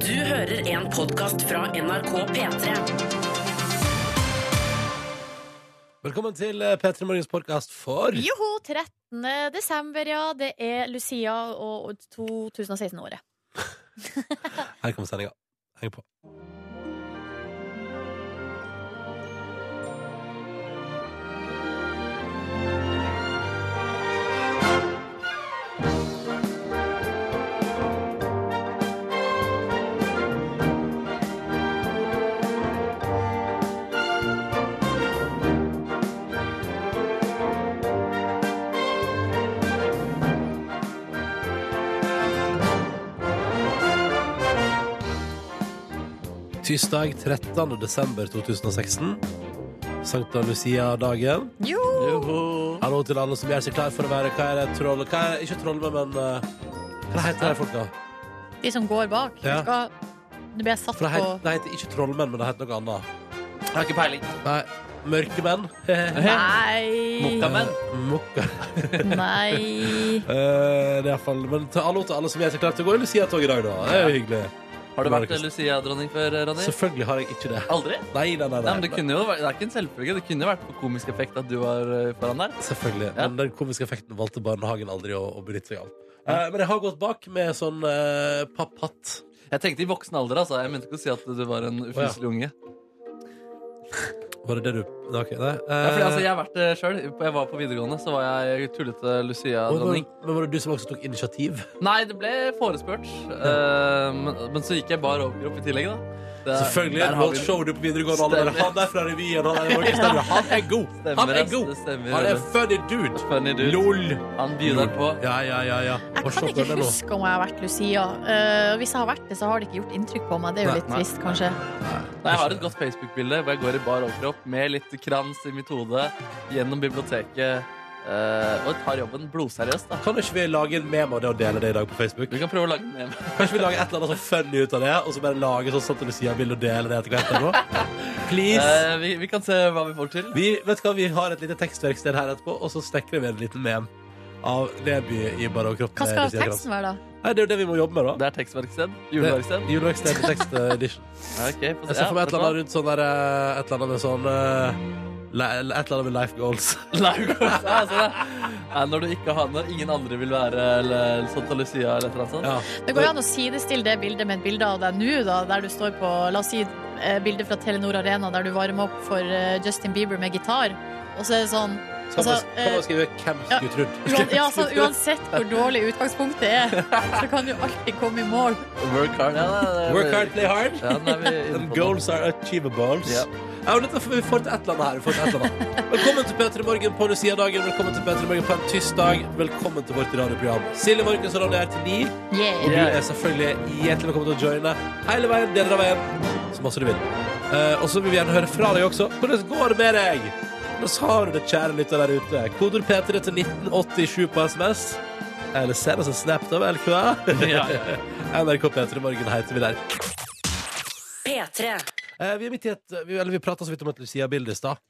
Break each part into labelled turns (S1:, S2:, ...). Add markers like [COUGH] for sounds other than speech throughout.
S1: Du hører en podkast fra NRK P3.
S2: Velkommen til eh, P3 Morgens podkast for
S3: Joho, 13. desember, ja. Det er Lucia og og 2016-året.
S2: Her kommer sendinga. Heng på. Tirsdag 13. desember 2016. Sankta Lucia-dagen.
S3: Jo!
S2: Hallo til alle som gjør seg klar for å være Hva er det troll... Hva er det? Ikke troll, men eh, Hva heter de folka?
S3: De som går bak.
S2: Ja.
S3: de Skal... Nå ble jeg satt
S2: For det
S3: på
S2: heter, det heter ikke trollmenn, men det heter noe annet.
S4: Jeg har ikke peiling.
S2: Nei. Mørke menn.
S4: [LAUGHS]
S3: Nei!
S4: Mokka menn.
S2: Eh, Mokka.
S3: Nei.
S2: Eh, det er i hvert fall Men til alle, til alle som gjør seg klar til å gå i Lucia-tog i dag, da. Det er jo hyggelig.
S4: Har du
S2: Nei,
S4: vært
S2: ikke sant.
S4: Lucia-dronning før, Ronny?
S2: Selvfølgelig har jeg ikke det.
S4: Aldri?
S2: Nei, nei, nei.
S4: Nei, men det, kunne jo vært, det er ikke en selvfølge. Det kunne jo vært på komisk effekt at du var eh, foran der.
S2: Selvfølgelig.
S4: Ja.
S2: Men den komiske effekten valgte barnehagen aldri å, å benytte seg av. Eh, men jeg har gått bak med sånn uh, papphatt.
S4: Jeg tenkte i voksen alder, altså. Jeg mente ikke å si at du var en ufyselig unge.
S2: Var det det du Nei, ok, nei.
S4: Ja, fordi, altså,
S2: Eh,
S4: jeg har vært det sjøl. Jeg var på videregående, så var jeg tullete
S2: og var,
S4: Lucia-dronning.
S2: men var det du som også tok initiativ?
S4: Nei, det ble forespurt. Eh, men, men så gikk jeg bar overkropp i tillegg, da. Det,
S2: Selvfølgelig.
S4: der
S2: Det
S4: har
S2: var
S4: vi-
S2: show du på videregående alle bare,
S4: Stemmer.
S2: Han der fra revyen, han der i Norge stemmer. Han er god! Han
S4: Stemmer,
S2: er
S4: ass,
S2: god!
S4: det stemmer.
S2: Han er
S4: Rune.
S2: funny dude!
S4: Funny dude.
S2: Lol!
S4: Han byr deg på.
S2: Ja, ja, ja. ja.
S3: Jeg
S2: Og
S3: kan
S2: se på
S3: ikke
S2: det nå.
S3: huske om jeg har vært Lucia. Eh, hvis jeg har vært det, så har det ikke gjort inntrykk på meg. Det er
S2: Nei,
S3: jo litt
S4: nei.
S3: trist, kanskje.
S4: Nei, jeg har et godt Facebook-bilde hvor jeg går i bar overkropp med litt krans i mitt hode gjennom biblioteket eh, og tar jobben blodseriøst. da.
S2: Kan ikke vi lage en meme av det og dele det i dag på Facebook?
S4: Vi kan prøve å lage en meme.
S2: Kanskje vi lager et eller annet sånn funny ut av det, og så bare lage sånn Santa Lucia-bilde og dele det etter hvert? etterpå? Please!
S4: Eh, vi, vi kan se hva vi får til.
S2: Vi, vet du hva, vi har et lite tekstverksted her etterpå, og så snekrer vi en liten mem av Neby i bare eh, og kropp.
S3: Hva
S2: med
S3: skal
S2: Lucia Grans.
S3: teksten være, da?
S2: Nei, det er jo det vi må jobbe med, da.
S4: Det er tekstverksted. Juleverksted.
S2: Juleverksted på [LAUGHS] tekstedition.
S4: Ja, ok, få se.
S2: Jeg ser for meg et
S4: Ja,
S2: eller annet rundt sånn der eh, Et eller annet med sånn eh, li- Et eller annet med life goals.
S4: [LAUGHS] Live goals, ja, altså det. Nei, Når du ikke har når ingen andre vil være eller Santa Lucia eller et eller annet sånt.
S2: Ja.
S3: Det går jo an å sidestille det bildet med et bilde av deg nå, da, der du står på La oss si eh, bildet fra Telenor Arena der du varmer opp for eh, Justin Bieber med gitar. Og så er det sånn
S2: Skal man,
S3: Altså,
S2: skal man skrive 'Hvem skulle trodd'?
S3: Uan, ja, altså, så uansett hvor dårlig utgangspunktet er, så kan du alltid komme i mål.
S4: Work hard. Ja, det, det,
S2: [LAUGHS] Work hard, play hard.
S4: Ja, den er vi inne
S2: And
S4: på.
S2: goals are achievables.
S4: Ja.
S2: Ja, men dette får vi får til et eller annet her. Vi får til et eller annet. [LAUGHS] Velkommen til P3 Morgen på Lucia-dagen. Velkommen til P3 Morgen på en tirsdag. Velkommen til vårt radioprogram. Silje Markus og Ronny er til ni. Og
S3: Yeah.
S2: du
S4: Yeah.
S2: er selvfølgelig hjertelig velkommen til å joine hele veien, deler av veien, så masse du vil. Eh, og så vil vi gjerne høre fra deg også. Hvordan går det med deg? Hvordan har du det, kjære lytter der ute? Kodord P3 til 1987 på SMS. Eller send oss en snap, da vel, hva?
S4: Ja, ja,
S2: [LAUGHS] NRK P3 Morgen heter vi der.
S1: P3.
S2: Eh, vi er midt i et vi, Eller vi prata så vidt om et Lucia-bilde i stad.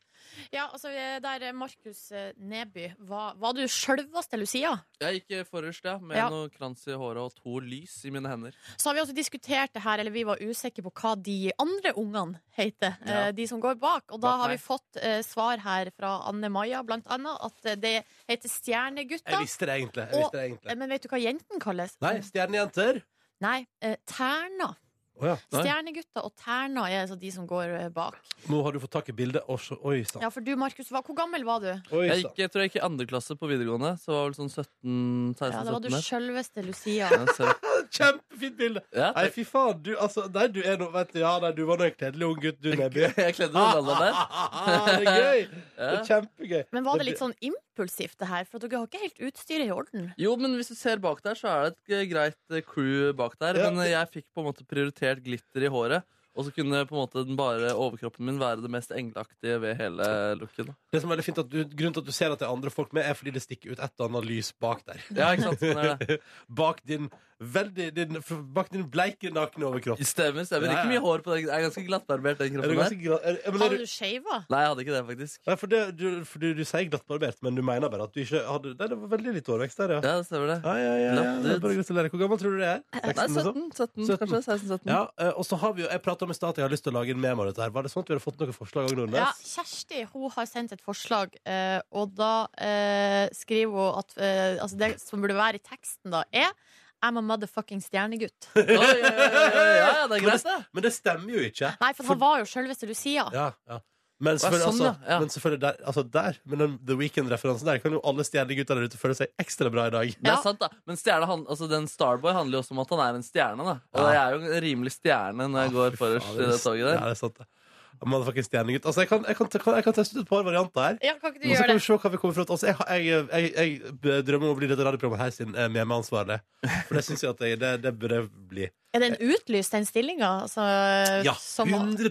S3: Ja, altså, eh, der eh, Markus eh, Neby var, var du sjølveste Lucia?
S4: Jeg gikk eh, forrest, ja, med
S3: Ja.
S4: noe krans i håret og to lys i mine hender.
S3: Så har vi også diskutert det her, eller vi var usikre på hva de andre ungene heter.
S4: Ja.
S3: eh, De som går bak. Og da
S4: Bak
S3: har
S4: meg.
S3: vi fått eh, svar her fra Anne Maja, blant annet, at eh, det heter
S2: Jeg
S3: Stjernegutta.
S2: visste det egentlig. Jeg visste det egentlig.
S3: Eh, Men vet du hva jenten kalles?
S2: Nei, stjernejenter.
S3: Nei, eh, Terna.
S2: Å ja.
S4: Nei.
S3: Stjernegutta og Terna er altså de som går eh, bak.
S2: Nå har du fått tak i bildet. Å, så- Oi sann.
S3: Ja, for du, Markus, var, hvor gammel var du?
S2: Oi, sann.
S4: Jeg, gikk, jeg tror jeg gikk i andre klasse på videregående. Så var vel sånn 17, 16,
S3: Ja, da var du
S4: 17 der.
S3: sjølveste Lucia.
S2: [LAUGHS]
S4: Ja, så-
S2: [LAUGHS] Kjempefint bilde.
S4: ja,
S2: Nei, fy faen, du, altså, nei, du er noe, vet du, ja, nei, du var noe kledelig ung gutt, du, Neby.
S4: [LAUGHS] jeg kledde
S2: [LAUGHS]
S4: meg alle der.
S2: det er gøy! Det er
S4: Ja.
S2: kjempegøy.
S3: Men var det litt sånn impulsivt, det her? For dere har ikke helt utstyret i orden.
S4: Jo, men hvis du ser bak der, så er det et eh, greit eh, crew bak der.
S2: Ja.
S4: Men eh, jeg fikk på en måte prioritert glitter i håret. Og så kunne på en måte den bare overkroppen min være det mest engleaktige ved hele looken.
S2: Det som er veldig fint at du, Grunnen til at du ser at det er andre folk med, er fordi det stikker ut et og annet lys bak der.
S4: Ja, ikke sant? Sånn er det.
S2: [LAUGHS] Bak din veldig din, bak din bleike nakne overkropp.
S4: Stemmer, stemmer.
S2: Ja, ja.
S4: Ikke mye hår på den. Jeg er ganske glattbarbert, den
S2: Er du
S4: kroppen
S2: ganske
S4: der.
S2: gra- er, er, men er
S3: Hadde
S2: du,
S3: du shava?
S4: Nei, jeg hadde ikke det, faktisk.
S2: Nei, for det, du, for du, du sier glattbarbert, men du mener bare at du ikke hadde Nei, det var veldig litt hårvekst der, ja.
S4: Ja, det stemmer det.
S2: Ja, ja, ja, ja.
S4: Glatt
S2: Det er
S4: ut.
S2: Bare gratulerer. Hvor gammel tror du det er?
S4: Nei,
S2: 16,
S4: 17,
S2: liksom?
S4: 17,
S2: 17.
S4: kanskje. 16-17.
S2: Ja, eh, og så har vi jo Jeg prata om i stad at jeg har lyst til å lage en memo av dette her. Var det sånn at vi hadde fått noen forslag òg, Nordnes?
S3: Ja, Kjersti hun har sendt et forslag, eh, og da eh, skriver hun at eh, altså det som burde være i teksten, da, er I'm a motherfucking stjernegutt.
S2: [LAUGHS]
S4: Oi, oi, oi, oi, ja, ja, det er greit, det.
S2: Men det stemmer jo ikke.
S3: Nei, for han var jo sjølveste Lucia.
S2: Ja, ja. Men selvfølgelig,
S4: sånn,
S2: altså,
S4: ja. Ja.
S2: Men selvfølgelig der, altså der Men den The Weekend-referansen der kan jo alle stjernegutter der ute føle seg ekstra bra i dag.
S4: Det
S3: Ja.
S4: er sant, da. Men stjerne, han, altså, den Starboy handler jo også om at han er en stjerne. da Og jeg er jo en rimelig stjerne når jeg går forrest i det toget
S2: Ja,
S4: der.
S2: det er sant, det. Motherfucking stjernegutt. Altså, jeg kan, jeg, kan, kan, jeg kan teste ut et par varianter her.
S3: Ja, kan ikke
S2: Og så
S3: du gjøre
S2: kan
S3: det?
S2: vi se hva vi kommer fra til. altså, jeg, har- jeg, jeg, jeg, jeg drømmer om å bli dette radioprogrammet her sin eh, memansvarlig. For det syns jeg at jeg, det, det bør jeg bli.
S3: Er den utlyst, den stillinga? Altså,
S2: [LAUGHS] Ja,
S3: som-
S2: 100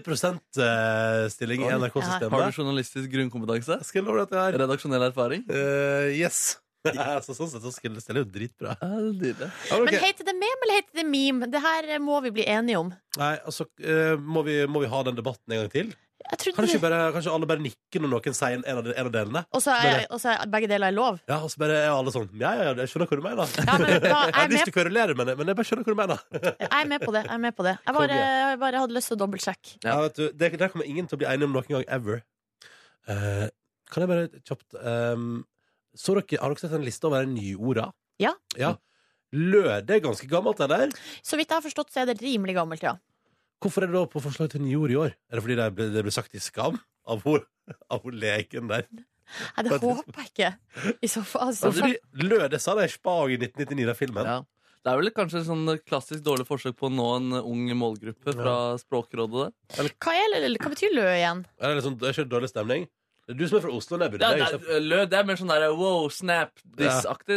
S2: eh, stilling i
S4: Oi. Har
S2: NRK-systemet.
S4: du journalistisk grunnkompetanse?
S2: Skal jeg love deg at jeg har
S4: Redaksjonell erfaring?
S2: Eh, Yes. [LAUGHS] så, sånn sett så skulle det stille jo dritbra.
S4: Ja, det er dyrere.
S2: Ja, men ok.
S3: Men heter det meme eller heter det meme? Det her eh, må vi bli enige om.
S2: Nei, altså, eh, må, vi, må vi ha den debatten en gang til?
S3: Jeg trodde
S2: Kanskje,
S3: det-
S2: bare, kanskje alle bare nikker når noen sier en en av, de, en av delene?
S3: Og så er, og så er begge deler er lov.
S2: Ja, og så bare er alle sånn Ja, ja, ja, [LAUGHS] jeg skjønner hva du mener.
S3: Ja, men da,
S2: Jeg
S3: jeg, er
S2: har lyst
S3: med,
S2: til å kverulere med det, men jeg bare skjønner hva du mener.
S3: jeg er med på det. Jeg, er med på det. jeg,
S2: Konge.
S3: bare, jeg bare hadde lyst til å dobbeltsjekke.
S4: Ja.
S2: Ja, vet du, det, der kommer ingen til å bli enige om noen gang ever. Eh, kan jeg bare kjapt ehm, så dere, Har dere sett en liste over de nye orda?
S3: Ja.
S2: ja. Lø, det er ganske gammelt, det der.
S3: Så vidt jeg har forstått, så er det rimelig gammelt, ja.
S2: Hvorfor er det da på forslag til nye ord i år? Er det fordi det ble, det ble sagt i skam av hun, av hun leken der?
S3: Nei, det håper jeg ikke. I så fall. Altså,
S2: Fordi Lø, det sa de i Spa i 1999, den filmen.
S4: Ja. Det er vel kanskje et sånn klassisk dårlig forsøk på å nå en ung målgruppe fra Språkrådet. det.
S3: hva, er, eller hva betyr lø igjen?
S2: Er det, liksom, det er ikke dårlig stemning? Det er du som er fra Oslo, Nebbu. det
S4: Ja,
S2: er
S4: det,
S2: jeg som er-
S4: er, lø- det er mer sånn der wow, snap, this-aktig,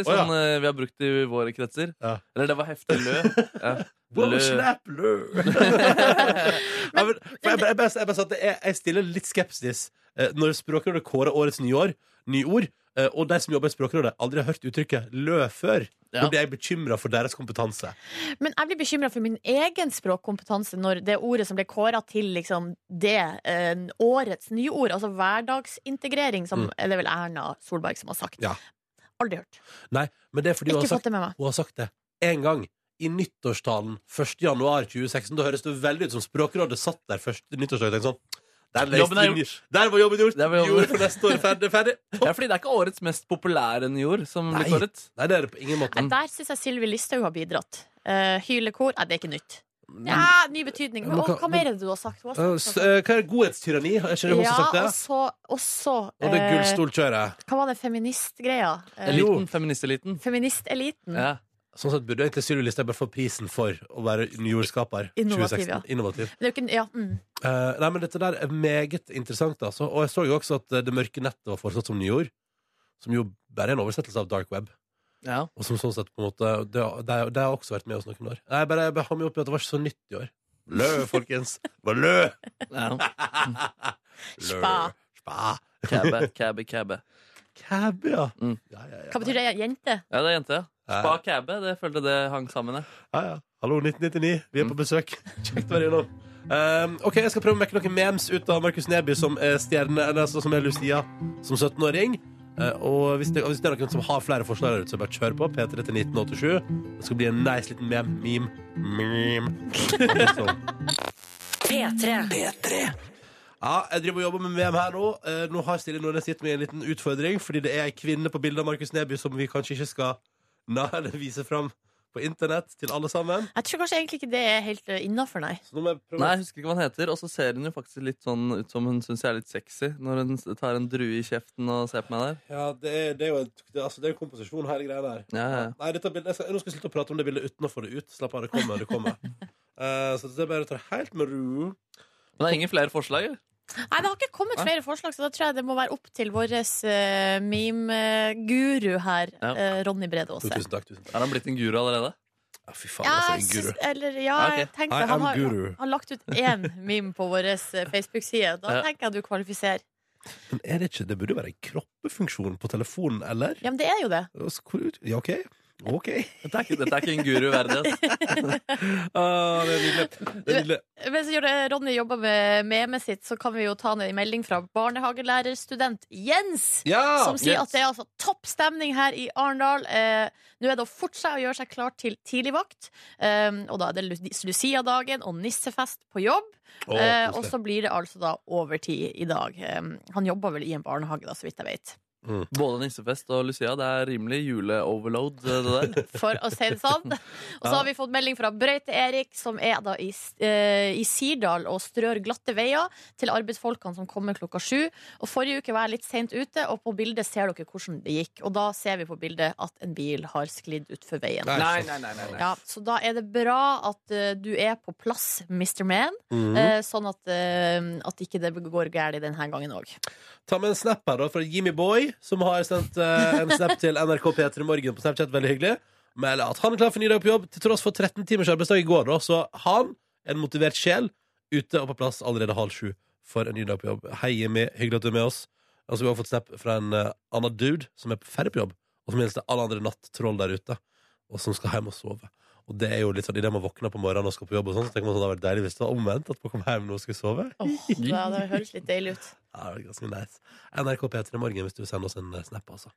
S2: Ja. Å, ja.
S4: som eh, vi har brukt i våre kretser.
S2: Ja.
S4: Eller det var heftig
S2: [LAUGHS]
S4: lø. Ja.
S2: Wow,
S4: Lø.
S2: snap,
S4: [LAUGHS]
S2: lø! ja, men, for jeg, bare- jeg, bare- jeg, bare sa at det er- jeg stiller litt skepsis eh, når Språkrådet kårer årets nyår, nyord, eh, og de som jobber i Språkrådet, aldri har hørt uttrykket 'lø' før.
S4: Ja.
S2: Da blir jeg bekymra for deres kompetanse.
S3: Men jeg blir bekymra for min egen språkkompetanse når det ordet som ble kåra til liksom, det eh, årets nye ord, altså hverdagsintegrering, som
S2: Mm.
S3: er det er vel Erna Solberg som har sagt.
S2: Ja.
S3: Aldri hørt.
S2: Nei, men det er fordi hun har
S3: Ikke
S2: sagt
S3: fått det med meg.
S2: Hun har sagt det én gang. I nyttårstalen 1. januar 2016. Da høres det veldig ut som Språkrådet satt der først nyttårsdag og tenkte sånn der, leste
S4: Jobben er
S2: vi-
S4: gjort.
S2: der var jobben gjort!
S4: Der var jobben
S2: Gjorde
S4: gjort.
S2: for neste år. Ferdig. ferdig.
S4: Ja, fordi det er ikke årets mest populære nyord som
S2: Nei.
S4: blir kåret.
S2: Nei, det er det på ingen måte.
S3: Nei, der syns jeg Sylvi Listhaug har bidratt. Eh, hylekor Nei, det er ikke nytt. Ja, ny betydning. Men,
S2: Mm. Men hva-
S3: og, hva mer er det du har sagt? Du har
S2: Eh, s-
S3: sagt
S2: eh, Hva er godhetstyranni? Er ikke det hun som har sagt
S3: ja, og
S2: det?
S3: så, og så
S2: Og det
S3: eh,
S2: gullstolkjøret.
S3: Hva var det feministgreia? Eh,
S2: Jo.
S4: Eliten, feministeliten.
S3: Feministeliten.
S4: Ja.
S2: Sånn sett burde egentlig Sylvi Listhaug bare få prisen for å være nyordskaper. 2016.
S3: Innovativ, ja.
S2: Innovativ.
S3: Men Det er jo ikke, ja, mm.
S2: Eh, nei, men dette der er meget interessant, altså. Og jeg så jo også at eh, Det mørke nettet var foreslått som nyord. Som jo bare er en oversettelse av dark web.
S4: Ja.
S2: Og som sånn sett på en måte Det, det, det har også vært med oss noen år. Nei, Jeg bare, jeg bare har meg opp i at det var ikke så nytt i år. Lø, folkens! Bare lø!
S4: ja.
S2: lø.
S3: Spa.
S2: Spa.
S4: Cabbe, cabbe, cabbe.
S2: Cab, ja.
S4: Mm.
S2: Ja, ja, ja.
S3: Hva betyr det? Jente?
S4: Ja, det er jente, ja.
S2: Ja.
S4: Spa cabbe, det følte det hang sammen. jeg.
S2: ja, ja. Hallo, 1999. Vi er på besøk. [LAUGHS] Kjekt å være innom. Um, ok, Jeg skal prøve å mekke noen memes ut av Markus Neby, som er stjerne Eller altså, som er Lucia som 17-åring. Eh, og hvis det, og hvis det er noen som har flere forslag, der ute, så bare kjør på. P3 til 1987. Det skal bli en nice liten mem. Meme. Meme. sånn.
S1: P3.
S2: Ja, jeg driver og jobber med VM her nå. Eh, nå har Silje Nordnes gitt meg en liten utfordring, fordi det er ei kvinne på bildet av Markus Neby som vi kanskje ikke skal [LAUGHS] na, eller vise fram på internett til alle sammen.
S3: Jeg tror kanskje egentlig ikke det er helt innafor, nei.
S2: Så nå må jeg prøve
S4: Nei, jeg husker ikke hva han heter. Og så ser hun jo faktisk litt sånn ut som hun syns jeg er litt sexy, når hun s- tar en drue i kjeften og ser på meg der.
S2: ja, det, er, det er jo en, det, altså, det er jo komposisjon, hele greia der.
S4: Ja, ja, ja.
S2: Nei, dette bildet, jeg skal, nå skal jeg slutte å prate om det bildet uten å få det ut. Slapp av, det kommer. det
S3: [LAUGHS]
S2: kommer Eh, Så det er bare å ta det helt med ro.
S4: Men det er ingen flere forslag? eller?
S3: Nei, Det har ikke kommet flere forslag, så da tror jeg det må være opp til vår eh, meme-guru her,
S4: Ja.
S3: eh, Ronny Brede Aase.
S2: Tusen takk. tusen takk
S4: Er han blitt en guru allerede?
S2: ja, Fy faen,
S3: Ja, jeg
S2: altså, en
S3: syns-
S2: guru.
S3: eller, ja,
S4: Ja, ok.
S3: jeg tenkte,
S2: I am
S3: han har,
S2: guru.
S3: han har lagt ut én meme på vår eh, Facebook-side. Da
S4: Ja.
S3: tenker jeg at du kvalifiserer.
S2: Men er det ikke Det burde jo være en kroppefunksjon på telefonen, eller?
S3: Ja, men det er jo det.
S2: Altså, hvor ut- Ja, OK.
S3: [LAUGHS]
S2: OK.
S4: Dette er ikke, dette er ikke en guru verdig. ass.
S2: Ah, det er nydelig. Det er nydelig.
S3: Mens Jor- Ronny jobber med memet sitt, så kan vi jo ta ned en melding fra barnehagelærerstudent Jens.
S2: Ja!
S3: Som sier
S4: Jens.
S3: at det er altså topp stemning her i Arendal. Eh, Nå er det å fortsette å gjøre seg klar til tidligvakt. Um, og da er det Lu- Lucia-dagen og nissefest på jobb.
S2: Å,
S3: eh, og
S2: koselig.
S3: så blir det altså da overtid i dag. Um, han jobber vel i en barnehage, da, så vidt jeg vet.
S4: Både nissefest og Lucia. Det er rimelig juleoverload, det der.
S3: For å si det sånn. Og så har vi fått melding fra Brøyte-Erik, som er da i, S- eh, i Sirdal og strør glatte veier til arbeidsfolkene som kommer klokka sju. Og forrige uke var jeg litt seint ute, og på bildet ser dere hvordan det gikk. Og da ser vi på bildet at en bil har sklidd utfor veien.
S2: Nei,
S4: Nei,
S2: så-
S4: nei, nei, nei, nei.
S3: Ja, så da er det bra at eh, du er på plass, Mr. Man,
S2: Mhm.
S3: eh, sånn at, eh, at ikke det går galt denne gangen òg.
S2: Ta med en snap her da fra Jimmy Boy, som har sendt eh, en snap til NRK P3 Morgen på Snapchat. Veldig hyggelig. Melder at han er klar for en ny dag på jobb, til tross for 13 timers arbeidsdag i går. da Så han, en motivert sjel, ute og på plass allerede halv sju for en ny dag på jobb. Hei, Jimmy. Hyggelig at du er med oss. Og så har vi også fått snap fra en eh, annen dude som er på ferdig på jobb, og som hilser alle andre nattroll der ute, og som skal hjem og sove. Og det er jo litt sånn, Idet man våkner på morgenen og skal på jobb, og sånn, så tenker man sånn, det hadde vært deilig hvis det var omvendt. At man kom hjem nå og skulle sove.
S3: ja, det høres litt deilig ut.
S2: Ja, det er ganske nice. NRK P3 Morgen hvis du sender oss en eh, snap,
S3: [LAUGHS]
S2: altså.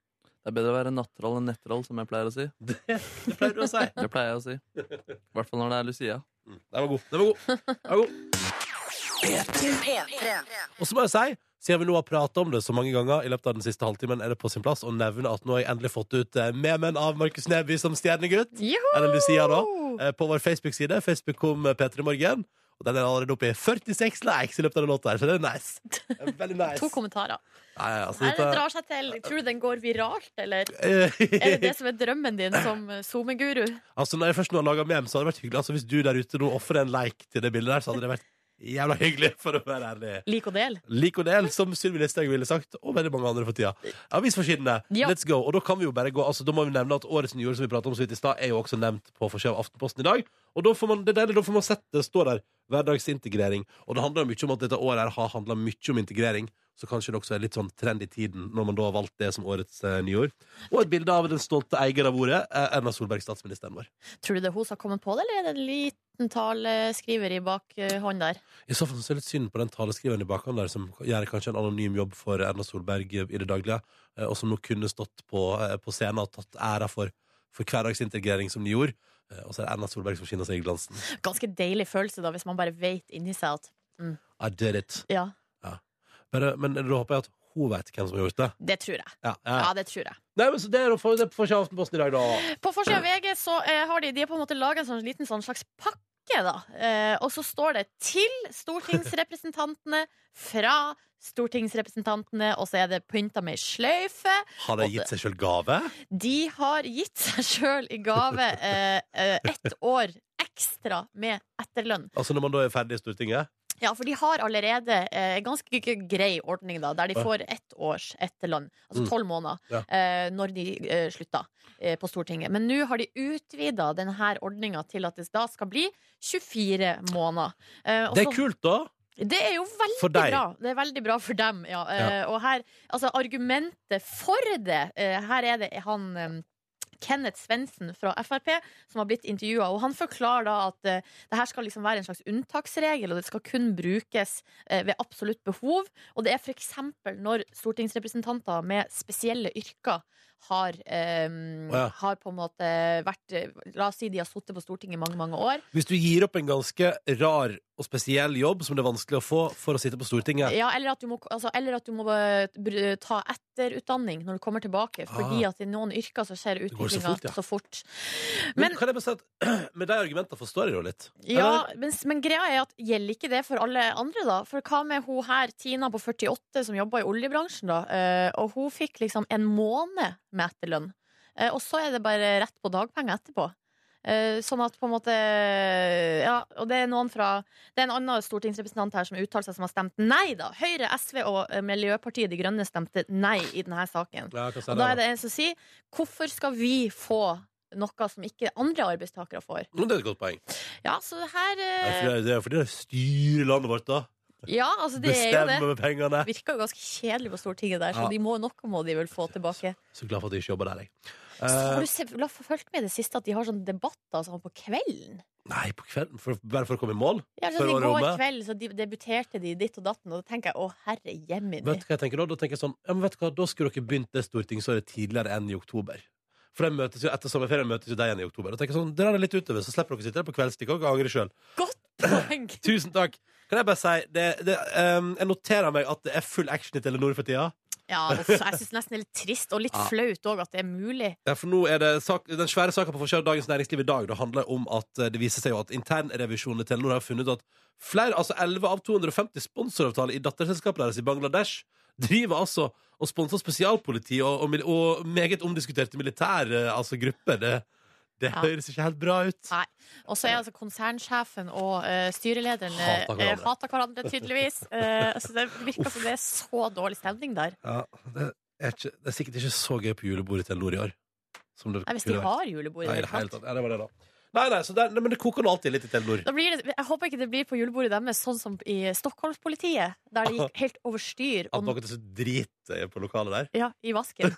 S4: Det er bedre å være nattroll enn nettroll, som jeg pleier å si.
S2: Det, det pleier du å si.
S4: Det pleier jeg å si. I hvert fall når det er Lucia.
S2: Den var god. Den var god. Den var god. Og så må jeg si, siden vi nå har pratet om det så mange ganger i løpet av den siste halvtimen, er det på sin plass å nevne at nå har jeg endelig fått ut eh, memen av Markus Neby som stjernegutt.
S3: Joho!
S2: Eller Lucia, da. eh, På vår Facebook-side. Facebook kom P3 Morgen. Og den er allerede oppe i 46 likes i løpet av den låta her, så det er nice. Det er Veldig
S3: [LAUGHS] To
S2: nice.
S3: kommentarer.
S2: Ja, ja, altså,
S3: Nei, det
S2: dette- [LAUGHS]
S3: drar seg til. Tror du den går viralt, eller? Er det
S2: Eh,
S3: det som er drømmen din som eh, SoMe-guru?
S2: Altså Når jeg først nå har laga mem, så hadde det vært hyggelig. Altså Hvis du der ute nå ofrer en like til det bildet der, så hadde det vært jævla hyggelig, for å være ærlig.
S3: Lik og del.
S2: Lik og del, som Sylvi Listhaug ville sagt, og veldig mange andre for tida. Avisforsidene,
S3: Ja.
S2: let's go! Og da kan vi jo bare gå Altså da må vi nevne at årets nyord, som vi pratet om så vidt i stad, er jo også nevnt på forsida av Aftenposten i dag. Og da får man det er deilig, da får man sett det står der. Hverdagsintegrering. Og det handler jo mye om at dette året her har handla mye om integrering. Så kanskje det også er litt sånn trend i tiden, når man da har valgt det som årets eh, nyord. Og et bilde av den stolte eier av ordet, eh, Erna Solberg, statsministeren vår.
S3: Tror du det er hun som har kommet på det, eller er det en liten taleskriver i bakhånd der?
S2: I så fall så er det litt synd på den taleskriveren i bakhånd der, som gjør kanskje en anonym jobb for Erna Solberg i det daglige, eh, og som nå kunne stått på, eh, på scenen og tatt æra for, for hverdagsintegrering som de gjorde. Eh, Og så er det Erna Solberg som skinner seg i glansen.
S3: Ganske deilig følelse, da, hvis man bare vet inni seg at
S2: I did it.
S3: Ja,
S2: Bare, men da håper jeg at hun vet hvem som har gjort det.
S3: det tror jeg.
S2: Ja, ja.
S3: Ja, det tror jeg.
S2: Nei, men så Det er å få det får ikke Aftenposten i dag, da.
S3: På forsida av VG så eh, har de, de har på en måte laga en sånn liten sånn slags pakke. Da. Eh, og så står det 'til stortingsrepresentantene fra stortingsrepresentantene', og så er det pynta med ei sløyfe.
S2: Har de gitt seg sjøl gave?
S3: De har gitt seg sjøl i gave eh, eh, ett år ekstra med etterlønn.
S2: Altså Når man da er ferdig i Stortinget?
S3: Ja, for de har allerede eh, en ganske g- g- grei ordning, da, der de
S2: Ja.
S3: får ett års etterlønn. Altså
S2: Mm.
S3: tolv måneder,
S2: Ja.
S3: eh, når de eh, slutta eh, på Stortinget. Men nå har de utvida denne ordninga til at det da skal bli 24 måneder. Eh, og
S2: Det er
S3: så-
S2: kult, da!
S3: det er jo
S2: For
S3: veldig
S2: deg.
S3: bra. Det er veldig bra for dem, ja. Eh, Og her, altså argumentet for det eh, Her er det han eh, Kenneth Svendsen fra Frp som har blitt intervjua, og han forklarer da at eh, det her skal liksom være en slags unntaksregel, og det skal kun brukes eh, ved absolutt behov. Og det er f.eks. når stortingsrepresentanter med spesielle yrker har, eh,
S2: ja.
S3: har på en måte vært eh, La oss si de har sittet på Stortinget i mange, mange år.
S2: Hvis du gir opp en ganske rar og spesiell jobb som det er vanskelig å få for å sitte på Stortinget
S3: Ja, eller at du må, altså, eller at du må eh, br- ta etterutdanning når du kommer tilbake. Fordi
S2: Ah.
S3: at i noen yrker så skjer
S2: går så
S3: utviklinga
S2: fort, ja.
S3: så fort.
S2: Men,
S3: Men-
S2: kan jeg bare si at [CLEARS THROAT] med de argumentene forstår jeg det jo litt.
S3: Ja, men, men greia er at gjelder ikke det for alle andre, da? For hva med hun her, Tina på 48, som jobber i oljebransjen, da? Eh, Og hun fikk liksom en måned med etterlønn. Eh, Og så er det bare rett på dagpenger etterpå. Eh, Sånn at på en måte Ja, og det er noen fra Det er en annen stortingsrepresentant her som uttaler seg, som har stemt nei, da. Høyre, SV og eh, Miljøpartiet De Grønne stemte nei i denne saken.
S2: Ja, hva sier
S3: Og
S2: det
S3: da
S2: da?
S3: er det en som sier hvorfor skal vi få noe som ikke andre arbeidstakere får?
S2: Men det er et godt poeng.
S3: Ja, så her
S2: Det er
S3: eh,
S2: fordi- Det er fordi de styrer landet vårt, da.
S3: Ja, altså det er jo
S2: Bestemmer
S3: det.
S2: med pengene.
S3: Virker jo ganske kjedelig på Stortinget der, så
S2: Ja.
S3: de må, noe må de vel få tilbake.
S2: Så glad for at jeg ikke jobber der, jeg.
S3: Har
S2: Eh,
S3: du se- la- fulgt med i det siste at de har sånne debatter sånn på kvelden?
S2: nei, på kvelden, for, bare for å komme i mål?
S3: Ja,
S2: For
S3: sånn, I
S2: å
S3: går
S2: romme?
S3: kveld så de, debuterte de i ditt og datten, og da tenker jeg å herre jemini.
S2: Vet du hva jeg tenker da? Da tenker jeg sånn, ja, men vet du hva, da skulle dere begynt det stortingsåret tidligere enn i oktober. For de møtes jo, etter sommerferien møtes jo de igjen i oktober. Da tenker jeg sånn, dra det litt utover, så slipper dere å sitte der på kveldstid og angre sjøl.
S3: Godt poeng!
S2: Tusen takk. Kan jeg bare si, det, det, ehm, jeg noterer meg at det er full action i Telenor for tida.
S3: [LAUGHS] Ja, uff, jeg syns nesten det er litt trist, og litt
S2: Ja.
S3: flaut òg, at det er mulig.
S2: Ja, for nå er det sak, Den svære saka på forsiden av Dagens Næringsliv i dag det handler om at eh, det viser seg jo at internrevisjonen i Telenor har funnet ut at flere, altså 11 av 250 sponsoravtaler i datterselskapet deres i Bangladesh driver altså og sponser spesialpoliti og, og, mil- og meget omdiskuterte militære altså grupper. Det, det
S3: Ja.
S2: høres ikke helt bra ut.
S3: Og så er altså konsernsjefen og eh, styrelederen
S2: Hater
S3: eh,
S2: hverandre.
S3: hater hverandre, tydeligvis. Eh, så det virker som det er så dårlig stemning der.
S2: Ja, det, er ikke, det er sikkert ikke så gøy på julebordet i Telenor i år. Som det
S3: Nei, hvis de
S2: kunne vært.
S3: har julebord i
S2: Nei, i
S3: det
S2: det
S3: hele
S2: hele
S3: tatt.
S2: tatt. Ja, det var det, da. Nei, nei, så det, er- nei, men det koker nå alltid litt i Telenor.
S3: Da blir det, jeg håper ikke det blir på julebordet deres sånn som i Stockholmspolitiet, der det gikk helt over styr
S2: At
S3: om,
S2: noen er så drit eh, på lokalet der.
S3: ja, i
S2: [LAUGHS]
S3: vasken.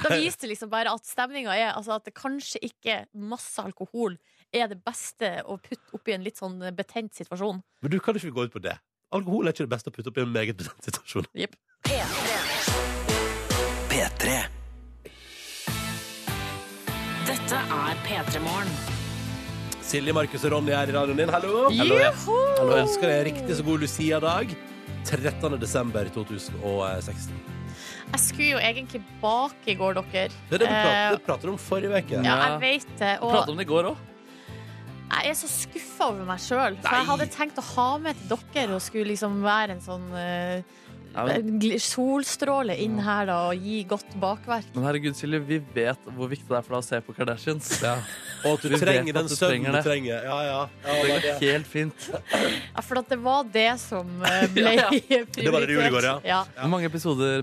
S3: Da viste det liksom bare at stemninga er altså at det kanskje ikke masse alkohol er det beste å putte oppi en litt sånn betent situasjon.
S2: Men du kan ikke gå ut på det. Alkohol er ikke det beste å putte opp i en meget bestemt situasjon.
S3: Jepp.
S2: P3.
S1: Dette er P3 Morgen.
S2: Silje, Markus og Ronny er i radioen din. Hallo! Hallo, ja. Hallo, jeg ønsker deg en riktig så god Lucia-dag. 13. desember 2016.
S3: Jeg skulle jo egentlig bake i går, dere.
S2: Det er det vi prater,
S3: Eh,
S2: det prater du om forrige uke.
S3: ja, jeg vet det.
S4: Vi
S3: Og
S4: pratet om det i går òg.
S3: jeg er så skuffa over meg sjøl. For
S2: Nei.
S3: jeg hadde tenkt å ha med til dere og skulle liksom være en sånn eh,
S4: Ja, men,
S3: en gl- solstråle inn her da og gi godt bakverk.
S4: men herregud, Silje, vi vet hvor viktig det er for deg å se på Kardashians.
S2: Ja. Og at du
S4: Vi vet
S2: trenger
S4: at
S2: den
S4: du
S2: søvnen
S4: trenger
S2: du
S4: det.
S2: trenger. Ja, ja. ja
S4: Det
S2: det
S4: går
S2: er det.
S4: helt fint.
S3: Ja, for at det var det som
S2: [LAUGHS]
S3: eh, ble
S4: Ja, ja.
S3: prioritert.
S2: Det var det du gjorde i går, ja.
S3: ja.
S4: Hvor mange episoder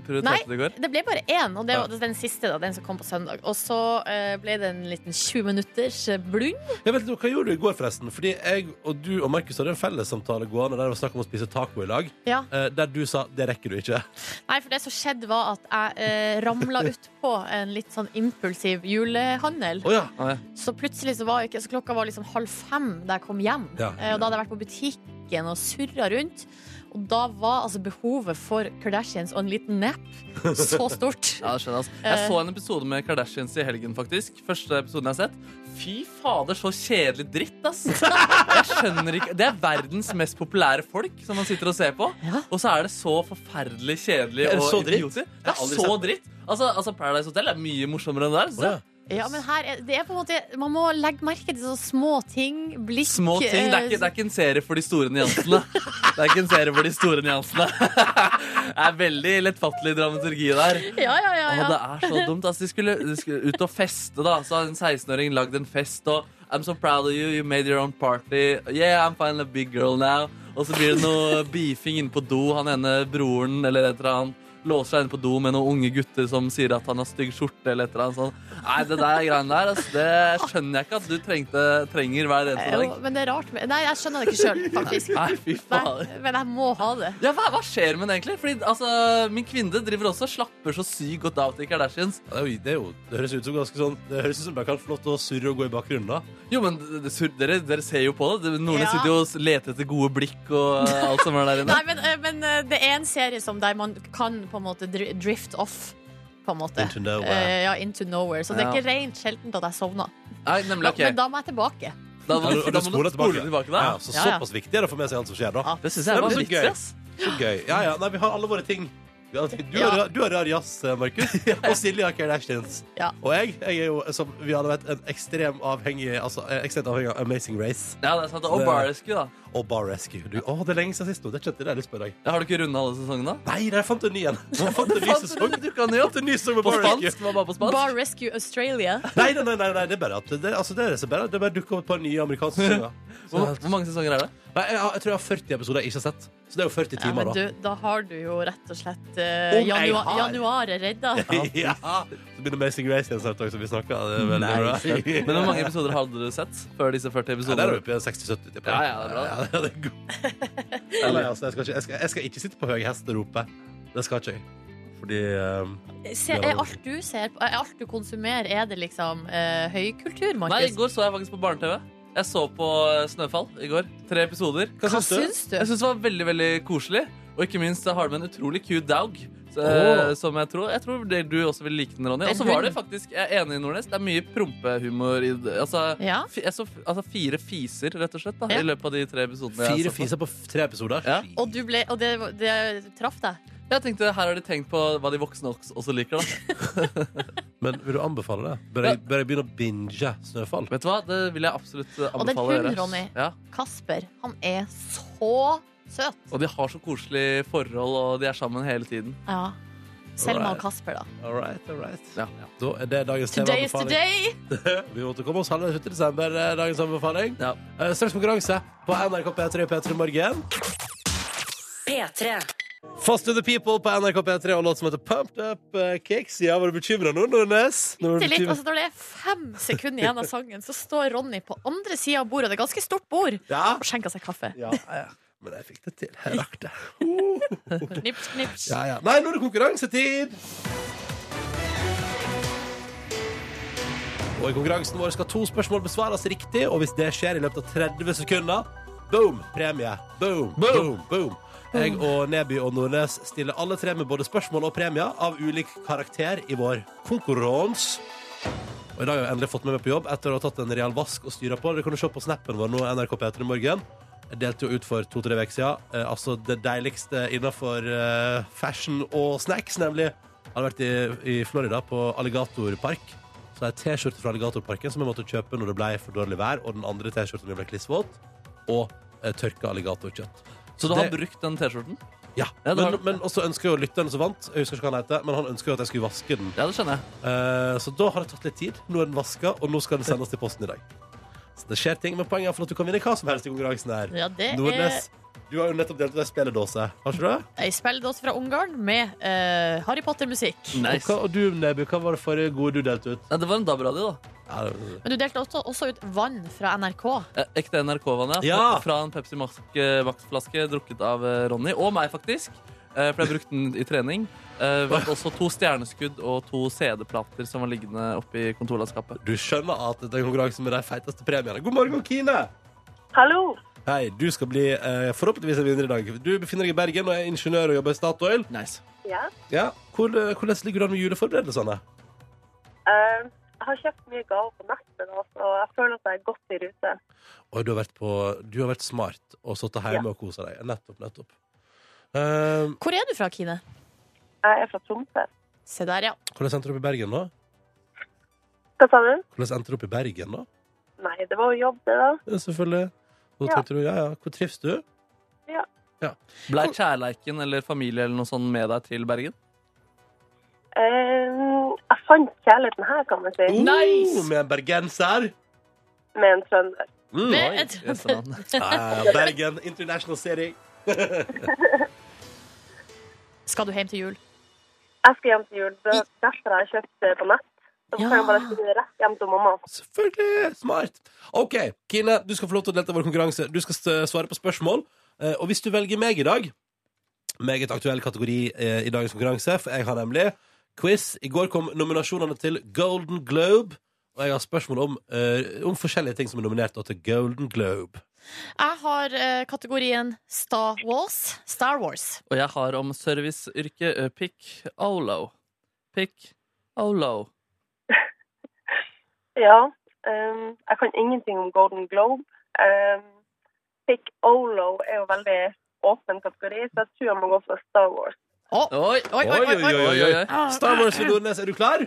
S3: Nei.
S4: prioriterte du i går?
S3: Det ble bare én, og det var den siste, da, den som kom på søndag. Og så eh, ble det en liten 20 minutters eh, blund.
S2: Jeg vet, ikke, hva gjorde du i går, forresten? Fordi jeg og du og Markus hadde en fellessamtale gående der det var snakk om å spise taco i lag,
S3: Ja.
S2: eh, der du sa 'det rekker du ikke'.
S3: Nei, for det som skjedde, var at jeg eh, ramla utpå en litt sånn impulsiv julehandel.
S2: Å ja.
S4: Å, ja.
S3: Så plutselig så var jo ikke Så klokka var liksom halv fem da jeg kom hjem.
S2: Ja.
S3: Eh, Og da hadde jeg vært på butikken og surra rundt. Og da var altså behovet for Kardashians og en liten nap
S4: [LAUGHS]
S3: så stort.
S4: Ja, det skjønner jeg, altså.
S3: Eh.
S4: Jeg så en episode med Kardashians i helgen, faktisk. Første episoden jeg har sett. Fy fader, så kjedelig dritt, ass! Jeg skjønner ikke Det er verdens mest populære folk som man sitter og ser på.
S3: Ja.
S4: Og så er det så forferdelig kjedelig
S2: Er det
S4: og
S2: så dritt?
S4: idioter.
S2: Jeg
S4: Det
S2: har
S4: er
S2: aldri
S4: så
S2: sett
S4: dritt. Altså, altså Paradise Hotel er mye morsommere enn det der.
S2: Å,
S4: synes
S2: ja.
S4: jeg.
S3: Ja, men her er, det er på en måte Man må legge merke til sånne små ting. Blikk
S4: Små ting. Det er, ikke, det er ikke en serie for de store nyansene. Det er ikke en serie for de store nyansene. [LAUGHS] Det er veldig lettfattelig dramaturgi der.
S3: eh, Ja, ja, ja,
S4: Å,
S3: ja.
S4: det er så dumt. Altså, de, skulle, de skulle ut og feste, da. Så hadde en 16-åring lagd en fest, og I'm so proud of you, you made your own party. Yeah, I'm finally a big girl now. Og så blir
S3: [LAUGHS]
S4: det noe beefing inne på do. Han ene broren eller et eller annet låser seg inne på do med noen unge gutter som sier at han har stygg skjorte eller et eller annet sånt. Nei, det der greiene der, altså, det skjønner jeg ikke at du trengte, trenger hver eneste
S3: Jo,
S4: dag.
S3: Eh, men det er rart med Nei, jeg skjønner det ikke sjøl,
S4: [LAUGHS]
S3: faktisk.
S4: Nei, fy
S3: Nei,
S4: faen.
S3: men jeg må ha det.
S4: Ja, hva, hva skjer med den egentlig? Fordi altså, Min kvinne driver også og slapper så sykt godt av til Kardashians.
S2: Det, er jo, det, er jo, det høres ut som ganske sånn Det høres ut som det kan få lov til å surre og gå i bakgrunnen, da.
S4: Jo, men d- d- sur- dere, dere ser jo på det. Nordnes
S3: Ja.
S4: sitter jo og s- leter etter gode blikk og eh, alt som er der
S3: [LAUGHS]
S4: inne.
S3: Nei, men, eh, men eh, det er en serie som der man kan på en måte dri- drift off. På en måte.
S2: Into nowhere.
S3: Eh, ja, into nowhere. Så det er
S4: Ja.
S3: ikke rent sjeldent at jeg sovner.
S4: Nei, nemlig, ok.
S3: Men da må jeg tilbake.
S4: Da
S2: Ja,
S4: må du,
S2: og
S4: da må du spole tilbake da.
S2: Ja, så
S3: Ja, ja.
S2: Såpass viktig er det å få med seg alt som skjer, da.
S3: Ja.
S4: Det syns jeg
S2: Det
S4: var
S2: blir så
S4: vitsig,
S2: gøy.
S4: ass.
S2: Så gøy. Ja, ja, nei, vi har alle våre ting. Vi har alle ting. Du,
S3: Ja.
S2: har, du har rar jazz, eh, [LAUGHS] Markus. Og Silje har Kardashians.
S3: Ja.
S2: Og jeg, jeg er jo, som vi alle vet, en ekstrem avhengig, altså, eh, ekstremt avhengig av Amazing Race
S4: Ja, det er sant. Og
S2: Det-
S4: Barescu, da.
S2: og Bar Rescue. Du, å, det er lenge siden sist nå. Det kjente jeg det jeg har lyst på i dag.
S4: Har du ikke runda alle sesongene?
S2: Nei, der fant du en ny [LAUGHS] en. Jeg fant en ny
S4: Faen,
S2: sesong.
S4: Du kan jo.
S2: En ny sesong med
S4: På
S2: Bar Rescue.
S4: spansk. Det var bare på
S3: Bar
S4: spansk.
S3: Rescue Australia.
S2: Nei, nei, nei, nei, nei, det er bare at det, altså, det, er det som bare, det bare dukker opp et par nye [LAUGHS] amerikanske sesonger. Så
S4: Hvor,
S2: helt-
S4: hvor mange sesonger er det?
S2: Nei, jeg, har- jeg tror jeg har 40 episoder jeg ikke har sett. Så det er jo 40
S3: Ja,
S2: timer,
S3: men
S2: da.
S3: du, da har du jo rett og slett eh,
S2: Om jeg
S3: janua
S2: har.
S3: januaret redda.
S2: [LAUGHS] ja. Så blir det Amazing Race igjen snart, også, som vi snakka. Det er veldig bra. [LAUGHS]
S4: Men hvor mange episoder hadde du sett før disse 40
S2: Ja, der er vi
S4: episodene?
S2: oppe i 60-70, tipper
S4: Ja,
S2: jeg.
S4: ja, det er bra.
S2: Ja, [LAUGHS] ja, det er god. Nei, altså, jeg, skal ikke, jeg, skal, jeg skal ikke sitte på høy hest og rope. Det skal ikke jeg. Fordi eh,
S3: Se, er alt du ser på, er alt du konsumerer, er det liksom eh, høykultur,
S4: Nei, i
S3: Markus?
S4: går så jeg faktisk på barne-TV. Jeg så på eh, Snøfall i går. Tre episoder.
S2: Hva
S3: Hva
S2: syns du?
S3: syns du?
S4: Jeg syns det var veldig veldig koselig. Og ikke minst så har de en utrolig cute dog. Så,
S2: Åh.
S4: Som jeg tror Jeg tror det du også vil like den, Ronny.
S3: En
S4: Og så var
S3: hund.
S4: det faktisk Jeg er enig i Nordnes. Det er mye prompehumor i det. Altså,
S3: Ja.
S4: fi- jeg så, f- altså fire fiser, rett og slett, da,
S3: Ja.
S4: i løpet av de tre episodene. jeg
S2: Fire
S4: så på.
S2: fiser på f- tre episoder?
S4: Ja.
S3: Og, du ble, og det, det traff deg?
S4: Jeg tenkte her har de tenkt på hva de voksne også også
S2: [LAUGHS]
S4: liker. da
S2: Men vil du anbefale det? Bør jeg, bør jeg begynne å binge Snøfall?
S4: Vet du hva? Det vil jeg absolutt eh,
S3: Og den
S4: anbefale
S3: hunden,
S4: dere.
S3: Ronny.
S4: Ja.
S3: Kasper, han er så søt!
S4: Og de har så koselig forhold, og de er sammen hele tiden.
S3: Ja. Selma
S2: Alright.
S3: og Kasper, da.
S2: All right, all right.
S4: Ja.
S2: Da er det dagens
S3: Today is
S2: TV-anbefaling.
S3: today!
S2: [LAUGHS] Vi måtte komme oss halv 7. desember, eh, dagens anbefaling.
S4: Ja.
S2: Eh, straks konkurranse på NRK P3 og P3 Morgen.
S1: P3.
S2: Fast to the people på NRK P3 og låt som heter Pumped Up eh, Kicks. Ja, var du bekymra nå, Nordnes? Nå var du
S3: Bitte litt.
S2: bekymret.
S3: Altså, når det er fem sekunder igjen av sangen, så står Ronny på andre sida av bordet, og det er ganske stort bord,
S2: Ja.
S3: og skjenker seg kaffe.
S2: Ja, ja. Men jeg fikk det til. Jeg rakk det. Uh.
S3: Nips, nips.
S2: Ja, ja. Nei, nå er det konkurransetid! Og I konkurransen vår skal to spørsmål besvares riktig, og hvis det skjer i løpet av 30 sekunder, boom, premie. Boom, boom, boom. Jeg og Neby og Nordnes stiller alle tre med både spørsmål og premier av ulik karakter i vår konkurranse. Og i dag har jeg endelig fått meg med på jobb etter å ha tatt en real vask og styra på. Det kan du se på snappen vår nå, NRK P3 Morgen. Jeg delte jo ut for to-tre uker siden. Eh, altså det deiligste innafor eh, fashion og snacks, nemlig. Jeg hadde vært i, i Florida, på Alligatorpark. Så har jeg T-skjorte fra Alligatorparken som jeg måtte kjøpe når det ble for dårlig vær, og den andre T-skjorten min ble klissvåt. Og eh, tørka alligatorkjøtt.
S4: Så du
S2: Det-
S4: har brukt den T-skjorten?
S2: Ja.
S4: Ja, det
S2: men,
S4: har du.
S2: men også ønsker jo lytteren som vant, jeg husker ikke hva han heter, men han ønsker jo at jeg skulle vaske den.
S4: Ja, det skjønner jeg.
S2: Eh, Så da har det tatt litt tid. Nå er den vaska, og nå skal den sendes til posten i dag. Så det skjer ting, men poenget er for at du kan vinne hva som helst i konkurransen her.
S3: Ja, det er
S2: Nordnes, du har jo nettopp delt ut ei spilledåse, har ikke du det?
S3: ei spilledåse fra Ungarn med eh, Harry Potter-musikk.
S2: Og, hva, og du, Neby, hva var det forrige gode du delte ut?
S4: Nei, det var en DAB-radio, da.
S2: Ja, det-
S3: Men du delte også, også ut vann fra NRK.
S4: Eh, Ekte NRK-vann, ja.
S2: Ja!
S4: Fra en Pepsi Max- eh, Max-flaske drukket av eh, Ronny. Og meg, faktisk. Eh, For jeg brukte den i trening. Eh, Vant også to stjerneskudd og to CD-plater som var liggende oppi kontorlandskapet.
S2: du skjønner at det er en konkurranse med de feiteste premiene. God morgen, Kine!
S5: Hallo.
S2: Hei, du skal bli eh, forhåpentligvis en vinner i dag. Du befinner deg i Bergen og er ingeniør og jobber i Statoil.
S4: Nice.
S5: Ja.
S2: Ja, hvor, eh, Hvordan ligger du an med juleforberedelsene?
S5: Eh, jeg har kjøpt mye gaver på nettet, nå, så jeg føler at jeg er godt i rute.
S2: Oi, du har vært, på, du har vært smart og sittet hjemme og kosa deg. Nettopp, nettopp. Eh,
S3: Hvor er du fra, Kine?
S5: Jeg er fra Tromsø.
S3: Se der, ja.
S2: hvordan endte du opp i Bergen, da?
S5: Hva sa du?
S2: Hvordan endte du opp i Bergen, da?
S5: Nei, det var jo jobb, det, da.
S2: Ja, selvfølgelig. Da
S5: Ja.
S2: tenkte du, ja, ja, hvor trives du?
S4: Blei kjærleiken eller familie eller noe sånt med deg til Bergen?
S5: Eh, jeg fant kjærligheten her, kan man si,
S2: Nice! Oh, med en bergenser.
S5: med en trønder.
S2: Mm.
S3: Med-
S4: Oi,
S3: et-
S4: yes, man.
S2: Ja, ja, Bergen International City.
S3: [LAUGHS] Skal du hjem til jul?
S5: Jeg skal hjem til jul. Det er derfor jeg har kjøpt det på nett. Så
S3: Ja.
S5: kan jeg bare skrive rett hjem til mamma.
S2: Selvfølgelig! Smart. OK, Kine, du skal få lov til å delta i vår konkurranse. Du skal st- svare på spørsmål. Eh, Og hvis du velger meg i dag Meget aktuell kategori eh, i dagens konkurranse, for jeg har nemlig quiz. I går kom nominasjonene til Golden Globe, og jeg har spørsmål om, eh, om forskjellige ting som er nominert da til Golden Globe.
S3: Jeg har eh, kategorien Star Wars. Star Wars.
S4: Og jeg har om serviceyrket eh, pick olo. Pick olo.
S5: Ja. eh, jeg kan ingenting om Golden Globe. Eh, Pick Olo er jo veldig åpen kategori, så jeg tror jeg må gå for Star Wars.
S3: Å,
S4: Oi, oi,
S2: oi, oi, oi, oi, oi.
S3: Ah,
S2: Star Wars ved Nordnes, er du klar?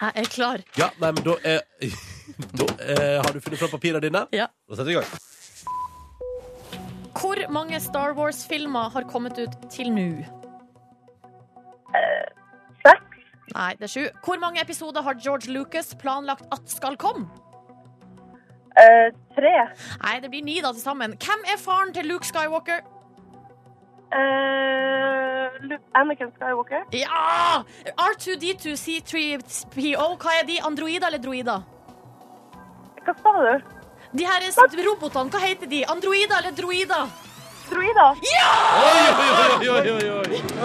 S3: Jeg er klar.
S2: Ja, nei, men da er [LAUGHS] Da eh, har du funnet fram papirene dine.
S3: Ja.
S2: Da setter vi i gang.
S3: Hvor mange Star Wars-filmer har kommet ut til nå?
S5: Seks.
S3: Nei, det er sju. Hvor mange episoder har George Lucas planlagt at skal komme?
S5: Eh, tre.
S3: Nei, det blir ni da til sammen. Hvem er faren til Luke Skywalker?
S5: Eh, Luke- Anakin Skywalker.
S3: Ja! R2D2, C3PO, hva er de? Androider eller droider?
S5: Hva sa du?
S3: De her er s- robotene, hva heter de? Androider eller droider?
S5: Druida?
S2: Oi, oi, oi, oi, oi,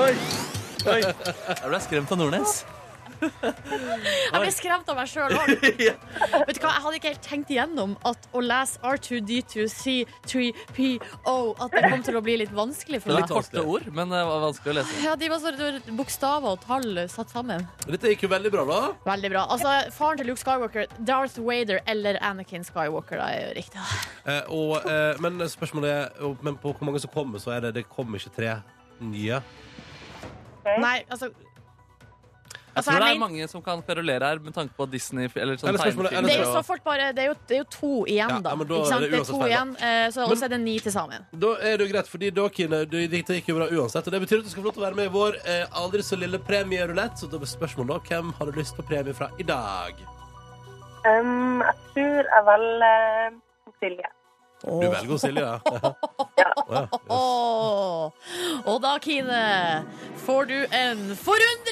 S2: oi.
S4: Oi, jeg ble skremt av Nordnes.
S3: Jeg ble skremt av meg sjøl òg. Vet du hva, jeg hadde ikke helt tenkt igjennom at å lese R2D2C3PO At det kom til å bli litt vanskelig
S4: Det
S3: for
S4: var
S3: meg.
S4: korte ord, men det var vanskelig å lese.
S3: Ja, de var så det var Bokstaver og tall satt sammen.
S2: Dette gikk jo veldig bra, da.
S3: Veldig bra. Altså, Faren til Luke Skywalker, Darth Vader eller Anakin Skywalker, da er jo riktig.
S2: Eh, og, eh, men spørsmålet er og- Men på hvor mange som kommer, så er det Det kommer ikke tre nye.
S3: Nei, altså
S4: Jeg
S3: Altså,
S4: tror
S3: jeg
S4: det
S3: men-
S4: er mange som kan kverulere her med tanke på Disney eller sånn
S2: Eller spørsmålet-
S4: tegnefilm.
S2: eller
S3: det er jo
S2: så-
S3: så fort bare Det er jo, det er jo to igjen,
S2: Ja,
S3: da.
S2: ja, men da
S3: Ikke
S2: er
S3: sant?
S2: det
S3: Det er
S2: uansett
S3: to
S2: feil, da.
S3: igjen, eh, så også er det ni til sammen.
S2: Da er det jo greit, fordi da, Kine, du- dette gikk jo bra uansett. Og det betyr at du skal få lov til å være med i vår eh, aldri så lille premierulett. Så da blir spørsmålet da hvem har du lyst på premie fra i dag?
S5: Um, jeg tror jeg velger Silje.
S2: Du velger jo
S3: [LAUGHS]
S2: Silje, ja. Å, ja.
S3: Åh. Og da, Kine, får du en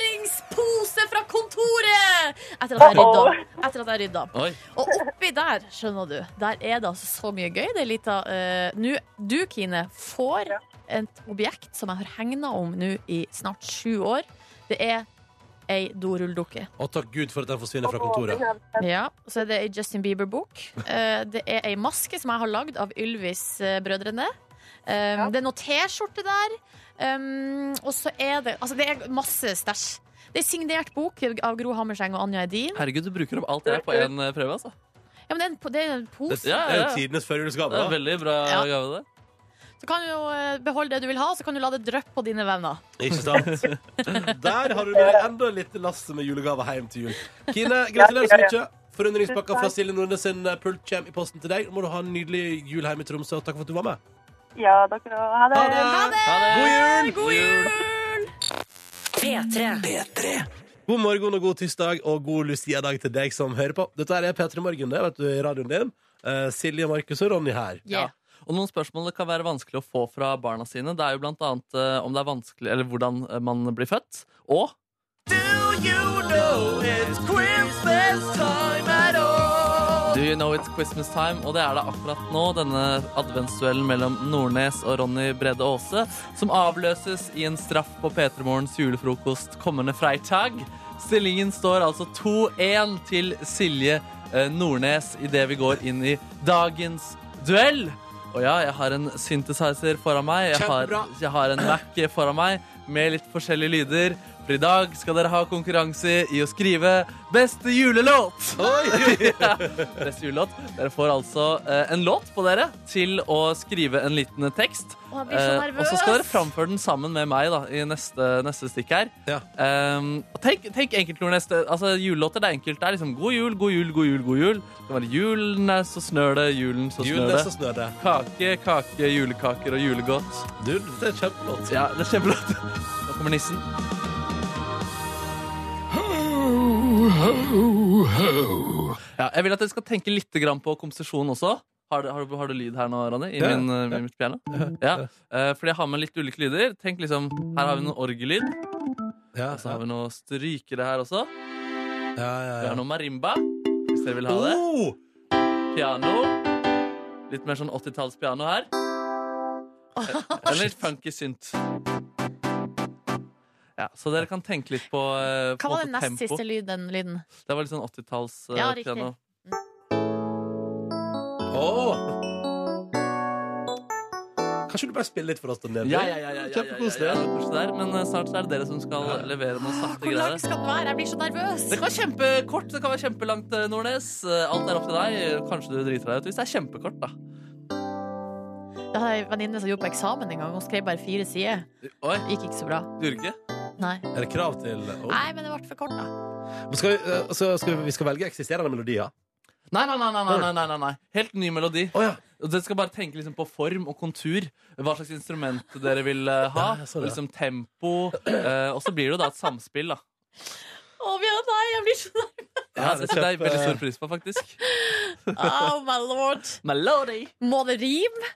S3: forundringspose fra kontoret! Etter at jeg
S5: Uh-oh.
S3: rydda. Etter at jeg rydda.
S4: Oi,
S3: Og oppi der, skjønner du, der er det altså så mye gøy. Det er litt av eh, nå- Du, Kine, får
S5: Ja.
S3: et objekt som jeg har hegna om nå i snart sju år. Det er ei dorulldukke.
S2: Og takk Gud for at den forsvinner fra
S5: Å,
S2: kontoret.
S5: den er-
S3: Ja, og så er det ei Justin Bieber-bok. Eh, det er ei maske som jeg har lagd av Ylvis-brødrene. Um, Det er noe T-skjorte der. Um, og så er det Altså, det er masse stæsj. Det er signert bok av Gro Hammerseng og Anja Edin.
S4: herregud, du bruker opp alt det her på én eh, prøve, altså.
S3: Ja, men det er en, po- det er en pose.
S2: Det er jo tidenes førjulsgave.
S4: Det er
S2: da.
S4: veldig bra
S3: Ja.
S4: gave, det.
S3: Så kan du jo eh, beholde det du vil ha, så kan du la det dryppe på dine venner.
S2: Ikke sant?
S4: [LAUGHS]
S2: Der har du med deg enda litt lasse med julegave hjem til jul. Kine, gratulerer så
S5: Ja, ja,
S2: mye. Forundringspakka fra Silje Nordnes sin eh, pult kommer i posten til deg. Nå må du ha en nydelig jul hjemme i Tromsø, og takk for at du var med.
S5: Ja, dere òg. Ha det.
S3: Ha det!
S4: Ha det!
S3: God jul!
S1: P3.
S2: God morgen og god tirsdag og god Lucia-dag til deg som hører på. Dette her er P3 Morgen, det vet du, i radioen din. Eh, Silje, Markus og Ronny her.
S3: Yeah.
S4: Og noen spørsmål det kan være vanskelig å få fra barna sine. Det er jo blant annet eh, om det er vanskelig, eller hvordan eh, man blir født. Og Do you know it's Christmas time? Og det er det akkurat nå, denne adventsduellen mellom Nordnes og Ronny Brede Aase, som avløses i en straff på P3morgens julefrokost kommende freitag. Stillingen står altså 2-1 til Silje eh, Nordnes idet vi går inn i dagens duell. Og ja, jeg har en synthesizer foran meg. Jeg har,
S2: Kjempebra.
S4: jeg har en Mac foran meg med litt forskjellige lyder. For i dag skal dere ha konkurranse i å skrive beste julelåt. [LAUGHS] Beste julelåt. Dere får altså eh, en låt på dere til å skrive en liten tekst.
S3: Å, jeg blir så
S4: Eh,
S3: nervøs!
S4: og så skal dere framføre den sammen med meg da, i neste, neste stikk her.
S2: Ja.
S4: Um, og tenk, tenk enkelt, Nordnes. Det- Altså, julelåter det er enkelt. Det er liksom god jul, god jul, god jul. god jul Det kan være julen er så snør det, julen så
S2: Julen
S4: snør
S2: er så
S4: det.
S2: snø, det.
S4: Kake, kake, julekaker og julegodt.
S2: Du, det er kjempelåt.
S4: Ja, det er kjempelåt. Nå kommer nissen. Ja, jeg vil at dere skal tenke litt grann på komposisjonen også. Har du, har, du, har du lyd her nå, Ronny? I
S2: Ja,
S4: min, eh, i mitt piano? Ja. eh, Fordi jeg har med litt ulike lyder. Tenk liksom, Her har vi noe orgellyd.
S2: Ja,
S4: Og så har vi noe strykere her også.
S2: ja, ja,
S4: Vi har
S2: ja.
S4: noe marimba, hvis dere vil ha det.
S2: Oh!
S4: Piano. Litt mer sånn 80-tallspiano her. Eller litt funky synt. Ja, så dere kan tenke litt på, eh, på
S3: Hva var den
S4: en måte
S3: nest siste lyd, den lyden?
S4: Det var litt sånn 80-talls eh,
S3: Ja, riktig.
S4: piano.
S2: Åh! Kanskje du bare spiller litt for oss? Daniel?
S4: Ja, ja, ja, ja, ja, ja, ja,
S2: Kjempekoselig.
S4: ja, det var koselig der, Men eh, snart så er det dere som skal levere noen sakte
S3: Hvor lang
S4: greier.
S3: skal den være? Jeg blir så nervøs!
S4: Det kan være kjempekort, det kan være kjempelangt, eh, Nordnes. Eh, Alt er opp til deg. Kanskje du driter deg ut hvis det er kjempekort, da.
S3: Det har jeg en venninne som gjorde på eksamen en gang. Hun skrev bare fire sider.
S4: Oi,
S3: Gikk ikke så bra.
S4: durer ikke?
S3: Nei,
S2: Er det krav til Åh.
S3: Nei men det ble for kort, da.
S2: Men skal vi, eh, så skal vi, vi skal velge eksisterende melodier?
S4: Nei, nei, nei, nei, nei, nei, nei, nei, nei. Helt ny melodi.
S2: Å ja.
S4: Og Dere skal bare tenke liksom på form og kontur. Hva slags instrument dere vil eh, ha.
S2: Ja, jeg så
S4: og
S2: det.
S4: liksom tempo. eh, og så blir det jo da et samspill, da.
S3: Å, Bjørn, nei, jeg blir så nervøs!
S4: Ja, det setter jeg
S2: kjempe-
S4: veldig stor pris på, faktisk.
S3: Oh, my lord.
S4: Melody.
S3: Må det rime?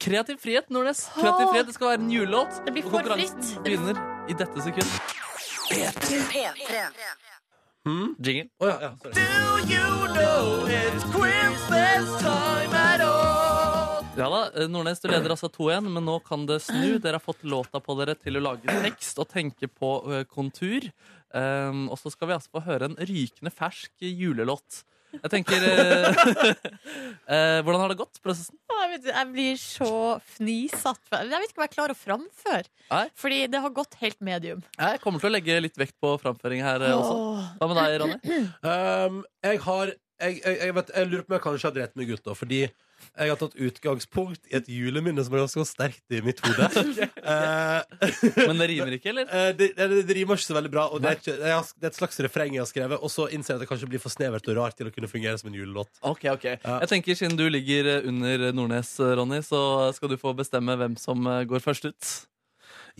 S4: Kreativ frihet, Nordnes. Kreativ frihet, Det skal være en julelåt.
S3: Det blir
S4: og
S3: for
S4: konkurransen
S3: fritt.
S4: begynner i dette sekund.
S2: Hmm?
S4: Jingle.
S2: Å ja, ja, sorry.
S4: Do you know it's Christmas time at all? Ja da, eh, Nordnes, du leder altså 2-1, men nå kan det snu. Dere har fått låta på dere til å lage tekst og tenke på eh, kontur. Um, og så skal vi altså få høre en rykende fersk julelåt. Jeg tenker eh, [LAUGHS] eh, Hvordan har det gått, prosessen?
S3: Å, Jeg, vet, jeg blir så fnisatt. for- Jeg vet ikke om jeg klarer å framføre.
S4: Nei.
S3: Fordi det har gått helt medium.
S4: Jeg kommer til å legge litt vekt på framføring her eh, også.
S3: Åh.
S4: Hva med deg, Ronny?
S2: Um, jeg har jeg, jeg, jeg, vet, jeg lurer på om jeg kanskje har drept meg ut, da. Fordi jeg har tatt utgangspunkt i et juleminne som er ganske sterkt i mitt hode. [LAUGHS] Eh, [LAUGHS]
S4: Men det rimer ikke, eller?
S2: eh, det, det, det rimer ikke så veldig bra, og det er, ikke, jeg har, det er et slags refreng jeg har skrevet. Og så innser jeg at det kanskje blir for snevert og rart til å kunne fungere som en julelåt.
S4: Ok, ok.
S2: Ja.
S4: Jeg tenker Siden du ligger eh, under Nordnes, eh, Ronny, så skal du få bestemme hvem som eh, går først ut.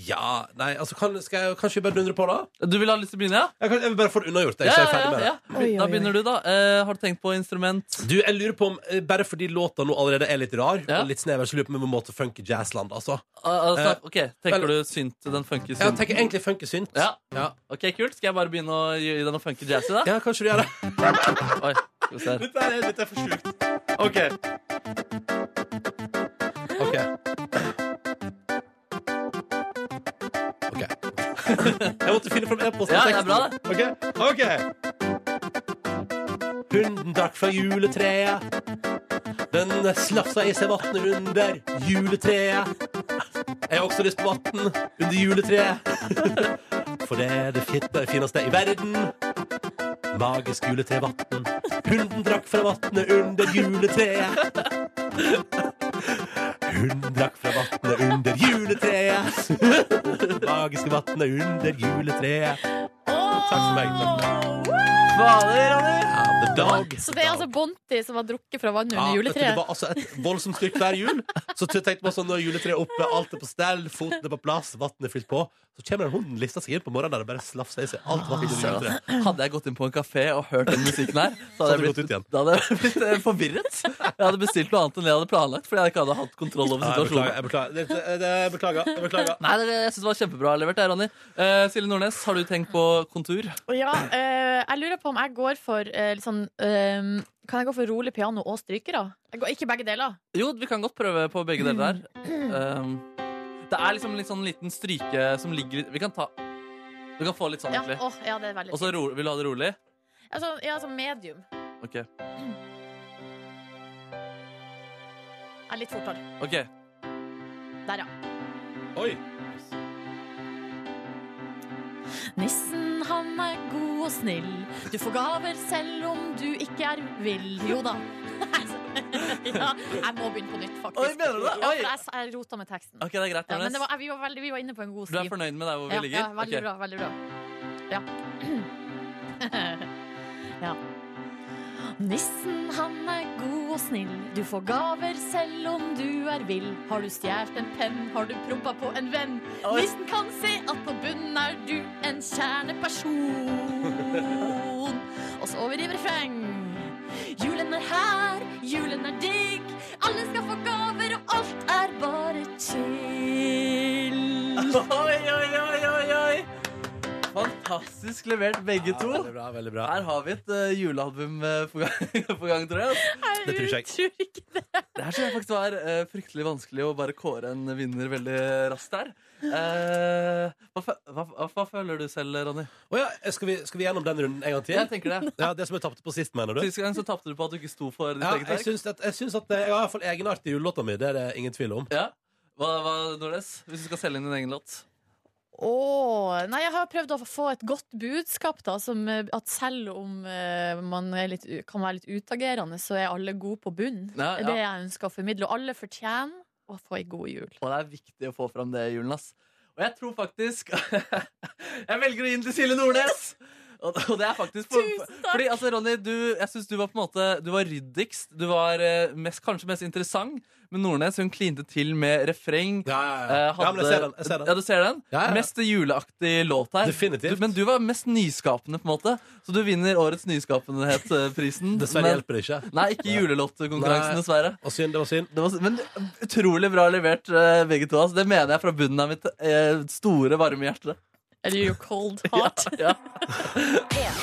S2: Ja, nei, altså kan, skal jeg, Kanskje vi bare dundrer på, da?
S4: Du vil ha lyst til å begynne, ja?
S2: Jeg, kan, jeg vil bare få det unnagjort. Jeg,
S4: Ja,
S2: så jeg er
S4: ja,
S2: ferdig med
S4: ja,
S2: det.
S4: ja.
S3: Oi,
S4: Da
S3: oi,
S4: begynner du, da. Eh, har du tenkt på instrument?
S2: Du, jeg lurer på om, eh, Bare fordi låta nå allerede er litt rar,
S4: Ja.
S2: og litt snever, så lurer jeg på om vi må til funky jazzland. altså
S4: Al- altså,
S2: Eh,
S4: ok, Tenker du synt den funky
S2: Jeg
S4: synt?
S2: tenker egentlig funky synt.
S4: Ja.
S2: Ja.
S4: Ok, kult. Skal jeg bare begynne å gi gi deg noe funky jazzy, da?
S2: ja, kanskje du gjør det.
S4: Oi, skal vi se her.
S2: Dette er, dette er for sjukt.
S4: Ok,
S2: Ok. Ok. [LAUGHS] Jeg måtte finne fram e-posten. og
S4: Ja, det er
S2: teksten.
S4: bra, det.
S2: Ok. ok. Hunden drakk fra juletreet. Den slafsa i seg vannet under juletreet. Jeg har også lyst på vann under juletreet. [LAUGHS] For det er det fit- det fineste i verden. Magisk juletrevann. Hunden drakk fra vannet under juletreet. Hun drakk fra vannet under [LAUGHS] juletreet. Magiske vannet under juletreet. Takk for meg. Takk.
S4: Fader, Ronny!
S2: Ja, the dog.
S3: Så det er altså Bonti som har drukket fra vannet
S2: Ja, vet du,
S3: under
S2: Det
S3: juletreet?
S2: var altså et voldsomt styrk hver jul. Så t- tenkte man sånn, når juletreet er oppe, alt er på stell, foten er på plass, vannet er fylt på, så kommer den hunden lista seg inn på morgenen der og bare slafser i seg alt vannet under juletreet.
S4: Hadde jeg gått inn på en kafé og hørt den musikken her, så
S2: hadde
S4: hadde
S2: du
S4: jeg
S2: gått ut
S4: blitt,
S2: igjen.
S4: da hadde jeg blitt eh, forvirret. Jeg hadde bestilt noe annet enn det jeg hadde planlagt. Fordi jeg ikke hadde hatt kontroll over
S2: Ja, jeg beklager. Jeg beklager.
S4: situasjonen
S2: Det, det, det, jeg beklager. Jeg beklager.
S4: Nei, det, det- jeg synes det var kjempebra levert, det, Ronny. Eh, Silje Nordnes, har du tenkt på kontur?
S3: Ja, eh, jeg lurer på om jeg går for eh, litt sånn eh, Kan jeg gå for rolig piano og strykere? Jeg går ikke begge deler.
S4: Jo, vi kan godt prøve på begge deler der. Um, det er liksom litt sånn liten stryke som ligger litt Vi kan ta Du kan få litt sånn,
S3: Ja,
S4: egentlig.
S3: åh, ja det er veldig
S4: Og så
S3: fint.
S4: ro, vil du ha det rolig?
S3: Altså, ja, sånn medium.
S4: OK.
S3: Jeg er litt fortere.
S4: ok
S3: Der, ja.
S2: Oi.
S3: Nissen, han er god og snill. Du får gaver selv om du ikke er vill. Jo da. [LAUGHS] ja, jeg må begynne på nytt, faktisk.
S4: Oi, mener du det?
S3: Ja,
S4: Oi.
S3: for jeg, jeg rota med teksten.
S4: Ok, Det er
S3: Ja,
S4: greit,
S3: men
S4: Nordnes.
S3: det var, vi, var veldig, vi var inne på en god
S4: Du
S3: sti.
S4: er fornøyd med der hvor vi
S3: ja,
S4: ligger?
S3: Ja, veldig
S4: Ok.
S3: bra, veldig bra. Ja. [CLEARS THROAT] ja. Nissen, han er god og snill. Du får gaver selv om du er vill. Har du stjålet en penn, har du prompa på en venn.
S4: Oi.
S3: Nissen kan se at på bunnen er du en kjerneperson. Og så over i refreng. Julen er her, julen er digg. Alle skal få gaver, og alt er bare chill.
S4: [LAUGHS] Oi, oi, oi, oi, oi! Fantastisk levert, begge
S2: Ja,
S4: to.
S2: veldig bra. Veldig bra.
S4: Her har vi et eh, julealbum eh, på, gang, [LAUGHS] på gang, tror jeg.
S2: Det tror
S3: [LAUGHS]
S2: ikke jeg.
S3: Tror ikke det.
S4: Det her synes jeg faktisk var eh, fryktelig vanskelig å bare kåre en vinner veldig raskt der. Eh, hva, fø- hva, hva, hva føler du selv, Ronny?
S2: Å ja, skal, vi, skal vi gjennom den runden en gang til?
S4: Jeg tenker det.
S2: Ja, Det som jeg tapte på sist, mener du?
S4: Sist gang så tapte du på at du ikke sto for ditt
S2: Ja,
S4: eget
S2: jeg
S4: verk.
S2: syns at, jeg syns at jeg har i hvert fall egenart i julelåta mi. Det er det ingen tvil om.
S4: Ja. Hva, hva Nordnes? Hvis du skal selge inn din egen låt?
S3: Åh, nei, jeg har prøvd å få et godt budskap, da. Som eh, at selv om eh, man er litt, u- kan være litt utagerende, så er alle gode på bunnen.
S4: Ja,
S3: Det er
S4: ja.
S3: det jeg ønsker å formidle. Og alle fortjener å få ei god jul.
S4: Og det er viktig å få fram det i julen, ass. Og jeg tror faktisk [LAUGHS] Jeg velger å gi den til Silje Nordnes! Og, og det er faktisk for,
S3: Tusen takk!
S4: Fordi, altså, Ronny, du, jeg synes du var på en måte Du var ryddigst. Du var eh, mest, kanskje mest interessant. Men Nordnes hun klinte til med refreng.
S2: Ja, ja, ja.
S4: eh,
S2: ja men jeg ser den. Jeg ser
S4: Ja,
S2: den.
S4: du ser den?
S2: Ja, ja.
S4: Mest juleaktig låt her.
S2: Definitivt.
S4: Du, men du var mest nyskapende, på en måte. Så du vinner årets nyskapenhetsprisen.
S2: [LAUGHS] Dessverre
S4: Men-
S2: hjelper det ikke.
S4: Nei, ikke julelåtkonkurransen,
S2: Nei.
S4: dessverre.
S2: Og synd, det var synd.
S4: Det var, men utrolig bra levert, eh, begge to. Altså. Det mener jeg fra bunnen av mitt eh, store, varme
S2: [LAUGHS]
S4: hjerte.
S3: Eller you
S4: [LAUGHS]
S3: cold heart.
S4: Ja.
S2: Eh,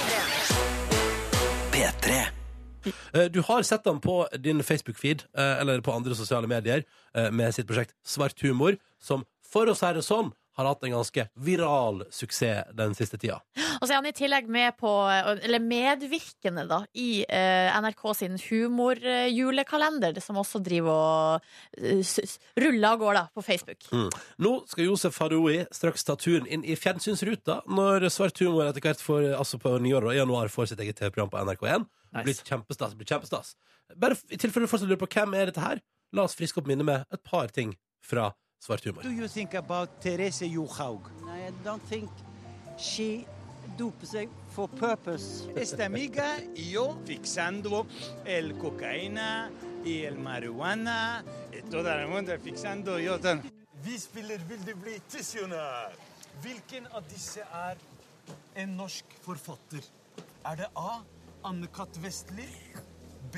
S2: Du har sett ham på din Facebook-feed eh, eller på andre sosiale medier eh, med sitt prosjekt Svart humor, som for å si det sånn har hatt en ganske viral suksess den siste tida.
S3: Og så er han i tillegg med på, eh, eller medvirkende da, i eh, NRK sin humorjulekalender, som også driver og eh, s- s- ruller av gårde på Facebook.
S4: Mm.
S2: Nå skal Josef Haroui straks ta turen inn i fjernsynsruta når Svart humor etter hvert får, altså på nyåret og i januar får sitt eget TV-program på NRK1. Det blir kjempestas. det blir kjempestas. Bare f- I tilfelle du fortsatt lurer på hvem er dette her, la oss friske opp minnet med et par ting fra Svart humor.
S6: do you think about Therese Johaug?
S7: I don't think she doper seg for purpose.
S6: Esta amiga y yo fixando el cocaína y el e marihuana y todo el mundo fixando yo tan.
S8: Vi spiller Vil du bli tissionær? Hvilken av disse er en norsk forfatter? Er det A. Anne-Kat. Vestli? B.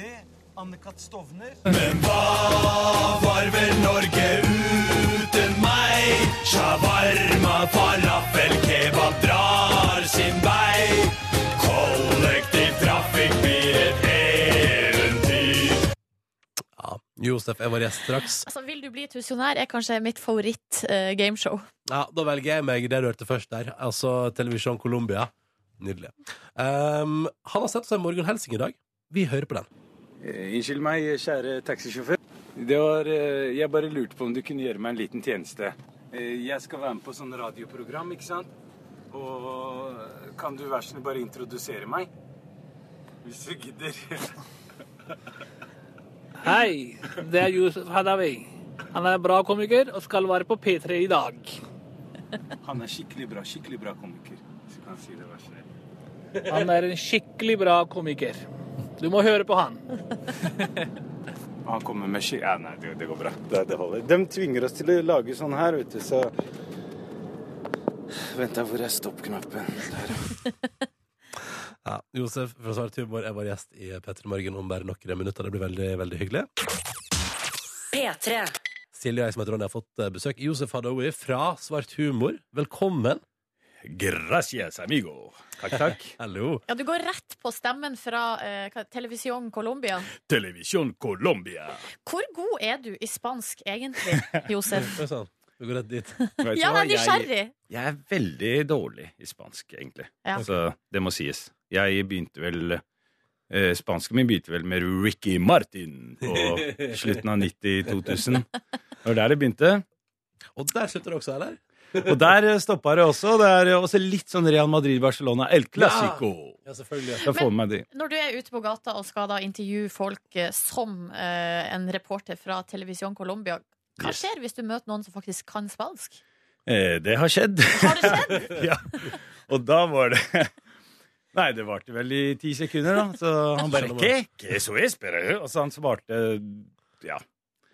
S8: Anne-Kat. Stovner? Men hva var vel Norge uten meg? Shawarma, falafel, kebab drar sin vei. Kollektiv trafikk blir et eventyr.
S2: Ja, Josef er vår gjest straks.
S3: Altså, Vil du bli tusenjonær er kanskje mitt eh, favoritt-gameshow.
S2: Ja, Da velger jeg meg det du hørte først der. Altså Televisjon Colombia. Nydelig. Ehm, han har sendt oss en morgenhelsing i dag. Vi hører på den.
S9: Eh, Unnskyld meg, kjære taxisjåfør. Det var eh, Jeg bare lurte på om du kunne gjøre meg en liten tjeneste. Eh, Jeg skal være med på sånn radioprogram, ikke sant? Og eh, kan du vær så snill bare introdusere meg? Hvis du gidder. [LAUGHS]
S10: Hei, det er Yusuf Hadawi. Han er en bra komiker og skal være på P3 i dag.
S9: Han er skikkelig bra. Skikkelig bra komiker. Hvis du kan si det, vær så snill.
S10: Han er en skikkelig bra komiker. Du må høre på han.
S9: Og han kommer med skikk... Ja, nei, det, det går bra. Det, det holder. De tvinger oss til å lage sånn her, vet du, så Vent, da, hvor er stoppknappen? Der, ja.
S2: Ja, Josef fra Svart humor er vår gjest i P3 Morgen om bare noen minutter. Det blir veldig, veldig hyggelig.
S1: P3.
S2: Silje og jeg som heter Ronny, har fått eh, besøk. Josef Hadaoui fra Svart humor, velkommen.
S8: Gracias, amigo. Takk, takk.
S2: Hallo.
S3: Ja, Du går rett på stemmen fra eh, hva- Televisjon Colombia.
S8: Televisjon Colombia.
S3: Hvor god er du i spansk egentlig,
S8: [LAUGHS]
S3: Josef?
S2: Oi sann. sånn? Vi går rett dit.
S8: Vet du
S3: Ja, jeg
S8: hva?
S3: er nysgjerrig.
S8: Jeg, jeg er veldig dårlig i spansk, egentlig.
S3: Ja.
S8: Så det må sies. Jeg begynte vel eh, Spansken min begynte vel med Ricky Martin på slutten av 90-2000. Det var der det begynte.
S2: Og der slutter det også, eller?
S8: Og der eh, stoppa det også. Det er også litt sånn Real Madrid-Barcelona. El Clásico.
S2: Ja, selvfølgelig.
S8: Da får du med det.
S3: Når du er ute på gata og skal da intervjue folk eh, som eh, en reporter fra Televisjon Colombia, hva
S8: Yes.
S3: skjer hvis du møter noen som faktisk kan spansk?
S8: Eh, det har skjedd.
S3: Har det skjedd?
S8: [LAUGHS] ja. Og da var det Nei, det varte vel i ti sekunder, da. Så han bare «¿Qué? ¿Qué eso es, pero?» Og så Altså, han svarte Ja.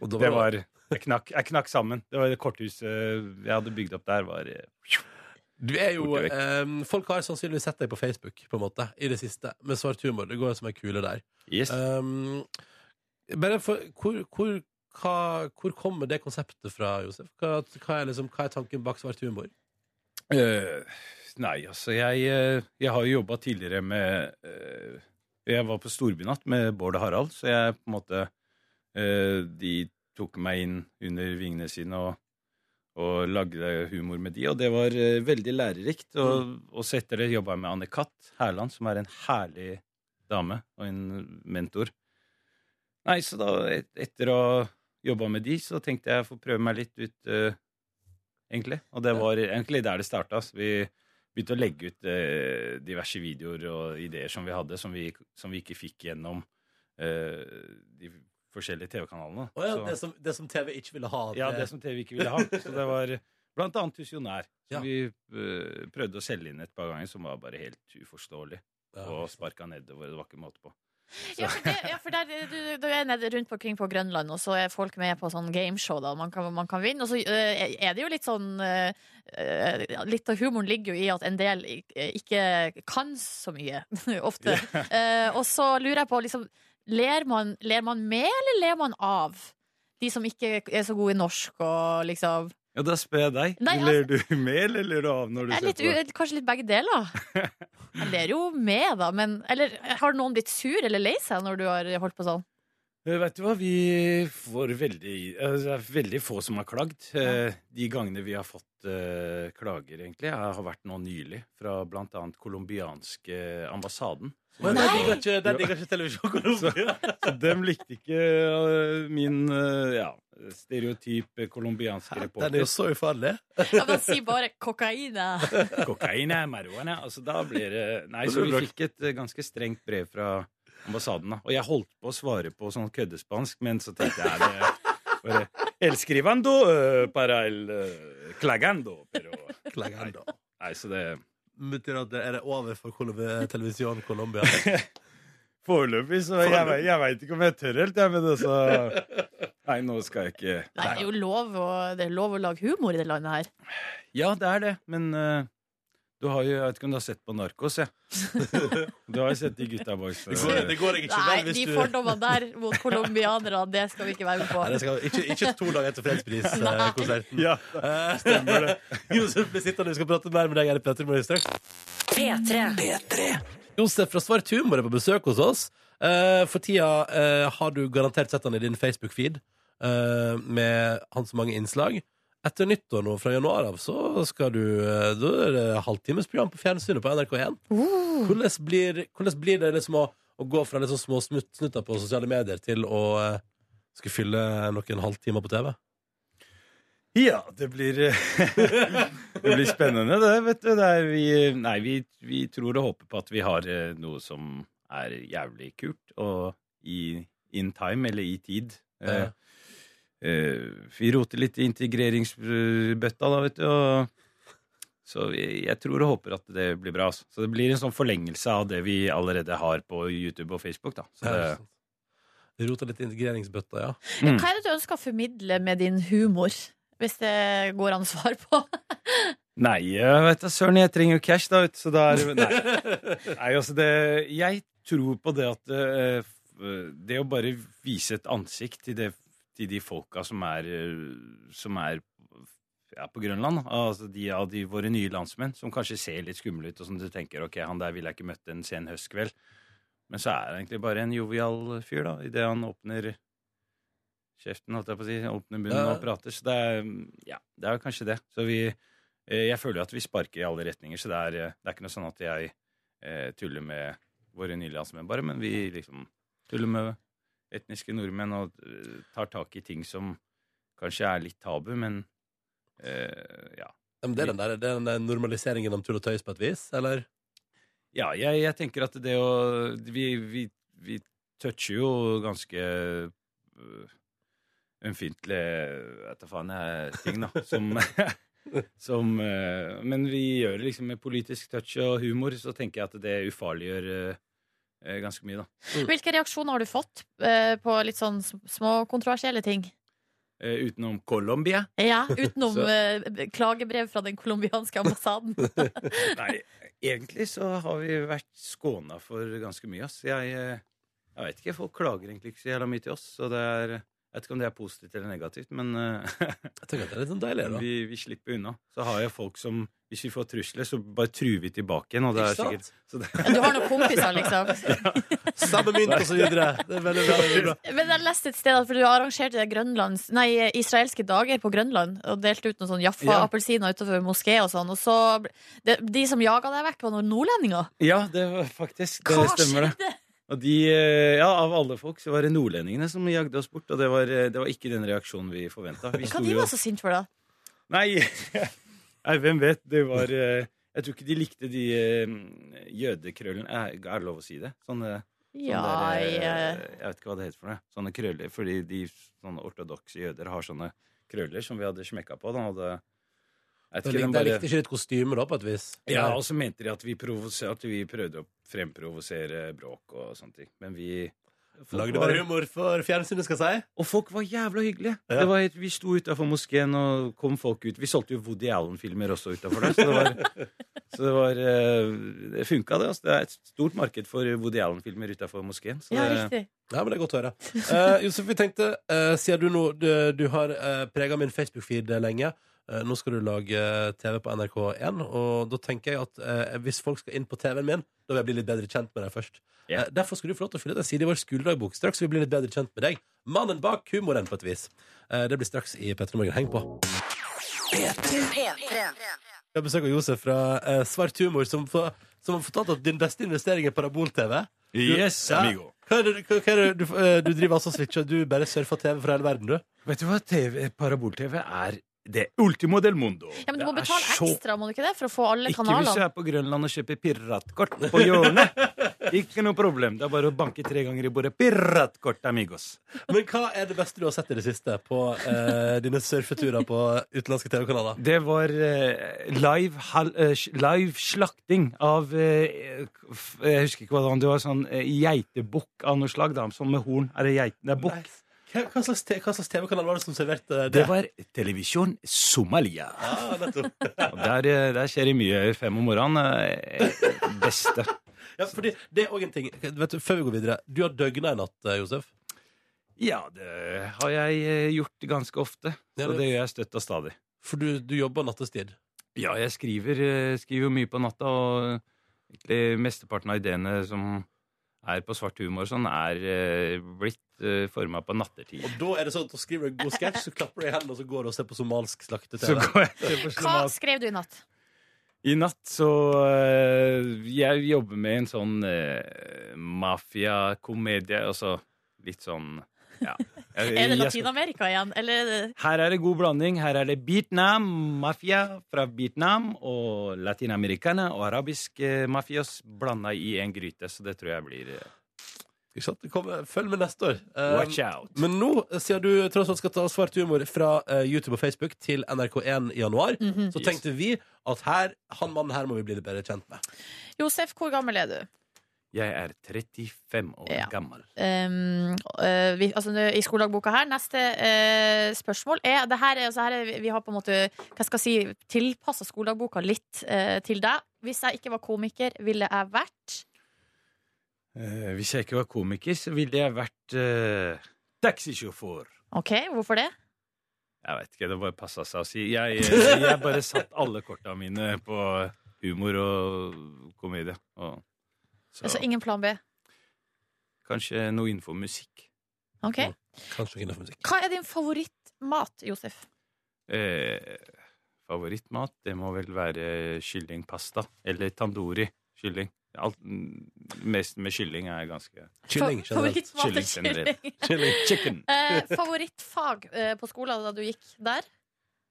S2: Og da
S8: Det
S2: var
S8: var Jeg knakk, jeg knakk sammen. Det var det korthuset eh, jeg hadde bygd opp der, var eh,
S2: Du er jo
S8: Borte vekk.
S2: ehm, Folk har sannsynligvis sett deg på Facebook på en måte i det siste, med svart humor. Det går som ei kule der.
S8: Yes.
S2: Ehm, bare for, hvor, hvor, hva, hvor kommer det konseptet fra, Josef? Hva, hva, er, liksom, hva er tanken bak svart humor?
S8: Eh, nei, altså jeg, eh, jeg har jo jobba tidligere med eh, Jeg var på storbynatt med Bård og Harald, så jeg på en måte eh, De tok meg inn under vingene sine og, og lagde humor med de, og det var eh, veldig lærerikt.
S2: Mm.
S8: Og, og så etter det jobba jeg med Anne-Kat. Hærland, som er en herlig dame og en mentor. Nei, så da, et, etter å ha jobba med de, så tenkte jeg å få prøve meg litt ut, eh, egentlig. Og det var egentlig der det starta. Vi begynte å legge ut eh, diverse videoer og ideer som vi hadde, som vi, som vi ikke fikk gjennom eh, de forskjellige TV-kanalene.
S2: Å ja,
S8: Så-
S2: det, som, det som TV ikke ville ha.
S8: ja, det som TV ikke ville ha. Så det var blant annet Tusionær,
S2: Ja.
S8: som vi eh, prøvde å selge inn et par ganger, som var bare helt uforståelig. Og sparka nedover. Det var ikke måte på.
S3: Ja, for, det, ja, for der, du, du er nede rundt omkring på Grønland, og så er folk med på sånn gameshow. Da. Man, kan, man kan vinne. Og så eh, er det jo litt sånn eh, eh, Litt av humoren ligger jo i at en del ik- ikke kan så mye, [LAUGHS] ofte. Eh, og så lurer jeg på, liksom ler man, ler man med, eller ler man av? De som ikke er så gode i norsk og liksom
S8: Ja, da spør jeg deg.
S3: Nei, altså-
S8: ler du med, eller ler du av når du
S3: Jeg er
S8: ser
S3: litt,
S8: på?
S3: u- kanskje litt begge deler.
S8: [LAUGHS]
S3: Jeg ler jo med, da, men Eller har noen blitt sur eller lei seg når du har holdt på sånn?
S8: Eh, Vet du hva, vi får veldig altså, Det er veldig få som har klagd. Eh, De gangene vi har fått eh, klager, egentlig, har vært nå nylig fra blant annet colombianske ambassaden.
S2: Men den digger ikke, den digger ikke televisjon Colombia.
S8: Så dem likte ikke eh, min eh, ja, stereotyp colombianske
S2: [LAUGHS]
S8: reporter.
S2: Den er jo så ufarlig.
S3: Ja, men si bare 'kokaina'.
S8: Kokain er marihuana. Altså, da blir det Nei, så vi fikk et eh, ganske strengt brev fra ambassaden. Da. Og jeg holdt på å svare på sånn køddespansk, men så tenkte jeg det bare, El skrivando eh, para el eh, clagando. Pero,
S2: Klagando.
S8: nei, så det
S2: Betyr at det er det over for Colombi- televisjon [LAUGHS] Colombia?
S8: Foreløpig, så jeg, jeg veit ikke om jeg tør helt, jeg, men altså Nei, nå skal jeg ikke
S3: [LAUGHS] Nei, det er jo lov å, det er lov å lage humor i det landet her.
S8: Ja, det er det, men eh, du har jo, Jeg vet ikke om du har sett på Narkos, jeg. [LAUGHS] Du har jo sett de gutta bak
S2: Det går, det går ikke
S3: Nei,
S2: vel hvis
S3: de
S2: du
S3: fordommene der mot colombianere, det skal vi ikke være med
S2: Nei, det
S3: på.
S2: skal, ikke, ikke to dager etter
S3: [LAUGHS]
S2: fredspriskonserten.
S8: Ja,
S2: Stemmer det. Eh, [LAUGHS] Josef blir sittende, vi skal prate mer med deg her i Petter Morgen straks.
S1: P3.
S2: Josef fra Svartum var på besøk hos oss. Eh, for tida eh, har du garantert sett han i din Facebook-feed eh, med hans mange innslag. Etter nyttår nå, fra januar av, så skal du eh, Da er det halvtimesprogram på fjernsynet på NRK1. Hvordan, blir, hvordan blir det liksom å, å gå fra liksom små snutt- snutter på sosiale medier til å eh, skal fylle noen halvtimer på TV?
S8: Ja, det blir eh, [LAUGHS] Det blir spennende, det. vet du. Det er vi, nei, vi, vi tror og håper på at vi har eh, noe som er jævlig kult, og i in time, eller i tid. Eh, eh, vi roter litt i integreringsbøtta, da, vet du. Og, så vi, jeg tror og håper at det blir bra. Altså. Så det blir en sånn forlengelse av det vi allerede har på YouTube og Facebook. Da. Så det,
S2: Du rota sånn, litt i integreringsbøtta, ja.
S8: mm.
S3: Hva er det du ønsker å formidle med din humor, hvis det går an å svare på?
S8: Nei, jeg vet da søren, jeg trenger jo cash, da, vet du, så da er det Nei, nei altså det Jeg tror på det at eh, f- Det å bare vise et ansikt til, det, til de folka som er, eh, som er ja, på Grønland, da. altså de av de, våre nye landsmenn, som kanskje ser litt skumle ut, og som du tenker ok, han der ville jeg ikke møtt en sen høstkveld. Men så er han egentlig bare en jovial fyr, da, idet han åpner kjeften, holdt jeg på å si, åpner munnen
S2: Ja.
S8: og prater. Så det er mm, ja, det er jo kanskje det. Så vi Eh, Jeg føler jo at vi sparker i alle retninger, så det er, eh, det er ikke noe sånn at jeg eh, tuller med våre nye landsmenn bare, men vi liksom tuller med etniske nordmenn og eh, tar tak i ting som kanskje er litt tabu, men eh, ja.
S2: Ja, Men det er den der, det er den der normaliseringen om tull og tøys på et vis, eller?
S8: Ja, jeg, jeg tenker at det å Vi, vi, vi toucher jo ganske øh, ømfintlige Vet da faen jeg ting, da. Som, [LAUGHS] som øh, Men vi gjør det liksom med politisk touch og humor, så tenker jeg at det ufarliggjør øh, øh, ganske mye, da.
S2: Mm.
S3: Hvilke reaksjoner har du fått eh, på litt sånn sm- små kontroversielle ting?
S8: Eh, utenom Colombia.
S3: Ja, utenom
S8: Så-
S3: eh, klagebrev fra den colombianske ambassaden.
S8: Nei, egentlig så har vi vært skåna for ganske mye, ass. Jeg, eh, jeg veit ikke. Folk klager egentlig ikke så jævla mye til oss, så det er Jeg vet ikke om det er positivt eller negativt, men eh,
S2: Jeg tenker at det er litt sånn deilig, da.
S8: Vi, vi slipper unna. Så har jeg folk som Hvis vi får trusler, så bare truer vi tilbake igjen. Og det er
S2: Ikke
S8: sikkert
S2: sant?
S8: så det,
S3: Du har noen kompiser, liksom.
S2: Samme mynt [LAUGHS] og så videre. Det er veldig, veldig bra.
S3: Men jeg leste et sted at for du arrangerte det Grønlands, nei, israelske dager på Grønland og delte ut noen sånn
S2: Ja.
S3: Jaffa-appelsiner utenfor moské og sånn. Og så ble- de, de som jaga deg vekk, var noen nordlendinger.
S8: Ja, det var faktisk
S3: Hva
S8: Det stemmer, det.
S3: skjedde?
S8: Og de, eh, ja, Av alle folk så var det nordlendingene som jagde oss bort. Og det var, eh, det var ikke den reaksjonen vi forventa. Vi
S3: Hva
S8: sto
S3: de
S8: jo
S3: var så sinte for, da?
S8: Nei, [LAUGHS] Nei hvem vet. Det var eh, Jeg tror ikke de likte de eh, jødekrøllene Er er det lov å si det? Sånne
S3: Ja,
S8: Sånn der,
S3: jeg,
S8: eh, Jeg vet ikke hva det heter for noe. Sånne krøller. Fordi de sånne ortodokse jøder har sånne krøller som vi hadde smekka på. Da, og det, jeg vet
S2: Det
S8: ikke,
S2: likte,
S8: den
S2: jeg
S8: bare,
S2: likte ikke ditt kostyme, da, på et vis.
S8: ja, og så mente de at vi, provoser- at vi prøvde å fremprovosere bråk og sånne ting. Men vi folk
S2: Lagde
S8: var-
S2: bare humor for fjernsynet, skal jeg si.
S8: Og folk var jævla hyggelige.
S2: Ja.
S8: Det var, helt- vi sto utafor moskeen, og kom folk ut. Vi solgte jo Woody Allen-filmer også utafor der, så det
S2: [LAUGHS]
S8: var, så det, var eh, det funka, det. Altså. Det er et stort marked for Woody Allen-filmer utafor moskeen. Så
S3: ja,
S8: det,
S3: riktig.
S2: Ja, men det er godt å høre. Eh, Josef, vi tenkte, eh, siden du nå du, du har uh, prega min eh, Facebook-feed lenge, Eh, Nå skal du lage TV på NRK1, og da tenker jeg at eh, hvis folk skal inn på TV-en min, da vil jeg bli litt bedre kjent med deg først.
S8: Ja.
S2: Eh, derfor skal du få lov til å fylle ut en side i vår skoledagbok straks, så vi blir litt bedre kjent med deg. Mannen bak humoren, på et vis. Eh, det blir straks i P3 Morgen. Heng på. Vi har besøk av Josef fra eh, Svart humor, som, får- som har fortalt at din beste investering er parabol-TV. Du-
S8: Yes, amigo.
S2: Hva er det, hva, hva er det, du, eh, du driver altså og switcher, du bare surfer TV fra hele verden, du?
S8: Vet du hva? TV, Parabol-TV er det ultimo del mundo.
S3: Ja, men du må
S8: Det er
S3: betale
S8: så-
S3: ekstra, må du ikke det, for å få alle
S8: Ikke hvis du
S3: kanalene?
S8: er på Grønland og kjøper piratkort på hjørnet.
S3: [LAUGHS]
S8: Ikke noe problem. Det er bare å banke tre ganger i bordet. Piratkort, amigos.
S2: Men hva er det beste du har sett i det siste på eh, dine surfeturer på utenlandske TV-kanaler?
S8: Det var eh, live, hal, eh, sj- live slakting av eh, f- Jeg husker ikke hva det var. Det var sånn eh, geitebukk av noe slag. Da, sånn med horn. Er det geit? Det er bukk.
S2: Hva, hva slags, te- hva slags TV-kanal var det som serverte det?
S8: Det var televisjon [LAUGHS] Somalia.
S2: Ah, nettopp.
S8: Og Der, eh, der skjer det mye fem om morgenen. eh, Beste.
S2: ja, fordi det er òg en ting Vet du, Før vi går videre. Du har døgna i natt, eh, Josef.
S8: Ja, det har jeg eh, gjort ganske ofte.
S2: Ja,
S8: Så
S2: det-
S8: det gjør jeg støtt og stadig.
S2: For du, du jobber nattestid.
S8: Ja, jeg skriver, eh, skriver jo mye på natta, og egentlig mesteparten av ideene som er på svart humor og sånn, er eh, blitt uh, forma på nattertid.
S2: Og da er det sånn at du skriver en god sketsj, så klapper du i hendene, og så går du og ser på somalsk
S8: Så
S2: slakte-TV.
S8: går jeg til på
S3: Hva
S8: Somalia.
S3: skrev du i natt?
S8: I natt så eh, Jeg jobber med en sånn uh, mafiakomedie, altså litt sånn
S3: [LAUGHS]
S8: ja.
S3: Er
S8: Jeg-
S3: det
S8: jeg skal-
S3: Latin-Amerika igjen? Eller er det-
S8: Her er det god blanding. Her er det Vietnam, mafia fra Vietnam og latinamericana og arabisk eh, mafios blanda i en gryte. Så det tror jeg blir eh,
S2: Ikke sant? Det kommer, følg med neste år. Eh,
S8: Watch
S3: Um,
S8: out.
S2: Men nå, siden du tross alt skal ta svart humor fra eh, YouTube og Facebook til NRK1 i januar,
S3: Mhm.
S2: så tenkte vi at her, han mannen her må vi bli litt bedre kjent med.
S3: Josef, hvor gammel er du?
S8: Jeg er 35 år
S3: Ja.
S8: gammel.
S3: Um, øh, vi, altså, I skoledagboka her Neste øh, spørsmål er, det her er, altså, her er Vi har på en måte hva skal jeg si, tilpassa skoledagboka litt øh, til deg. Hvis jeg ikke var komiker, ville jeg vært
S8: Eh, hvis jeg ikke var komiker, så ville jeg vært eh, taxisjåfør.
S3: OK, hvorfor det?
S8: Jeg vet ikke, det bare passa seg å si. Jeg, eh, jeg bare satt alle korta mine på humor og komedie. Og, så
S3: Altså ingen plan B.
S8: kanskje noe innenfor musikk.
S3: Ok
S2: Kanskje ikke innenfor musikk.
S3: Hva er din favorittmat, Josef?
S8: Eh, favorittmat, det må vel være kyllingpasta. Eller tandoori kylling. Alt, mm, mest med kylling er ganske
S2: Kylling generelt.
S3: Fa- favorittmat er
S8: Kylling generelt.
S3: kylling.
S8: [LAUGHS] Kylling chicken.
S3: [LAUGHS] Eh, favorittfag eh, på skolen da du gikk der?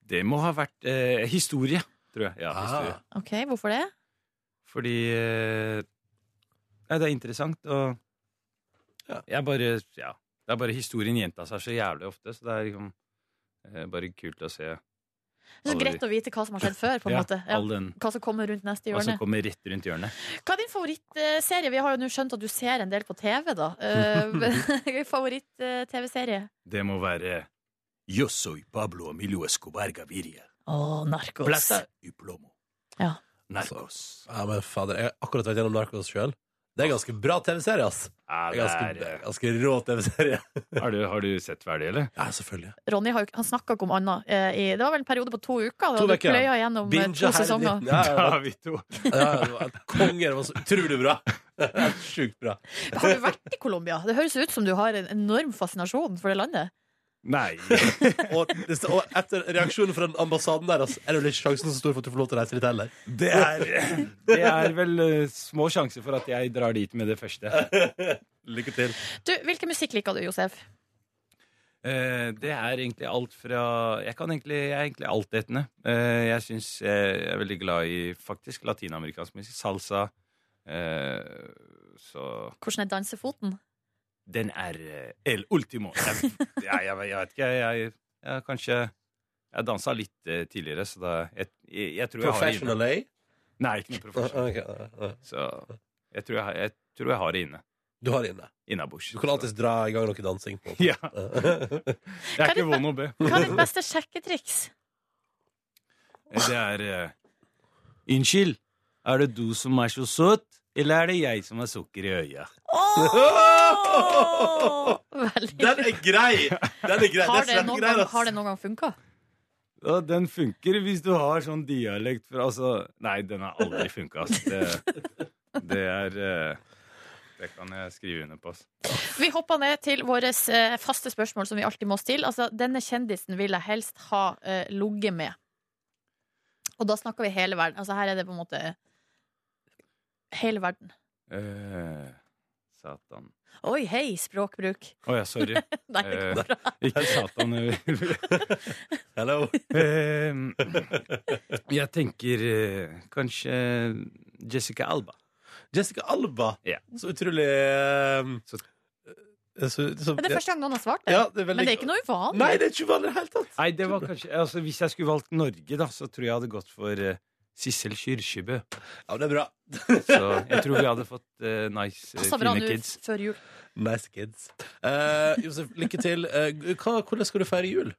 S8: Det må ha vært eh, historie, tror jeg. Ja,
S2: Ah.
S8: historie.
S3: OK, hvorfor det?
S8: Fordi eh, Nei, det er interessant, og ja, jeg bare Ja. Det er bare historien gjenta seg så jævlig ofte, så det er liksom eh, bare kult å
S3: Det
S8: se
S3: er så
S8: Aldri.
S3: greit å vite hva som har skjedd før. på en
S8: Ja,
S3: måte ja.
S8: all den
S3: Hva som kommer rundt neste
S8: Hva
S3: hjørne.
S8: som kommer rett rundt hjørnet.
S3: Hva er din favorittserie? Vi har jo nå skjønt at du ser en del på TV, da. Eh, [LAUGHS] Favoritt-TV-serie?
S8: Det må være Yo soy Pablo Emilio Escobar Gaviria.
S3: Å, Narkos.
S8: y plomo.
S3: Ja.
S8: Altså, Narcos.
S2: Ja, men fader, jeg har akkurat vært gjennom Narcos sjøl. Det er ganske bra TV-serie, ass.
S8: Ja,
S2: Det
S8: det
S2: er
S8: er,
S2: ganske, ganske rå TV-serie.
S8: har, du, har du sett ferdig, eller?
S2: Ja, selvfølgelig.
S3: Ronny har jo ikke- han snakka ikke om annet. eh, i- Det var vel en periode på to uker.
S2: To
S3: Da du
S2: uker, ja.
S3: pløya gjennom eh,
S2: Binge
S3: to
S2: hele [LAUGHS]
S3: sesonger.
S2: dritten. Ja, ja, ja.
S8: vi to.
S2: Ja, ja, det var- Konger det var så utrolig bra. [LAUGHS] Helt Sjukt bra.
S3: Har du vært i Colombia? Det høres ut som du har en enorm fascinasjon for det landet.
S8: Nei.
S2: Og, og etter reaksjonen fra den ambassaden der, ass, er det vel ikke sjansen så stor for at du får lov til å reise litt heller.
S8: Det er, det er vel eh, små sjanser for at jeg drar dit med det første.
S2: Lykke til.
S3: Du, Hvilken musikk liker du, Josef?
S8: Eh, det er egentlig alt fra Jeg, kan egentlig, jeg er egentlig altetende. Eh, jeg syns jeg er veldig glad i faktisk latinamerikansk musikk. Salsa. Eh, så
S3: Hvordan er dansefoten?
S8: Den er eh, el ultimo. Jeg, jeg, jeg, jeg vet [LAUGHS] ikke, jeg, jeg, jeg kanskje Jeg dansa litt eh, tidligere, så da jeg, jeg, jeg tror jeg har det inne.
S2: Professional A.
S8: Nei, ikke noe
S2: [LAUGHS]
S8: professional.
S2: Ok, ja, ja.
S8: Så jeg tror jeg, har- jeg, tror jeg har det inne.
S2: Du har det inne.
S8: Innabords.
S2: Du kan alltids dra i gang noe dansing på.
S8: [LAUGHS]
S2: [LAUGHS]
S8: Ja.
S2: Ja.
S8: Jeg er ikke vond å be.
S3: Hva
S2: [LAUGHS]
S3: er ditt beste sjekketriks?
S8: Det er eh, Unnskyld, er det du som er så søt, eller er det jeg som har sukker i øya?
S3: Åh! Veldig
S2: Den er grei! Den er grei.
S3: Har
S2: det
S3: det
S2: er
S3: noen
S2: grei,
S3: gang,
S2: ass.
S3: har det noen gang funka?
S8: Ja, den funker hvis du har sånn dialekt fra altså, Nei, den har aldri funka. Det, det er eh, Det kan jeg skrive under på. ass.
S3: Vi hopper ned til våre eh, faste spørsmål som vi alltid må stille. Altså, denne kjendisen vil jeg helst ha eh, ligget med. Og da snakker vi hele verden. Altså, her er det på en måte hele verden.
S8: Eh, satan.
S3: Oi, hei, språkbruk. [LAUGHS]
S8: Å ja, sorry.
S3: Nei, det går
S8: Eh, ikke satan. jeg-
S2: Hello.
S8: Ehm, Eh, jeg tenker eh, kanskje Jessica Alba.
S2: Jessica Alba.
S8: Ja.
S2: Så utrolig eh, eh, så, så,
S3: Men det er første gang noen har svart det.
S2: ja, det er veldig...
S3: Men det er ikke noe uvanlig.
S2: Nei, det er ikke vanlig i det hele tatt.
S8: Nei, det var kanskje altså, Hvis jeg skulle valgt Norge, da, så tror jeg jeg hadde gått for eh, Sissel Kyrkjebø.
S2: Ja, det er bra.
S8: Så jeg tror vi hadde fått eh, nice, eh,
S3: Passer bra
S8: fine
S3: nå
S8: kids.
S3: før jul.
S2: Nice kids. Eh, Josef, lykke til. Eh, hva, hvordan skal du feire jul?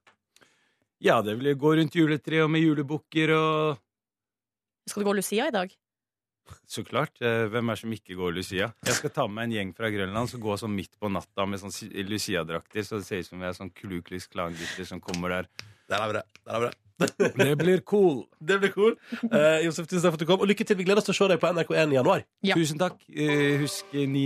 S8: Ja, det vil jeg gå rundt juletreet og med julebukker og
S3: Skal du gå Lucia i dag?
S8: Så klart. eh, Hvem er det som ikke går Lucia? Jeg skal ta med en gjeng fra Grønland som går sånn midt på natta med sånn si- Lucia-drakter, så det ser ut som vi er sånn Klu Klux Klan-gutter som kommer der.
S2: Der er vi det. Der er vi det.
S8: Det blir cool!
S2: Det blir cool. Eh, Josef, tusen takk for at du kom. Og lykke til. Vi gleder oss til å se deg på NRK1 i januar.
S3: Ja.
S8: Tusen takk. Eh, Husk 9.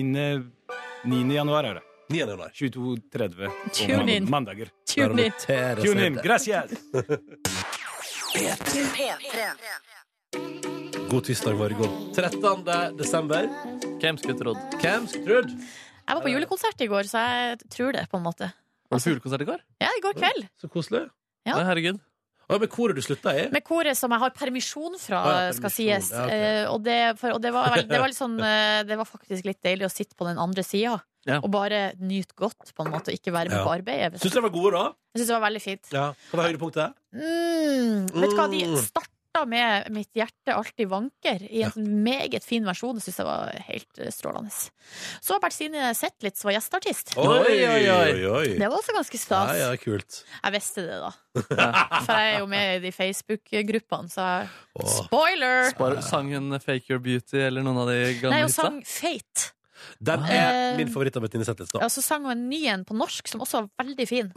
S8: 9. januar er det.
S2: 9. januar.
S8: 22.30 på
S3: Tune in.
S8: mand- mandager.
S3: Tune in.
S8: Tune in! Gracias!
S2: God tirsdag morgen. 13. desember.
S4: Hvem skulle trodd? Var
S2: Hvem skulle trodd?
S3: Jeg var på julekonsert i går, så jeg tror det, på en måte.
S4: det fuglekonsert i går?
S3: Ja, i går kveld.
S2: Så koselig.
S3: Ja.
S4: Nei, herregud.
S2: Å, men hvor er du slutta i?
S3: Med koret som jeg har permisjon fra,
S2: Å ja,
S3: skal
S2: permisjon.
S3: sies.
S2: Ja, ok.
S3: Eh, Og, det, for, og det, var vel, det, var litt sånn, eh, det var faktisk litt deilig å sitte på den andre sida.
S4: Ja.
S3: Og bare nyte godt, på en måte, og ikke være med
S2: Ja.
S3: på arbeidet.
S2: Syns du de var gode, da?
S3: Jeg syns det var veldig fint.
S2: Ja. Hva var høydepunktet?
S3: Mm, vet du hva, de
S2: Mm.
S3: starta med 'Mitt hjerte alltid vanker' i en sånn meget fin versjon. Det syns jeg var helt eh, strålende. Så har Bertine Zetlitz var gjesteartist.
S4: Oi, oi, oi.
S2: oi.
S3: Det var også ganske
S2: Ja,
S3: stas.
S2: ja, kult.
S3: Jeg visste det,
S2: [LAUGHS]
S3: da. For jeg er jo med i de Facebook-gruppene, så jeg
S2: Åh.
S3: Spoiler!
S4: Bare, sang hun Fake Your Beauty eller noen av de
S3: Nei,
S4: gamle
S3: hun
S4: hitsa?
S3: sang Fate.
S2: Den er
S3: Eh,
S2: min favoritt av Martine Zetlitz. da.
S3: Og så sang hun en ny en på norsk, som også var veldig fin.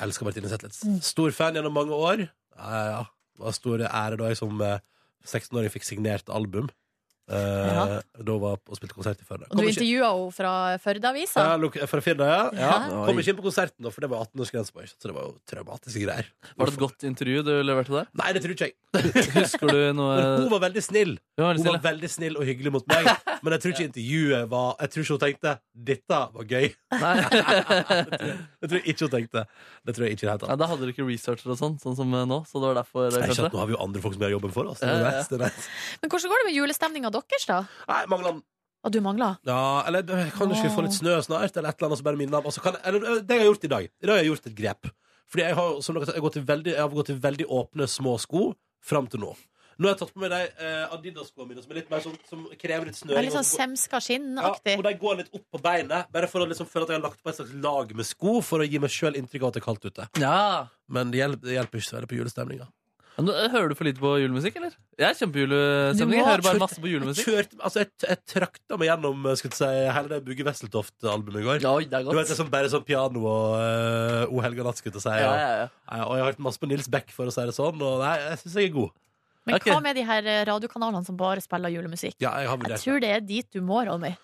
S2: Elsker Martine Zetlitz. Stor fan gjennom mange år. Ja, ja. Det var stor ære da jeg som eh, 16-åring fikk signert album. Eh,
S3: Ja.
S2: Da var jeg og spilte konsert i Førde.
S3: Og du
S2: Kom ikke-
S3: intervjua henne fra Førdeavisa.
S2: Ja, lok- fra Firda, ja. ja.
S4: Ja.
S2: Kom ikke inn på konserten, da, for det var 18-årsgrense på. ikke sant? Så det var jo traumatiske greier.
S4: Var det et godt intervju du
S2: [LAUGHS]
S4: leverte der?
S2: Nei, det tror ikke jeg.
S4: Husker du noe
S2: Men hun var veldig snill.
S4: Hun var
S2: Hun
S4: veldig
S2: var
S4: stille.
S2: veldig snill og hyggelig mot
S4: [LAUGHS]
S2: meg, men jeg tror ikke intervjuet var Jeg tror ikke hun tenkte 'dette var
S4: [LAUGHS]
S2: gøy'. [LAUGHS]
S4: Nei.
S2: Jeg tror ikke hun tenkte Det tror jeg ikke i det hele tatt.
S4: Nei, da hadde du ikke researcher og sånn, sånn som eh, nå. Så det var derfor, eh,
S2: Nei, ikke sant,
S4: kanskje.
S2: Nå har vi jo andre folk som gjør jobben for oss. Det
S4: Ja,
S2: er
S4: ja,
S2: nice, det er nice.
S3: Men hvordan går det med julestemninga deres, da?
S2: Nei, mangler den.
S3: Og du mangler?
S2: Ja, eller øh, kan du ikke vi få litt snø snart, eller et eller annet som bare minner om og så kan, eller, øh, Det jeg har gjort i dag. I dag har jeg gjort et grep. Fordi jeg har, som dere, sa, jeg har, gått, i veldig, jeg har gått i veldig åpne, små sko fram til nå. Nå har jeg tatt på meg de eh, Adidas-skoene mine, som er litt mer sånn, som krever litt
S3: Det
S2: snøring.
S3: er litt
S2: og
S3: sånn
S2: som går-
S3: semska
S2: ja,
S3: skinn-aktig.
S2: og de går litt opp på beinet, bare for å liksom føle at jeg har lagt på et slags lag med sko for å gi meg sjøl inntrykk av at det er kaldt ute.
S4: Ja.
S2: Men det hjelper, det hjelper ikke så veldig på julestemninga.
S4: Men, du, eh, hører du for lite på julemusikk, eller? Jeg er
S3: Du må-
S4: kjempejulestemning. Jeg hører
S2: Kjørte-
S4: bare masse på julemusikk.
S2: Jeg, kjørte- altså, jeg, jeg trakta meg gjennom eh, skulle jeg si, hele det Bugge Wesseltoft-albumet i går.
S4: Oi, det er
S2: Du vet, det er
S4: godt.
S2: sånn, bare sånn piano og uh, O helga natt, skulle jeg til å si.
S4: Ja,
S2: og-
S4: ja, ja.
S2: Ja, og jeg har hørt masse på Nils Beck, for å si det sånn, og nei, jeg syns jeg er god.
S3: Men
S4: Ok.
S3: hva med de her eh, radiokanalene som bare spiller julemusikk?
S2: Ja, jeg har
S3: Jeg
S2: vurdert det.
S3: tror det er dit du må, Ronny.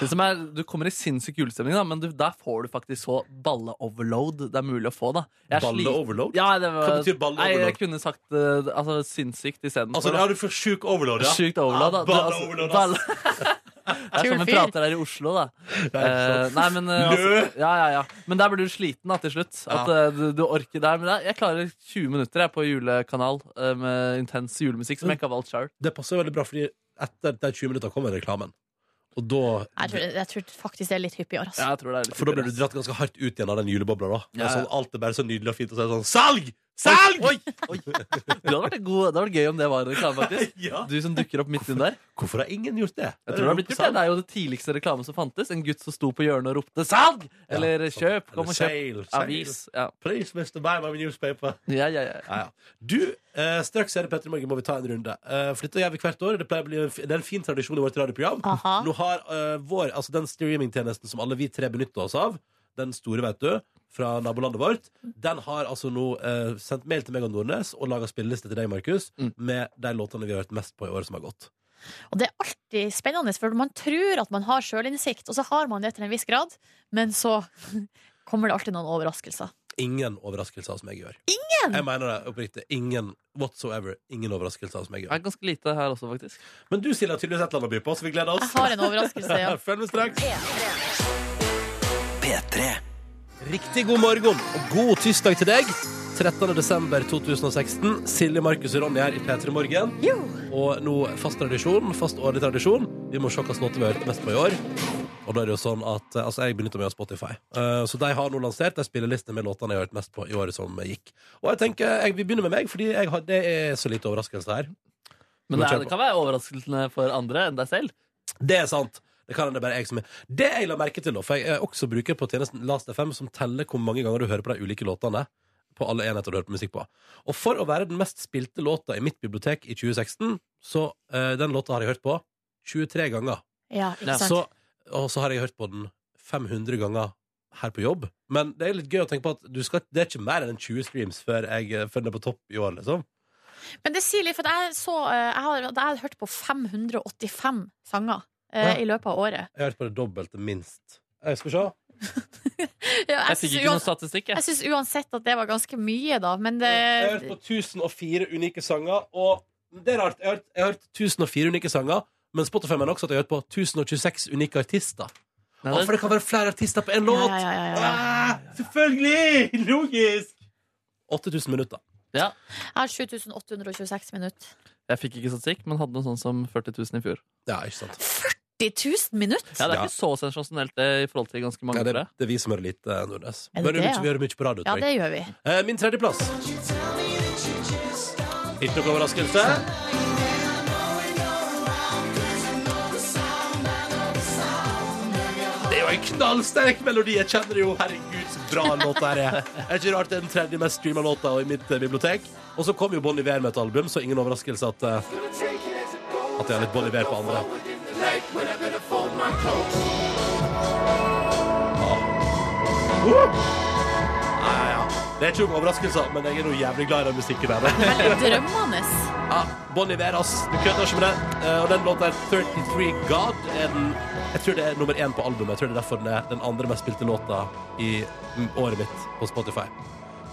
S4: Det som er, du kommer i sinnssyk julestemning, da, men du, der får du faktisk så balle-overload det er mulig å få. da Jeg er
S2: Balle
S4: sli-
S2: overload?
S4: Ja, det var,
S2: Hva betyr balle
S4: Nei, jeg
S2: overload?
S4: kunne sagt eh, altså, sinnssykt istedenfor.
S2: Altså, ja, du får sjuk overload, ja.
S4: Sjukt overload,
S2: Ja,
S4: da. Du,
S2: balle
S4: altså,
S2: overload, ass.
S4: balle. [LAUGHS] Det er
S3: Kul
S4: som vi
S3: fyr.
S4: prater her i Oslo, da. Eh, nei, men, eh, altså, ja, ja, ja. men der blir du sliten da, til slutt. At eh, du, du orker der. Men jeg, jeg klarer 20 minutter jeg, på julekanal eh, med intens julemusikk som jeg ikke har valgt sjøl.
S2: Det passer veldig bra, fordi etter de 20 minutter kommer reklamen. Og da
S3: Jeg tror, jeg tror faktisk det er litt hyppigere. Altså.
S2: For da blir du dratt ganske hardt ut igjen av den julebobla, da. Det er
S4: Ja, ja.
S2: sånn, alt er bare så nydelig og fint, og så er det sånn Salg! Salg!
S4: Oi, oi. Du hadde vært en god, det hadde vært gøy om det var en reklame,
S2: [LAUGHS]
S4: [LAUGHS] faktisk.
S2: Ja.
S4: Du som dukker opp midt inn der.
S2: Hvorfor har ingen gjort det?
S4: Jeg tror Det har blitt gjort det. Det er jo det tidligste reklame som fantes. En gutt som sto på hjørnet og ropte 'salg!' Eller
S2: Ja, sant.
S4: 'kjøp'. Kom
S2: Eller
S4: og kjøp.
S2: sale, sale.
S4: Avis. Ja,
S2: Please, Mr. Buy my newspaper.
S4: ja, ja. ja.
S2: Ja, ja. Du, eh, straks er det Petter i morgen, må vi ta en runde. Eh, for dette gjør vi hvert år. Det, pleier å bli en, f- det er en fin tradisjon i vårt radioprogram.
S3: Aha.
S2: Nå har eh, vår, altså den streamingtjenesten som alle vi tre benytter oss av, den store, vet du, fra nabolandet vårt, den har altså nå eh, sendt mail til meg og Nordnes og laga spilleliste til deg, Markus, med de låtene vi har hørt mest på i året som har gått.
S3: Og det er alltid spennende, for man tror at man har sjølinnsikt, og så har man det til en viss grad, men så [LAUGHS] kommer det alltid noen overraskelser.
S2: Ingen overraskelser som jeg gjør.
S3: Ingen?
S2: Jeg mener det oppriktig. Ingen whatsoever. Ingen overraskelser som jeg gjør.
S4: Det er ganske lite her også, faktisk.
S2: Men du Silje, har tydeligvis et eller annet å by på, så vi gleder oss.
S3: Jeg har en overraskelse, ja.
S2: [LAUGHS] Følg med straks. Riktig god morgen og god tirsdag til deg. 13. desember 2016. Silje, Markus og Ronny her i P3 Morgen. Og nå fast tradisjon, fast årlig tradisjon. Vi må se hvilke låter vi har hørt mest på i år. Og da er det jo sånn at eh, Altså, jeg benytter meg av Spotify. Eh, så de har nå lansert en spilleliste med låtene jeg har hørt mest på i året som gikk. Og jeg tenker, jeg vil begynne med meg, fordi jeg har, det er så lite overraskelse her.
S4: Men
S2: Må
S4: det,
S2: kjøre
S4: er, det kan være overraskelsene for andre enn deg selv.
S2: Det er sant. Det kan hende det bare er jeg som er Det jeg la merke til, da, for jeg er også bruker på tjenesten Last.fm, som teller hvor mange ganger du hører på de ulike låtene på alle enheter du hører på musikk på. Og for å være den mest spilte låta i mitt bibliotek i 2016, så eh, den låta har jeg hørt på 23 ganger.
S3: Ja, ikke sant?
S2: Så, og så har jeg hørt på den 500 ganger her på jobb. Men det er litt gøy å tenke på at du skal, det er ikke mer enn 20 streams før, jeg, eh, før den er på topp i år, liksom.
S3: Men det sier litt, for at jeg, så, eh, jeg, har, jeg har hørt på 585 sanger eh,
S2: Ja.
S3: i løpet av
S2: [LAUGHS]
S3: året.
S2: Jeg har hørt på det dobbelte, minst. Jeg skal vi se.
S3: Ja,
S4: Jeg fikk ikke noen
S3: syns uans-
S4: statistikk.
S3: jeg
S4: Jeg.
S3: syns uansett at det var ganske mye, da, men det
S2: Jeg har hørt på 1004 unike sanger, og det er rart. Jeg har hørt, jeg har hørt 1004 unike sanger, men Spotify mener også at jeg har hørt på 1026 unike artister.
S4: Nei,
S2: Å, for
S4: det,
S2: det kan være flere artister på én
S3: ja,
S2: låt!
S3: ja, ja, ja, ja.
S2: Ah, selvfølgelig! Logisk! 8000 minutter.
S4: ja.
S3: Jeg har 7826 minutter.
S4: jeg fikk ikke statistikk, men hadde noe sånn som 40 000 i fjor.
S2: Ja, ikke sant.
S3: 10 000 minutter?!
S4: Ja, det er
S2: Ja.
S4: ikke så sensasjonelt det, i forhold til ganske mange
S2: Ja, det,
S4: andre.
S2: det er vi som hører lite, Nordnes.
S3: Er
S2: Vi
S3: det
S2: hører
S3: det,
S2: mye,
S3: ja?
S2: vi hører mye på radio.
S3: Ja,
S2: tror jeg.
S3: det gjør vi.
S2: Eh, Min tredjeplass. Ikke noe overraskelse. Det er jo en knallsterk melodi. Jeg kjenner det jo. Herregud, så bra en låt det her er. Det er ikke rart det er den tredje mest streama låta i mitt eh, bibliotek. Og så kom jo Bon Iver med et album, så ingen overraskelse at eh, At jeg har litt Bon Iver på andre. Ah. Woo! Ja, ja, ja. Det er ikke noen overraskelser, men jeg er noe jævlig glad i den musikken der.
S3: Veldig drømmende.
S2: [LAUGHS] Ja, Bon Iver, ass. Du kødder ikke med det. Eh, Og den låta her, 33 God, er den Jeg tror det er nummer én på albumet. Jeg tror det er derfor den er den andre mest spilte låta i mm, året mitt på Spotify.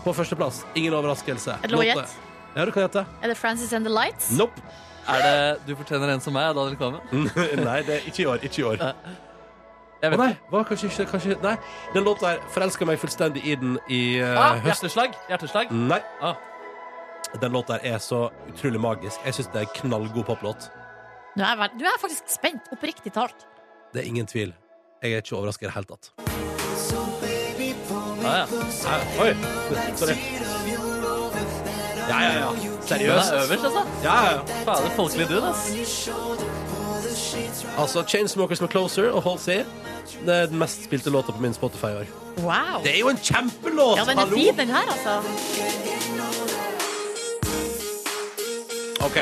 S2: På førsteplass, ingen overraskelse.
S3: Er det lov å
S2: Låta-
S3: gjette?
S2: Ja, du kan gjette.
S3: Er det Frances and the Lights?
S2: Nope. [LAUGHS]
S4: Er det Du fortjener en som meg, Daniel Kvammen?
S2: Nei, det er ikke i år. Ikke i år.
S4: Jeg
S2: Å
S4: vet
S2: nei,
S4: ikke.
S2: hva, kanskje Eh, ikke kanskje, Nei, den låta her forelska meg fullstendig i den i eh,
S4: Ah,
S2: høst.
S4: hjerteslag! Hjerteslag.
S2: Nei.
S4: Ah.
S2: Den låta her er så utrolig magisk. Jeg syns det er en knallgod poplåt.
S3: Nå er jeg, vel- nå er jeg faktisk spent, oppriktig talt.
S2: Det er ingen tvil. Jeg er ikke overraska i det hele tatt.
S4: Ah, ja.
S2: Oi! Sorry. Ja, ja, ja.
S4: Den
S2: Seriøst.
S4: er øverst, altså.
S2: Ja, ja, ja.
S4: Fader, folkelig dud, ass.
S2: Altså, Chainsmokers med Closer og Halsey. Det er den mest spilte låta på min Spotify i år.
S3: Wow.
S2: Det er jo en kjempelåt!
S3: Ja, den er
S2: Hallo!
S3: fin, den her, altså.
S2: OK.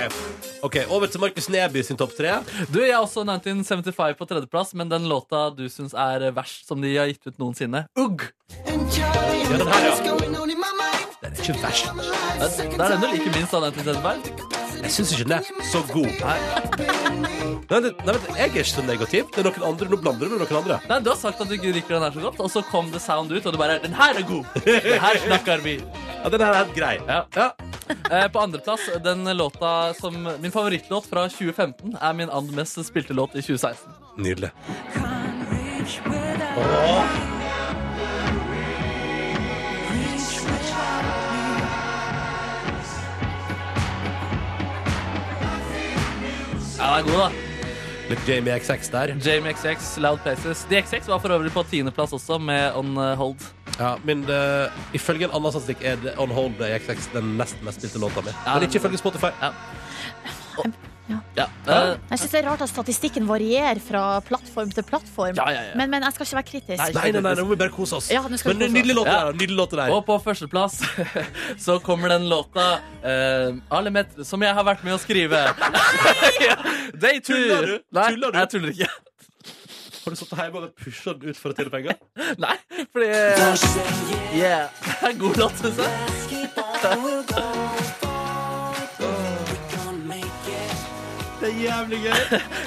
S2: Ok, Over til Markus Neby sin topp tre.
S4: Du, jeg har også 1975 på tredjeplass, men den låta du syns er verst som de har gitt ut noensinne, Ugg.
S2: Ja, den her, ja. Den er ikke verst.
S4: Det det er den du liker minst av 1975.
S2: Jeg syns ikke den er så god. Nei, nei, nei, vent, jeg er ikke så negativ. Det er noen andre, Nå blander du med noen andre.
S4: Nei, Du har sagt at du ikke liker den her så godt, og så kom The Sound ut, og du bare Den her er [LAUGHS] god! Den her snakker vi.
S2: Ja, Den her er helt grei.
S4: Ja. Eh, på andreplass, den låta som Min favorittlåt fra 2015 er min and mest spilte låt i 2016.
S2: Nydelig.
S4: Ja, den er god, da.
S2: Litt Jamie XX der.
S4: Jamie XX, Loud Places. The XX var for øvrig på tiendeplass også, med On Hold.
S2: Ja, men eh, Ifølge en annen statistikk er det On Hold med XX den nest mest spilte låta mi. Men ikke ifølge Spotify.
S4: Ja, eh,
S3: Jeg syns det er rart at statistikken varierer fra plattform til plattform.
S4: ja, ja, ja.
S3: Men, men jeg skal ikke være kritisk.
S4: Nei.
S2: Nei, nei, nei, nå må vi bare kose oss.
S3: Ja, nå skal vi
S2: men nydelig
S3: kose oss.
S2: låt
S4: Ja.
S2: der. da, Nydelig låt der.
S4: Og på førsteplass [LAUGHS] så kommer den låta eh, Alle metre som jeg har vært med å skrive. Nei! [LAUGHS] Day two.
S2: Tuller du?
S4: Nei,
S2: Tuller du?
S4: jeg tuller ikke.
S2: Har du sittet hjemme og pusha den ut for å tjene penger?
S4: [LAUGHS] Nei, fordi Yeah. Det er en god låt, syns jeg.
S2: Det er jævlig
S4: [LAUGHS]
S2: gøy.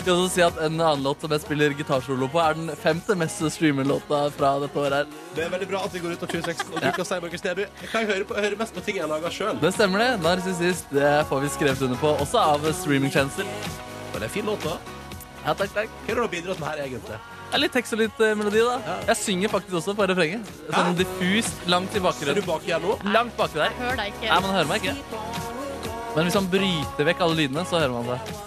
S4: Kan også si at En annen låt som jeg spiller gitarsolo på, er den femte mest streamerlåta fra dette året. her.
S2: Det er veldig bra at vi går ut av 2016 og
S4: Ja.
S2: bruker Steinberger Steby. Jeg kan høre, på, høre mest på ting jeg lager sjøl.
S4: Det stemmer, det. Narsissist. Det får vi skrevet under på, også av streamingtjenester.
S2: Det er en fin låt, da.
S4: Ja, takk, takk.
S2: Hva har du bidratt med her, egentlig?
S4: Det er litt tekst og litt eh, melodi, da. Jeg synger faktisk også på refrenget. Sånn diffust, langt
S2: Er
S4: i
S2: du
S4: bakgrunnen.
S2: bak igjen nå?
S4: Langt baki der.
S3: Hør deg ikke.
S4: Nei, man hører meg ikke. Men hvis man bryter vekk alle lydene, så hører man det.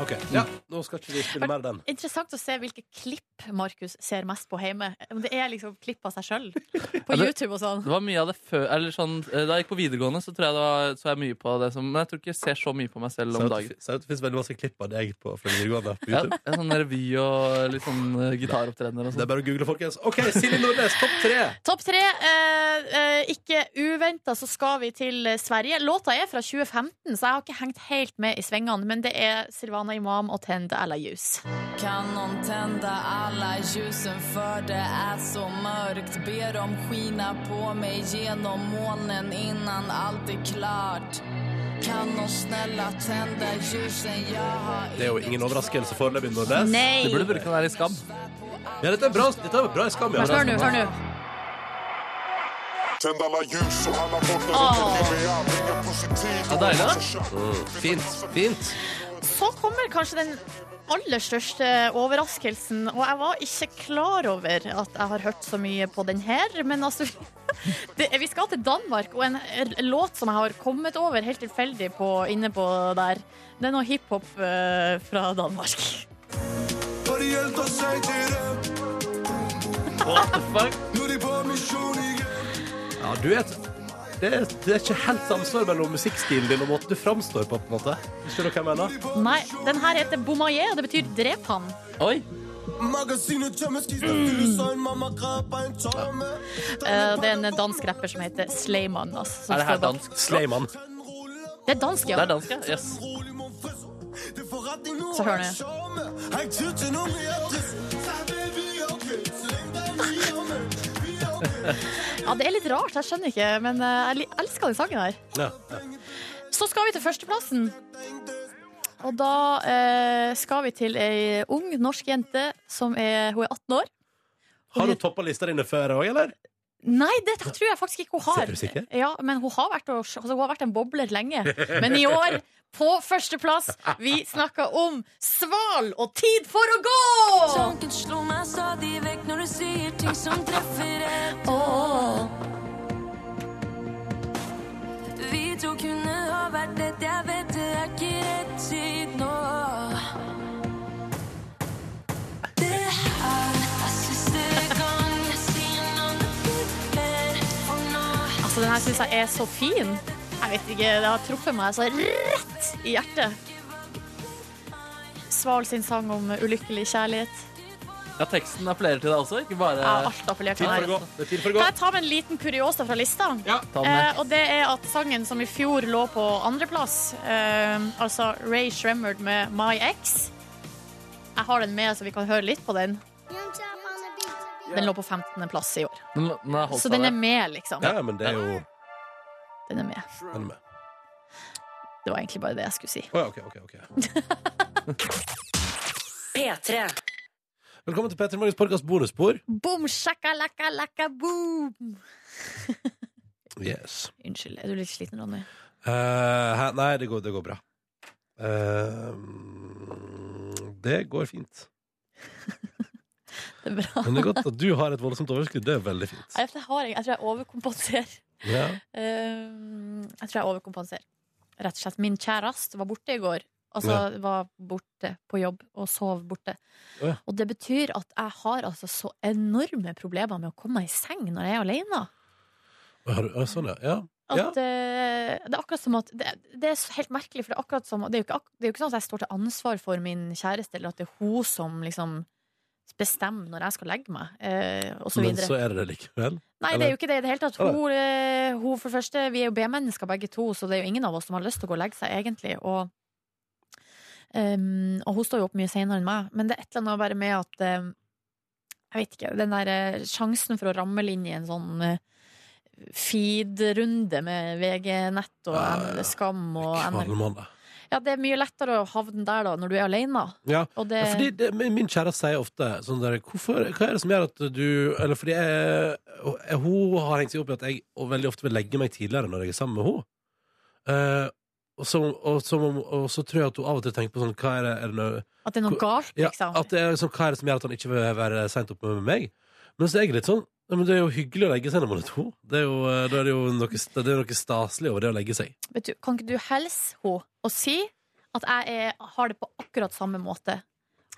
S2: OK. Ja, nå skal ikke vi spille mer av den.
S3: Interessant å se hvilke klipp Markus ser mest på hjemme. Om det er liksom klipp av seg sjøl
S4: [LAUGHS]
S3: på
S4: Ja, det-
S3: YouTube og sånn.
S4: Det var mye av det før Eller sånn eh, Da jeg gikk på videregående, så tror jeg det var, så jeg mye på det som Men jeg tror ikke jeg ser så mye på meg selv
S2: Ser
S4: om
S2: Sånn at
S4: dagen.
S2: det fi- Ser ut det finnes veldig masse klipp av deg på, fra videregående på
S4: Ja,
S2: YouTube.
S4: en sånn revy og litt sånn eh, gitaropptredener og
S2: Det
S4: sånn.
S2: er bare å google, folkens. OK, Silje Nordnes, topp tre!
S3: Topp tre. Eh, eh, ikke uventa så skal vi til eh, Sverige. Låta er fra 2015, så jeg har ikke hengt helt med i svingene. Men det er Silvana Imam og Tend Alla Ljus.
S11: Kan någon tända alla ljusen för det är så mörkt Ber dem skina på mig genom molnen innan allt är klart Kan någon snälla tända ljusen, jag har
S2: Det er jo ingen overraskelse foreløpig, Nordnes.
S3: Nei!
S4: Du burde bruke den her i Skam.
S2: Ja, dette er bra, dette er bra i skam. Ja.
S3: Men hør nå, hør nå.
S12: Tänd alla ljus och alla bottnar
S3: Åh.
S12: och ta med all ingen positiv
S4: Ja, deilig, da.
S2: Fint. Fint.
S3: Så kommer kanskje den aller største overraskelsen, og jeg var ikke klar over at jeg har hørt så mye på den her, men altså [LAUGHS] det, Vi skal til Danmark, og en r- låt som jeg har kommet over helt tilfeldig på, inne på der, det er noe hiphop eh, fra Danmark.
S4: What the fuck?
S2: Ja, du vet det er, det er ikke helt samsvar mellom musikkstilen din og måten du framstår på. på en måte Skjønner du hva jeg mener?
S3: Nei, den her heter Bomaye, og det betyr drep han.
S4: Oi.
S11: Mm.
S3: Eh, det er en dansk rapper som heter Slayman. Altså, som
S4: Er det
S3: står
S4: her
S3: bak.
S4: dansk?
S2: Slayman.
S3: Det er dansk,
S4: Det
S3: ja.
S4: er dansk, ja. Yes.
S3: Så hør nå. Ja, det er litt rart, jeg skjønner ikke, men eh, jeg li- elsker den sangen her.
S2: Ja.
S3: Så skal vi til førsteplassen. Og da eh, skal vi til ei ung norsk jente som er Hun er 18 år.
S2: Har hun toppa lista dine før òg, eller?
S3: Nei, det tror jeg faktisk ikke hun har.
S2: Er du sikker?
S3: Ja, men hun har vært, og- altså, hun har vært en bobler lenge. Men i år, på førsteplass, vi snakker om Sval og Tid for å gå!
S11: Tanken slår meg stadig vekk når du sier ting som treffer rett Vi to kunne ha vært lett, jeg vet det er ikke rett tid nå Det her er siste gang jeg sier noe mer for nå
S3: Altså, den her syns jeg er så fin. Jeg vet ikke, det har truffet meg så rett i hjertet. Sval sin sang om ulykkelig kjærlighet.
S4: Ja, teksten appellerer til deg også, ikke bare
S3: Ja, alt
S2: Eh, Tid
S3: appellerte
S2: for å
S3: meg.
S2: gå. Det er tid for å gå.
S3: Kan jeg ta med en liten kuriosa fra lista?
S4: ta den med.
S3: Eh, og det er at sangen som i fjor lå på andreplass, eh, altså Ray Shremmerd med My Ex Jeg har den med, så vi kan høre litt på den. Den lå på 15. plass i år.
S4: Den, den har holdt
S3: Så den er
S4: seg der.
S3: med, liksom.
S2: Ja, men det er jo
S3: Den er med.
S2: Den er med.
S3: Det var egentlig bare det jeg skulle si.
S2: Å ja, OK. ok, ok
S1: P3.
S2: Velkommen til Petter Morgens podcast bonusspor.
S3: Boom, shakalaka, laka, boom!
S2: Yes.
S3: Unnskyld, er du litt sliten, Ronny?
S2: Eh, hæ? nei, det går, det går bra. Eh, det går fint.
S3: [LAUGHS] Det er bra.
S2: Men det er godt at du har et voldsomt overskudd. Det er veldig fint.
S3: Jeg, jeg, har, jeg tror jeg overkompenserer.
S2: Ja.
S3: Eh, jeg tror jeg overkompenserer. Rett og slett. Min kjæreste var borte i går. Altså var borte på jobb og sov borte.
S2: Å ja.
S3: Og det betyr at jeg har altså så enorme problemer med å komme meg i seng når jeg er alene.
S2: Har du- å, Sånn, ja. ja.
S3: At, eh, det er akkurat som at det, det er så helt merkelig, for det er akkurat som det er, jo ikke, ak- det er jo ikke sånn at jeg står til ansvar for min kjæreste, eller at det er hun som liksom bestemmer når jeg skal legge meg, eh, og så
S2: Men
S3: videre.
S2: så er det det likevel.
S3: Nei, det
S2: Eller-
S3: er jo ikke det i det hele tatt.
S2: Eller?
S3: Hun, eh, hun for det første, Vi er jo B-mennesker begge to, så det er jo ingen av oss som har lyst til å gå og legge seg, egentlig. Og, ehm, og hun står jo opp mye senere enn meg. Men det er et eller annet bare med at ehm, jeg vet ikke, den der eh, sjansen for å ramle inn i en sånn eh, feed-runde med VG-nett og eh, Skam og NRK.
S2: Kvalmende.
S3: Ja, det er mye lettere å havne der da, når du er alene.
S2: Ja.
S3: Og det-
S2: ja, fordi det, min min kjæreste sier ofte sånn der hvorfor, Hva er det som gjør at du Eller fordi jeg, og- hun har hengt seg opp i at jeg og veldig ofte vil legge meg tidligere når jeg er sammen med henne. Eh, og, som, og, som, om- og så tror jeg at hun av og til tenker på sånn hva er det, er det noe,
S3: At det er noe galt,
S2: ja,
S3: liksom.
S2: At det er sånn, hva er det som gjør at han ikke vil være seint oppe med meg? Men så er jeg litt sånn ja, men Det er jo hyggelig å legge seg når man er to. Det er jo, eh, da er det jo noe, det er noe staselig over det å legge seg.
S3: Vet du, kan ikke du helse henne og si at jeg er, har det på akkurat samme måte?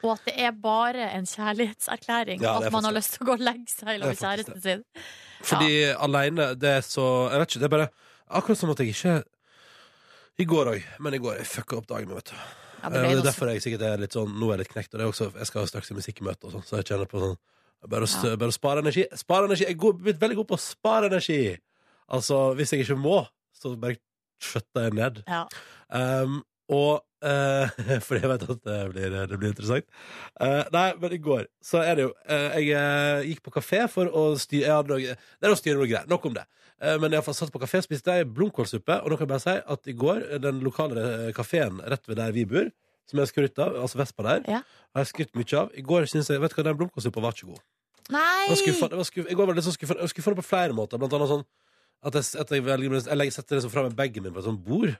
S3: Og at det er bare en kjærlighetserklæring.
S2: Ja, det er
S3: at man har
S2: faktisk
S3: lyst til å gå og legge seg i
S2: Det er
S3: lag med
S2: faktisk
S3: kjæresten sin.
S2: Fordi alene, det er så Jeg vet ikke, det er bare akkurat som at jeg ikke I går òg, men i går jeg fucka opp dagen min, vet du. det,
S3: Ja, det ble
S2: er
S3: noe-
S2: eh, derfor jeg sikkert er litt sånn Nå er jeg litt knekt. Og det er også, jeg skal straks i musikkmøte, og sånn, så jeg kjenner på sånn Bare å, s-
S3: Ja.
S2: bare å spare energi. Spare energi! Jeg er god- blitt veldig god på å spare energi! Altså, hvis jeg ikke må, så bare skjøtter jeg ned.
S3: Ja.
S2: Um, og eh, [LAUGHS] For jeg vet at det blir, det blir interessant. Eh, nei, men i går så er det jo eh, Jeg eh, gikk på kafé for å styre jeg hadde noe, Det er å styre noe greier. Nok om det. Uh, men jeg satt på kafé og spiste ei blomkålsuppe, og nå kan jeg bare si at i går, den lokale kafeen rett ved der vi bor, som jeg har skrytt av, altså Vespa der, har jeg skrytt mye av. I går synes jeg Vet du hva, den blomkålsuppa var ikke god.
S3: Nei!
S2: Jeg var skuffet- jeg var skuffet- I går var jeg litt sånn skuffet- jeg var skuffende på flere måter. Blant annet sånn at jeg, at jeg, velger, jeg legger, setter liksom fra meg bagen min på et sånt bord.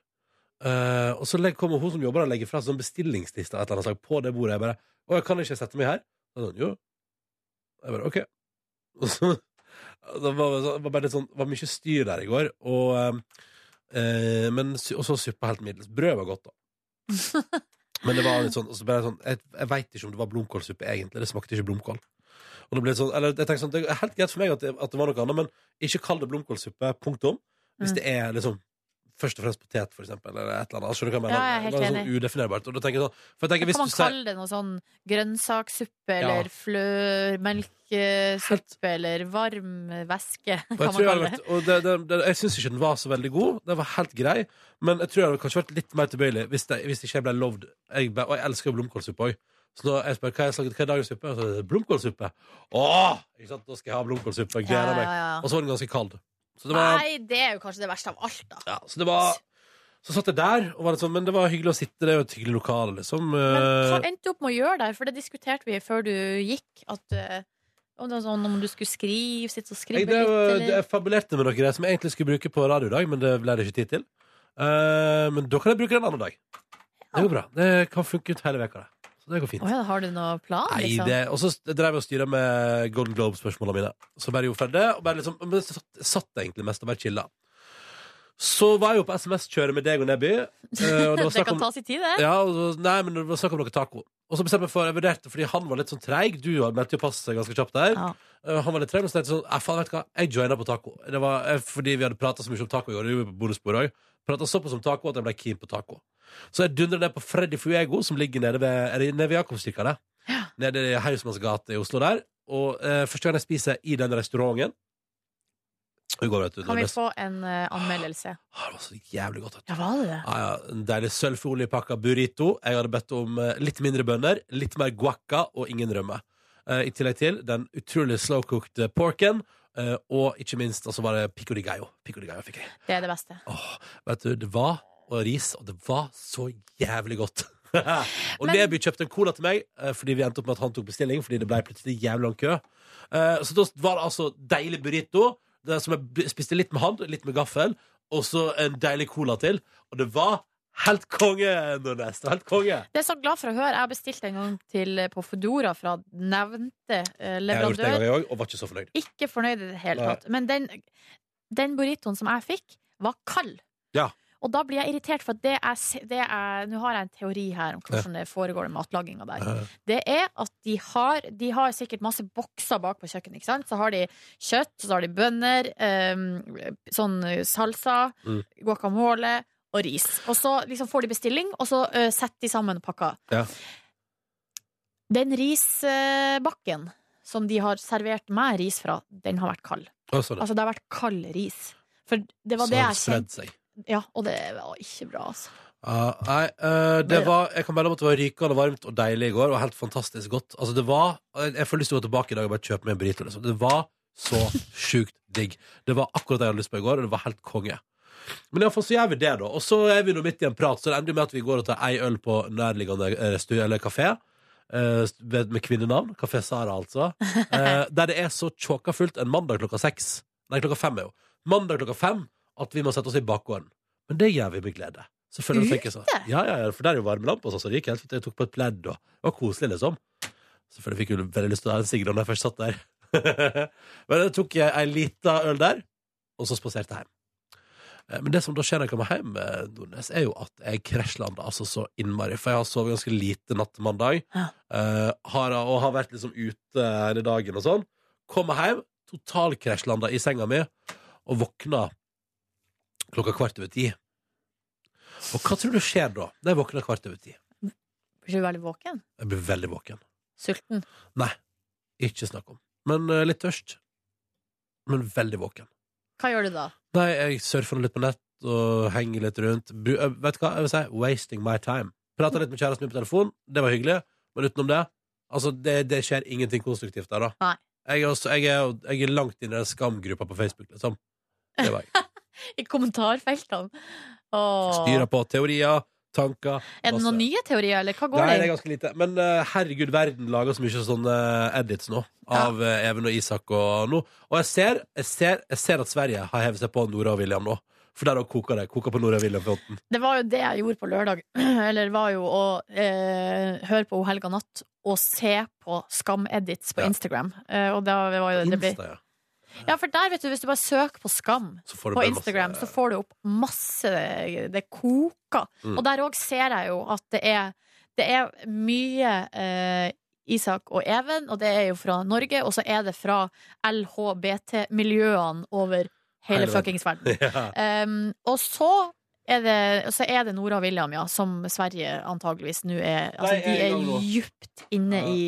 S2: Eh, og så legger, kommer hun som jobber der, og legger fra seg sånn bestillingsliste av et eller annet slag på det bordet. Jeg bare Å, jeg kan ikke sette meg her? Og sånn, jo. Jeg bare OK. Og så det var, det var bare litt sånn, det var mye styr der i går. Og, ehm, eh, men, sy- og så suppa helt middels. Brød var
S3: [LAUGHS]
S2: godt, da. Men det var litt sånn, og så ble jeg sånn Jeg, jeg veit ikke om det var blomkålsuppe, egentlig. Det smakte ikke blomkål. Og det ble sånn, eller jeg tenker sånn, Det er helt greit for meg at det, at det var noe annet, men ikke kall det blomkålsuppe, punktum. Hvis
S13: Mm.
S2: det er liksom først og fremst potet, for eksempel, eller et eller annet. Skjønner du hva jeg mener?
S3: Ja, jeg er helt
S2: det var
S3: enig.
S2: sånn udefinerbart. Og da tenker jeg sånn, for jeg
S3: Da
S2: tenker,
S3: kan
S2: hvis
S3: man
S2: du sier
S3: kalle det noe sånn grønnsakssuppe
S2: Ja.
S3: eller flørmelksuppe eller varm væske.
S2: Og jeg,
S3: Kan man
S2: tror jeg, hadde
S3: kalle det.
S2: vært, og det, det, det, jeg syns ikke den var så veldig god. Den var helt grei. Men jeg tror jeg hadde kanskje vært litt mer tilbøyelig hvis, det, hvis ikke jeg ble lovd jeg, ble- Og jeg elsker jo blomkålsuppe òg. Så når jeg spør hva jeg slaget, hva er dagens suppe, Og så er det blomkålsuppe. Åh! Ikke sant? Da skal jeg ha blomkålsuppe. Jeg gleder
S3: Ja, ja,
S2: meg.
S3: ja.
S2: Og så var den ganske kald. Så det var,
S3: Nei, det er jo kanskje det verste av alt, da.
S2: ja, så det var Så satt jeg der, og var litt sånn, men det var hyggelig å sitte. Det er jo et hyggelig lokale, liksom.
S3: Hva
S2: Eh,
S3: endte du opp med å gjøre der? For det diskuterte vi før du gikk. At, eh, om, det var sånn, om du skulle skrive, sitte og skrive
S2: Jeg, det, var-
S3: litt,
S2: det, jeg
S3: eller
S2: fabulerte med noe greier som jeg egentlig skulle bruke på radio i dag, men det ble det ikke tid til. Eh, men da kan jeg bruke det en annen dag. Det går bra. Det kan funke ut hele veka, det. Så det går fint.
S3: Å ja, Har du noen plan,
S2: Nei,
S3: liksom?
S2: det, og så drev jeg og styra med Golden Globe-spørsmåla mine. Så bare gjorde ferdig det. Og bare liksom, men så satt, satt jeg egentlig mest og bare chilla. Så var jeg jo på SMS-kjøret med deg og Nebby. eh, og
S3: det, [LAUGHS]
S2: var snakk
S3: kan
S2: om-
S3: ta sin tid, det.
S2: [LAUGHS] ja, og, så- nei, men det var snakk om noe taco. Og så bestemte jeg meg for, jeg vurderte, fordi han var litt sånn treig. Du meldte jo passet ganske kjapt der. Eh, han var litt treig, men så tenkte jeg sånn, «Eh, faen, vet du hva, jeg joina på taco. Det var eh, fordi vi hadde prata så mye om taco i går, det gjorde vi på bonusbordet òg. Prata såpass om taco at jeg ble keen på taco. Så jeg dundrer ned på Freddy Fuego, som ligger nede ved, er det nede ved Jakobsdykka, det. Nede i Hausmanns gate i Oslo der. Og eh, første gang jeg spiser i den restauranten I går, vet du.
S3: Kan
S2: det
S3: vi
S2: var
S3: få en eh, anmeldelse?
S2: så jævlig godt.
S3: Ja, var det det?
S2: Ja, Ah, ja, en deilig sølvfoliepakka burrito. Jeg hadde bedt om eh, litt mindre bønner, litt mer guacca og ingen rømme. Eh, I tillegg til den utrolig slow-cooked porken, eh, og ikke minst altså var det pico de gallo. Pico de gallo fikk jeg.
S3: Det er det beste.
S2: Vet du, det var og ris, og det var så jævlig
S3: [LAUGHS]
S2: godt. og Neby kjøpte en cola til meg eh, fordi vi endte opp med at han tok bestilling. Fordi det ble plutselig jævlig lang kø. Eh, Så da var det altså deilig burrito, det som jeg b- spiste litt med hand, litt med gaffel, og så en deilig cola til. Og det var helt konge, Nordnes. Det var Helt konge.
S3: Det er jeg så glad for å høre. Jeg har bestilt en gang til eh, på Foodora fra nevnte eh,
S2: Jeg har gjort det en gang,
S3: leverandør.
S2: jeg òg, og var ikke så fornøyd.
S3: Ikke fornøyd i det hele
S2: Nei.
S3: tatt. Men den, den burritoen som jeg fikk, var kald.
S2: Ja.
S3: Og da blir jeg irritert, for at det er, se- det er Nå har jeg en teori her om hvordan det foregår med matlaginga der.
S14: Ja.
S3: Det er at de har, de har sikkert masse bokser bak på kjøkkenet. Ikke sant? Så har de kjøtt, så har de bønner, ehm, sånn salsa,
S2: Mm.
S3: guacamole og ris. Og så liksom får de bestilling, og så eh, setter de sammen pakka.
S2: Ja.
S3: Den risbakken som de har servert meg ris fra, den har vært kald.
S2: Å, sånn, ja.
S3: Altså, det har vært kald ris. For det var
S2: Så
S3: det
S2: har
S3: jeg
S2: det spredd
S3: kjente.
S2: seg.
S3: Ja, og det var ikke bra, altså.
S2: Ja, nei, eh, det var, jeg kan melde om at det var rykende varmt og deilig i går, og helt fantastisk godt. Altså, det var, jeg jeg får lyst til å gå tilbake i dag og bare kjøpe meg en burrito. Liksom. Det var så sjukt digg. Det var akkurat det jeg hadde lyst på i går, og det var helt konge. Men iallfall så gjør vi det, da. Og så er vi nå midt i en prat, så det ender jo med at vi går og tar ei øl på nærliggende restu, eller kafé. eh, Med med kvinnenavn. Kafé Sara, altså. Eh, Der det er så tjåka fullt en mandag klokka seks. Nei, klokka fem er jo. Mandag klokka fem at vi må sette oss i bakgården. Men det gjør vi med glede. Selvfølgelig tenker jeg sånn. Ja, ja, ja, for der er jo varmelampe og sånn, så det gikk helt fint. Jeg tok på et pledd, og det var koselig, liksom. Selvfølgelig fikk jeg jo veldig lyst til å ha en Sigrid når jeg først satt der. [LAUGHS] Men da tok jeg ei lita øl der, og så spaserte jeg hjem. Eh, Men det som da skjer når jeg kommer hjem, eh, Nordnes, er jo at jeg krasjlander altså så innmari. For jeg har sovet ganske lite natt til mandag, eh, har, og har vært liksom ute hele dagen og sånn. Kommer hjem, totalkrasjlanda i senga mi, og våkna klokka kvart over ti. Og hva tror du skjer da? Når jeg våkner kvart over ti.
S3: Blir du veldig våken?
S2: Jeg blir veldig våken.
S3: Sulten?
S2: Nei, ikke snakk om. Men eh, litt tørst. Men veldig våken.
S3: Hva gjør du da?
S2: Nei, jeg surfer litt på nett og henger litt rundt. Bru, eh, vet du hva? Jeg vil si wasting my time. Prata litt med kjæresten min på telefon. Det var hyggelig. Men utenom det, altså, det, det skjer ingenting konstruktivt der, da.
S3: Nei.
S2: Jeg er, også, jeg er, jeg er langt inne i den skamgruppa på Facebook, liksom. Det var jeg.
S3: [LAUGHS] I kommentarfeltene?
S2: Styrer på teorier, tanker
S3: Er det
S2: masse.
S3: noen nye teorier, eller hva går
S2: Nei, det
S3: det
S2: er
S3: i?
S2: ganske lite. Men eh, herregud, verden lager så mye sånne eh, edits nå. Av eh, Even og Isak og nå. Og jeg ser, jeg, ser, jeg ser at Sverige har hevet seg på Nora og William nå. For der òg koker det. Koker på Nora og William-fronten.
S3: Det var jo det jeg gjorde på lørdag. [CLEARS THROAT] Eller var jo å eh, høre på O helga natt og se på Skam-edits på Instagram. Eh, og da var jo det det ble.
S2: Insta, ja.
S3: Ja, for der, vet du, hvis du bare søker på Skam
S2: får du
S3: på
S2: bare
S3: Instagram,
S2: masse-
S3: så får du opp masse Det koker.
S2: Mm.
S3: Og der òg ser jeg jo at det er, det er mye eh, Isak og Even, og det er jo fra Norge, og så er det fra LHBT-miljøene over hele
S13: Hele verden.
S3: fuckings
S2: [LAUGHS]
S3: verden.
S13: Ja.
S3: Um, og så er, det, så er det Nora og William, ja, som Sverige antageligvis nå er altså,
S13: Nei,
S3: De
S13: en
S3: er
S13: gang nå.
S3: djupt inne i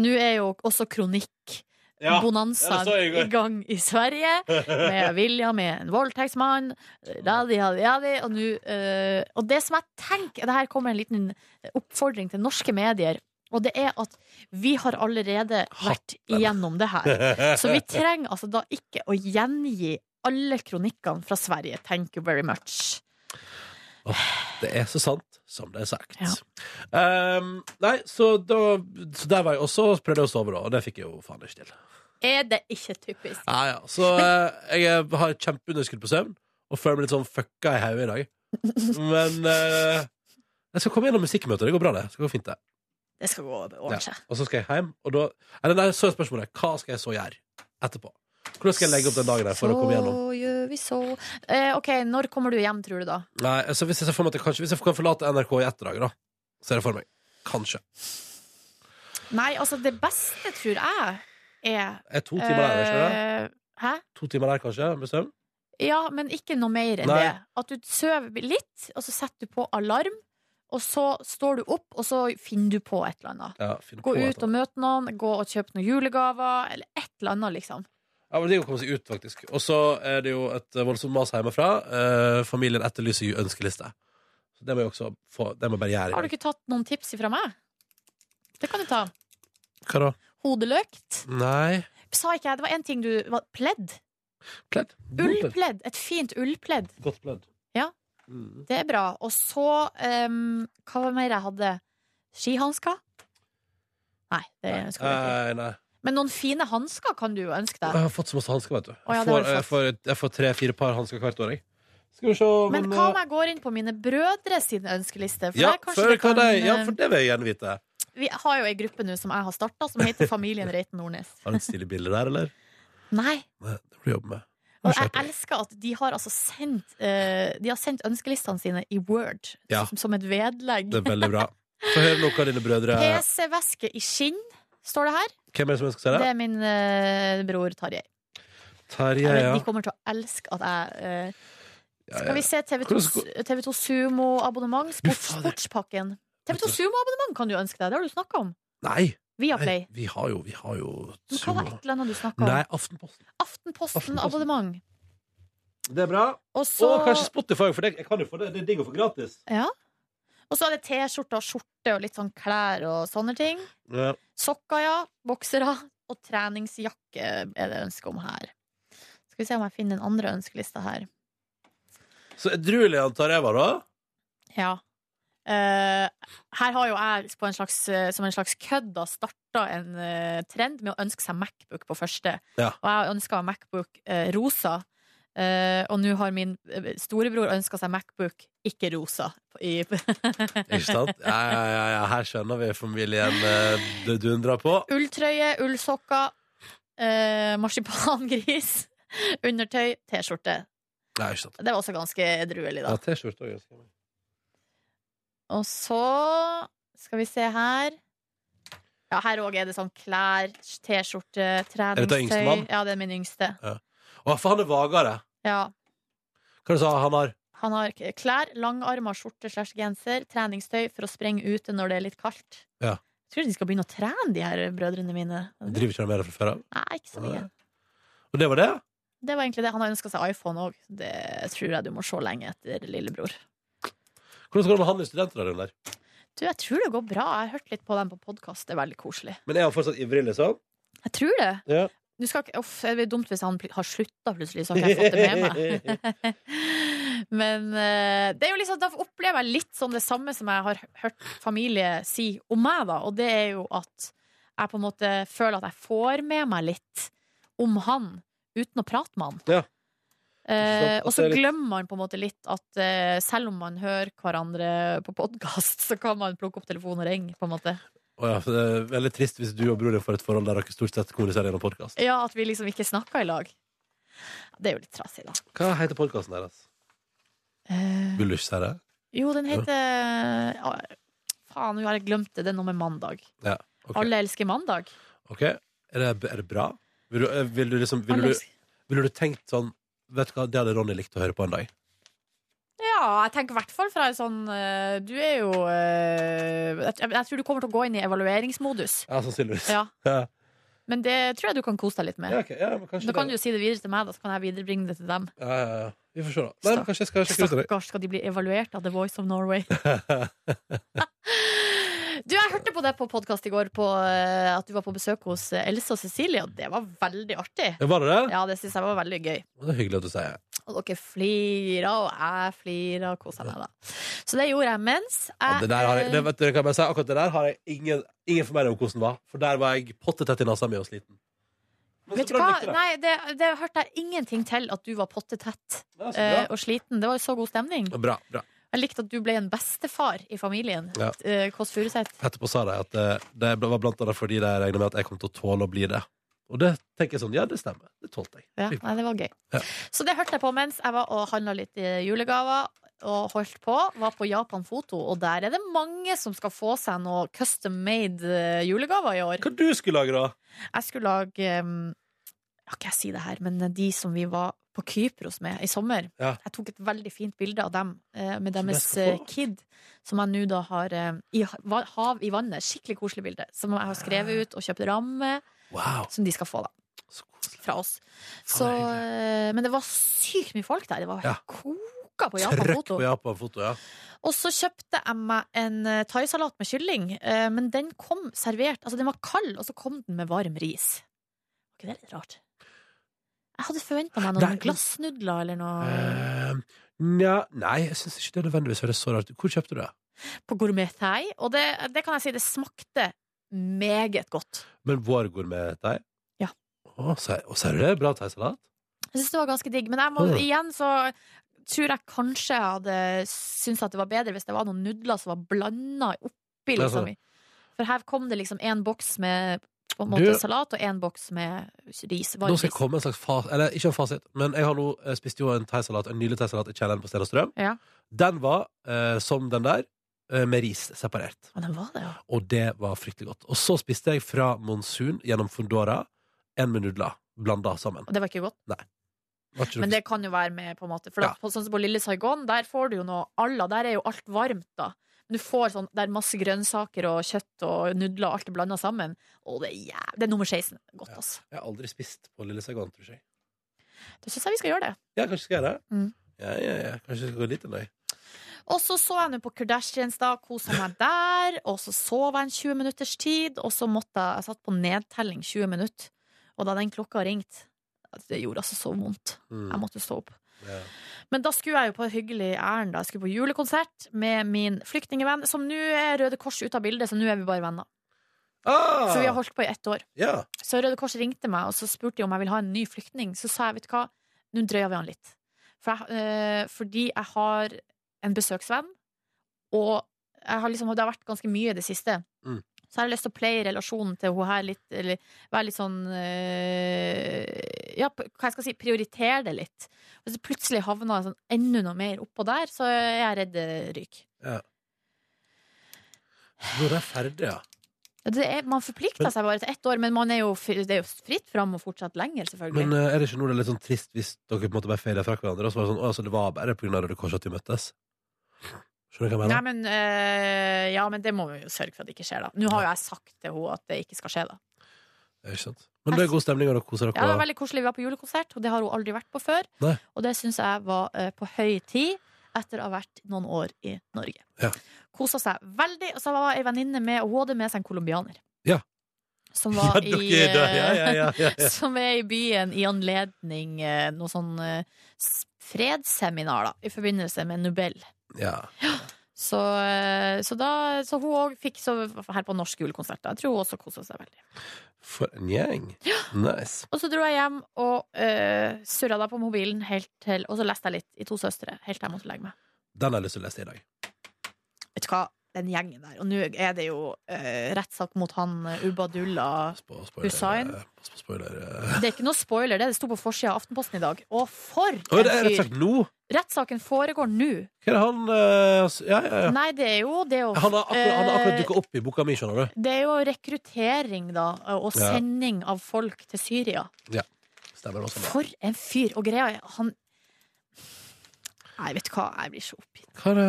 S3: Nå er jo også kronikk
S13: Ja, ja,
S3: Bonanza
S13: det så jeg i
S3: i,
S13: går.
S3: gang i Sverige, med
S13: [LAUGHS]
S3: William er en voldtektsmann. Daddy, daddy, daddy, og, nå, eh, og det som jeg tenker Det her kommer en liten oppfordring til norske medier. Og det er at vi har allerede vært igjennom det
S13: [LAUGHS]
S3: her. Så vi trenger altså da ikke å gjengi alle kronikkene fra Sverige. Thank you very much.
S2: [LAUGHS] Det er så sant som det er sagt. Ehm, nei, så, da, så der var jeg også, og så prøvde jeg å sove, da. Og det fikk jeg jo faen ikke til.
S3: Er det ikke typisk?
S2: Ja, ja. Så
S3: [LAUGHS]
S2: eh, jeg er- har kjempeunderskudd på søvn, og føler meg litt sånn fucka i hodet i dag. Men eh, jeg skal komme gjennom musikkmøtet. Det går bra, det. Det skal gå fint, det.
S3: Det skal gå
S2: Ja.
S3: ordne seg.
S2: Og så skal jeg hjem, og da Eller nei, så er spørsmålet hva skal jeg så gjøre etterpå? Hvordan skal jeg legge opp den dagen der for å komme gjennom?
S3: Så gjør vi så eh, OK, når kommer du hjem, tror du da?
S2: Nei, altså hvis jeg ser for meg at jeg kanskje Hvis jeg kan forlate NRK i ett dag, da, ser jeg for meg. Kanskje.
S3: Nei, altså, det beste, tror jeg, er
S2: Er to timer der, ikke
S3: eh, Hæ?
S2: To timer der, kanskje, med søvn?
S3: Ja, men ikke noe mer enn
S2: Nei.
S3: det. At du sover litt, og så setter du på alarm, og så står du opp, og så finner du på et eller annet.
S2: Ja, finne
S3: Gå
S2: på et
S3: ut
S2: eller
S3: og
S2: annet.
S3: møte noen, gå og kjøpe noen julegaver, eller et eller annet, liksom.
S2: Ja, men det er jo å komme seg ut, faktisk. Og så er det jo et eh, voldsomt mas hjemmefra. Eh, familien etterlyser jo ønskeliste. Så det må jeg også få Det må jeg bare gjøre. i
S3: Har du
S2: dag.
S3: ikke tatt noen tips ifra meg? Det kan du ta.
S2: Hva da?
S3: Hodeløk.
S2: Nei.
S3: Sa ikke jeg, det var en ting du var Pledd.
S2: Pledd.
S3: Ullpledd. Et fint ullpledd.
S2: Godt pledd.
S3: Ja, det er bra. Og så um, Hva var det mer jeg hadde? Skihansker? Nei, det ønsker jeg ikke.
S2: Nei, Eh. nei.
S3: Men noen fine hansker kan du jo ønske
S2: Jeg
S3: deg.
S2: har fått så masse hansker, vet du.
S3: Å, ja,
S2: Jeg
S3: det har
S2: får,
S3: du
S2: jeg får, jeg får tre-fire par hansker hvert år, jeg. Skal vi se eh,
S3: Men hva om jeg går inn på mine brødre sin ønskeliste? For
S2: ja,
S3: der kanskje
S2: for,
S3: det
S2: hva
S3: kan,
S2: det, ja,
S3: eh,
S2: for det vil jeg gjerne vite.
S3: Vi har jo ei gruppe nå som jeg har starta, som heter Familien Reiten Nordnes.
S2: Har du et stilig bilde der, eller?
S3: Nei.
S2: Nei, det får du jobbe med.
S3: Og jeg elsker at de har altså sendt eh, De har sendt ønskelistene sine i Word,
S2: Ja.
S3: som, som et vedlegg.
S2: Det er veldig bra. Få høre noe av dine brødre.
S3: PC-veske i skinn, står det her.
S2: Hvem er det som ønsker
S3: Det
S2: seg det?
S3: er min eh, bror Tarjei.
S2: Terje,
S3: Eller,
S2: ja.
S3: De kommer til å elske at jeg eh,
S2: Ja, ja.
S3: Skal vi se TV2,
S2: Hvordan
S3: TV2 Sumo-abonnement? Sports, sportspakken. TV2 Sumo-abonnement kan du ønske deg, det har du snakka om.
S2: Nei.
S3: Via
S2: Nei,
S3: Play.
S2: vi har jo, vi har jo
S3: Men hva var et eller annet du snakka om?
S2: Nei, Aftenposten.
S3: Aftenposten-abonnement.
S2: Det er bra.
S3: Og så-
S2: kanskje Spotify, for det, jeg kan jo få det. Det er digg å få gratis.
S3: Ja. Og så er det T-skjorte og skjorte og litt sånn klær og sånne ting.
S2: Ja.
S3: Sokker, ja. Boksere. Og treningsjakke er det ønske om her. Skal vi se om jeg finner den andre ønskelista her.
S2: Så edruelig antar jeg var, da?
S3: Ja. Eh, her har jo jeg på en slags, eh, som en slags kødd da starta en eh, trend med å ønske seg Macbook på første.
S2: Ja.
S3: Og jeg ønska meg Macbook eh, rosa. Eh, og nå har min eh, storebror ønska seg Macbook ikke rosa. I [LAUGHS]
S2: Ikke sant? Ja, ja, ja, ja. Her skjønner vi familien eh, det dundrer på.
S3: Ulltrøye, ullsokker, eh, marsipangris, [LAUGHS] undertøy, T-skjorte.
S2: Nei, ikke sant.
S3: Det var også ganske edruelig, da.
S2: Ja, T-skjorte òg.
S3: Og så skal vi se her. Ja, her òg er det sånn klær, T-skjorte,
S2: Er dette yngstemann?
S3: treningstøy. Ja, det er min yngste.
S2: Ja. Å, for han er vagere.
S3: Ja.
S2: Hva du sa han har?
S3: Han har k- klær, langarmer, skjorte slash genser, treningstøy for å sprenge ute når det er litt kaldt.
S2: Ja.
S3: Jeg tror de skal begynne å trene, de her brødrene mine.
S2: Jeg driver ikke han med det fra før av?
S3: Nei, ikke så mye.
S2: Og det var det?
S3: Det var egentlig det. Han har ønska seg iPhone òg. Det tror jeg du må se lenge etter, lillebror.
S2: Hvordan går det med han i studentradioen der?
S3: Du, jeg tror det går bra. Jeg har hørt litt på dem på podkast. Det er veldig koselig.
S2: Men er han fortsatt ivrig, liksom?
S3: Jeg tror det.
S2: Ja.
S3: Du skal ikke, uff, det blir dumt hvis han pl- har slutta plutselig, så har ikke jeg fått det
S2: [LAUGHS]
S3: med meg. Men eh, det er jo liksom, da opplever jeg litt sånn det samme som jeg har hørt familie si om meg, da. Og det er jo at jeg på en måte føler at jeg får med meg litt om han uten å prate med han.
S2: Ja.
S3: Eh,
S2: At
S3: og så
S2: det er litt-
S3: glemmer man på en måte litt at eh, selv om man hører hverandre på podkast, så kan man plukke opp telefonen og ringe, på en måte.
S2: Å ja, for det er veldig trist hvis du og broren din får et forhold der dere stort sett kommuniserer gjennom podkast.
S3: Ja, at vi liksom ikke snakker i lag. Det er jo litt trasig, da. Eh,
S2: Hva heter podkasten deres? Vil du ikke si det?
S3: Jo, den heter Å, Faen, nå har jeg glemt det. Det er noe med mandag.
S2: Ja. ok.
S3: Alle elsker mandag.
S2: Ok, er det, er det bra? Vil du, eh, vil du liksom vil du,
S3: Alex.
S2: vil du tenkt sånn Vet du hva, det hadde Ronny likt å høre på en dag.
S3: Ja, jeg tenker i hvert fall fra en sånn eh, Du er jo eh, jeg, jeg tror du kommer til å gå inn i evalueringsmodus.
S2: Ja, sannsynligvis.
S3: Ja.
S2: Ja.
S3: Men det tror jeg du kan kose deg litt med.
S2: Ja, ok. Ja, men kanskje
S3: da kan
S2: det-
S3: du jo si det videre til meg, da, så kan jeg viderebringe det til dem.
S2: Ja, ja, ja. Vi får se, da. Nei, men kanskje jeg skal sjekke ut det.
S3: Stakkars, skal de bli evaluert av The Voice of
S2: [LAUGHS]
S3: Norway? Du, jeg hørte på deg på podkast i går, på eh, at du var på besøk hos eh, Else og Cecilie, og det var veldig artig.
S2: Ja, var det det?
S3: Ja, det syns jeg var veldig gøy.
S2: Det er hyggelig at du sier det.
S3: Og dere flira, og jeg flira, og kosa meg, da. Så det gjorde jeg mens
S2: Ja,
S3: jeg
S2: det der har jeg,
S3: eh,
S2: det, vet du, det kan jeg bare si, akkurat det der har jeg ingen, ingen formening om hvordan det var. For der var jeg pottetett i nesa mi og sliten.
S3: Vet du hva? Nei, det, det hørte jeg ingenting til at du var pottetett
S2: så
S3: eh,
S2: bra.
S3: og sliten. Det var jo så god stemning.
S2: Bra, bra.
S3: Jeg likte at du ble en bestefar i familien.
S2: Ja.
S3: Eh, Kåss Furuseth.
S2: Etterpå sa de at eh, det var blant annet fordi de regna med at jeg kom til å tåle å bli det. Og det tenker jeg sånn, ja, det stemmer. Det tålte jeg.
S3: Ja, nei, det var gøy. Så det hørte jeg på mens jeg var og handla litt eh, julegaver. Og holdt på, var på Japan Foto, og der er det mange som skal få seg noe custom made eh, julegaver i år.
S2: Hva du skulle lage, da?
S3: Jeg skulle lage eh, Ja, ikke jeg si det her, men de som vi var på Kypros med i sommer.
S2: Ja.
S3: Jeg tok et veldig fint bilde av dem eh,
S2: Som
S3: med
S2: jeg
S3: deres
S2: skal få.
S3: eh, kid, som jeg nå da har eh, i ha- va- hav i vannet. Skikkelig koselig bilde. Som jeg har skrevet ut og kjøpt ramme. Som de skal få, da. Fra oss. Så, eh, men det var sykt mye folk der. Det var
S2: Ja.
S3: koka på Japan
S2: Trøkk
S3: Foto.
S2: på Japan-foto, ja.
S3: Og så kjøpte jeg meg en eh, thaisalat med kylling, eh, men den kom servert Altså, den var kald, og så kom den med varm ris. Var ikke det litt rart? Jeg hadde forventa meg noen
S2: Nei, men-
S3: glassnudler eller noe
S2: Eh, nja, nei, jeg syns ikke det er nødvendigvis var det så rart. Hvor kjøpte du det?
S3: på gourmet thai, og det, det kan jeg si, det smakte meget godt.
S2: Men vår gourmet-thei?
S3: Ja.
S2: Å, sier å, sier du det? Bra thaisalat?
S3: Jeg syns det var ganske digg, men jeg må,
S2: Mm.
S3: igjen så tror jeg kanskje jeg hadde syntes at det var bedre hvis det var noen nudler som var blanda oppi,
S2: Ja,
S3: liksom.
S2: sånn.
S3: For her kom det liksom en boks med på en
S2: Du-
S3: måte salat og en boks med ris. varm
S2: Nå skal jeg
S3: ris.
S2: komme med en slags fas... Eller ikke en fasit, men jeg har nå eh, spist jo en thaisalat, en nylig thaisalat i kjelleren på Steen og Strøm.
S3: Ja.
S2: Den var eh, som den der, eh, med ris separert.
S3: Ja, den var det, ja.
S2: Og det var fryktelig godt. Og så spiste jeg fra Monsun gjennom Foodora en med nudler blanda sammen.
S3: Og det var ikke godt.
S2: Nei. Var ikke
S3: Men
S2: noe-
S3: det kan jo være med, på en måte. For da, på, sånn som på Lille Saigon, der får du jo noe alla. Der er jo alt varmt, da. Men du får sånn der masse grønnsaker og kjøtt og nudler og alt er blanda sammen. Og det er jæv... Det er nummer 16. Godt, altså.
S2: Jeg har aldri spist på Lille Saigon, tror jeg.
S3: Da syns jeg vi skal gjøre det.
S2: Ja, kanskje skal jeg det?
S3: Mm.
S2: Ja, ja, ja. Kanskje jeg skal gå dit en dag.
S3: Og så så jeg nå på Kardashians, da, kosa meg der. Og så sov jeg en 20 minutters tid, og så måtte jeg Jeg satt på nedtelling 20 minutter. Og da den klokka ringte Det gjorde altså så vondt.
S13: Mm.
S3: Jeg måtte stå opp. Men da skulle jeg jo på et hyggelig ærend. da. Jeg skulle på julekonsert med min flyktningevenn, som nå er Røde Kors ute av bildet, så nå er vi bare venner.
S2: Ah!
S3: Så vi har holdt på i ett år.
S2: Ja.
S3: Så Røde Kors ringte meg og så spurte de om jeg ville ha en ny flyktning. Så sa jeg, vet du hva, nå drøyer vi han litt. For jeg, eh, fordi jeg har en besøksvenn, og jeg har liksom, det har vært ganske mye i det siste.
S2: Mm.
S3: Så jeg har lyst til å play relasjonen til hun her litt, eller være litt sånn eh, Ja, p- hva jeg skal si, prioritere det litt. Hvis det plutselig havner sånn enda noe mer oppå der, så er jeg redd det ryker.
S2: Ja. Nå er det ferdig, ja.
S3: Det er, man forplikter seg bare til ett år, men man er jo, fri- det er jo fritt fram å fortsette lenger, selvfølgelig.
S2: Men eh, er det ikke noe det er litt sånn trist hvis dere på en måte bare fader fra hverandre? Og så var det sånn, «Å, altså, det var bare på grunn av Røde Kors at vi møttes? Skjønner du hva jeg
S3: Nei,
S2: mener?
S3: men, eh, ja, men det må vi jo sørge for at det ikke skjer, da. Nå har jo jeg sagt til henne at det ikke skal skje, da.
S2: Ja, ikke sant? Men det er god stemning, og dere koser dere.
S3: Ja, det var veldig koselig. Vi var på julekonsert, og det har hun aldri vært på før.
S2: Nei.
S3: Og det syns jeg var eh, på høy tid etter å ha vært noen år i Norge.
S2: Ja.
S3: Kosa seg veldig. Og så var ei venninne med, og hun hadde med seg en colombianer.
S2: Ja. [LAUGHS]
S3: Som var
S2: Ja, dere
S3: i eh,
S2: er der. Ja, ja, ja, ja, ja.
S3: [LAUGHS] Som er i byen i anledning eh, noe sånn eh, s- fredsseminar, da, i forbindelse med Nobel.
S2: Ja.
S3: Så, eh, så, da, så hun òg fikk så her på norsk julekonsert. da. Jeg tror hun også kosa seg veldig.
S2: For en gjeng.
S3: [GASPS]
S2: Nice.
S3: Og så dro jeg hjem og uh, surra da på mobilen helt til Og så leste jeg litt i To søstre helt til jeg måtte legge meg.
S2: Den har jeg lyst til å lese i dag.
S3: Vet du hva, den gjengen der. Og nå er det jo eh, rettssak mot han eh, Ubadullah
S2: spoiler, eh,
S3: Hussain.
S2: Spoiler. eh.
S3: Det er ikke noe spoiler, det. Det sto på forsida av Aftenposten i dag. Og for
S2: Å, det er
S3: en
S2: rett og slett
S3: fyr!
S2: nå!
S3: Rettssaken foregår nå.
S2: Hva er det han eh, s- Ja, ja, ja.
S3: Nei, det er jo det er jo,
S2: Han har akkurat, han har akkurat
S3: eh,
S2: dukka opp i boka mi, skjønner du.
S3: Det er jo rekruttering, da, og
S2: Ja.
S3: sending av folk til Syria.
S2: Ja. Stemmer også.
S3: For en fyr! Og greia er, han Nei, vet du hva, jeg blir så oppgitt.
S2: Hva er det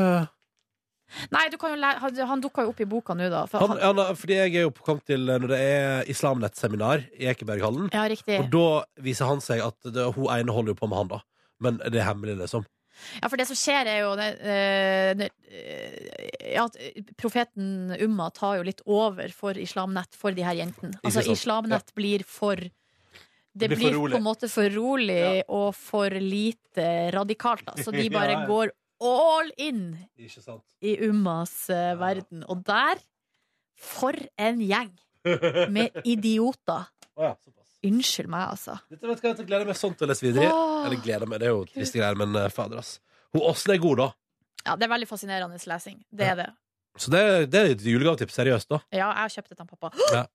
S3: Nei, du kan jo lære, han- han dukka jo opp i boka nå, da. For
S2: han,
S3: han,
S2: han, har- Fordi jeg er jo på kamp til eh, når det er islamnettseminar i Ekeberghallen.
S3: ja, riktig.
S2: Og da viser han seg at det, hun ene holder jo på med han, da. Men det er hemmelig, liksom.
S3: Ja, for det som skjer, er jo det, eh, det, eh, ja, at profeten Umma tar jo litt over for Islamnett for de her jentene. Altså,
S13: Ikke sant?
S3: Islamnett blir for det
S13: Det
S3: blir,
S13: blir for
S3: på
S13: rolig.
S3: en måte for rolig og for lite radikalt, da. Så
S13: [LAUGHS]
S3: de bare
S13: Ja, ja.
S3: går all in
S2: Ikke sant?
S3: i Ummas eh, verden. Og der, for en gjeng med idioter! Unnskyld meg, altså.
S2: Dette vet jeg, at jeg gleder meg sånn til å lese videre.
S3: Åh.
S2: Eller gleder meg, det er jo triste greier, men eh, fader, ass. Hun Åsne er god, da.
S3: Ja, det er veldig fascinerende lesing. Det er det.
S2: Så det, det er et julegavetips. Seriøst, da.
S3: Ja, jeg har kjøpt det til han pappa.
S2: Ja.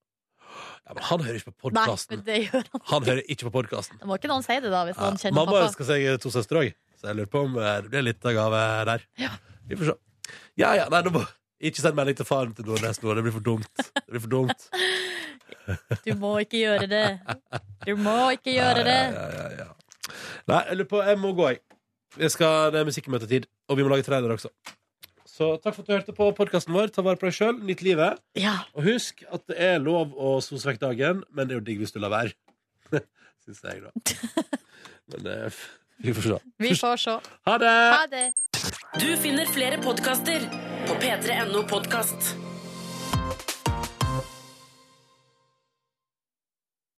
S2: ja, men han hører ikke på
S3: Nei,
S2: podkasten.
S3: men det gjør han.
S2: Han hører ikke på podkasten.
S3: Det må ikke noen si det, da, hvis
S2: Ja.
S3: han kjenner
S2: Mamma
S3: pappa.
S2: ønsker seg to søstre òg, så jeg lurer på om eh, det blir litt av gave der. Vi får se. Ja ja, nei, nå må ikke send melding til faren til Nordnes nå, det blir for dumt. Det blir for dumt.
S3: [LAUGHS] Du må ikke gjøre det. Du må ikke gjøre det.
S2: Nei, jeg lurer på, jeg må gå, jeg. jeg skal, det er musikkmøtetid, og vi må lage trailer også. Så takk for at du hørte på podkasten vår. Ta vare på deg sjøl, nyt livet. Og husk at det er lov å sose vekk dagen, men det er jo digg hvis du lar være. [LAUGHS] Syns jeg, da.
S3: [LAUGHS]
S2: Men eh, vi får se.
S3: Vi får se. Eh,
S2: Ha det!
S3: Ha det.
S1: Du finner flere podkaster på p3.no podkast.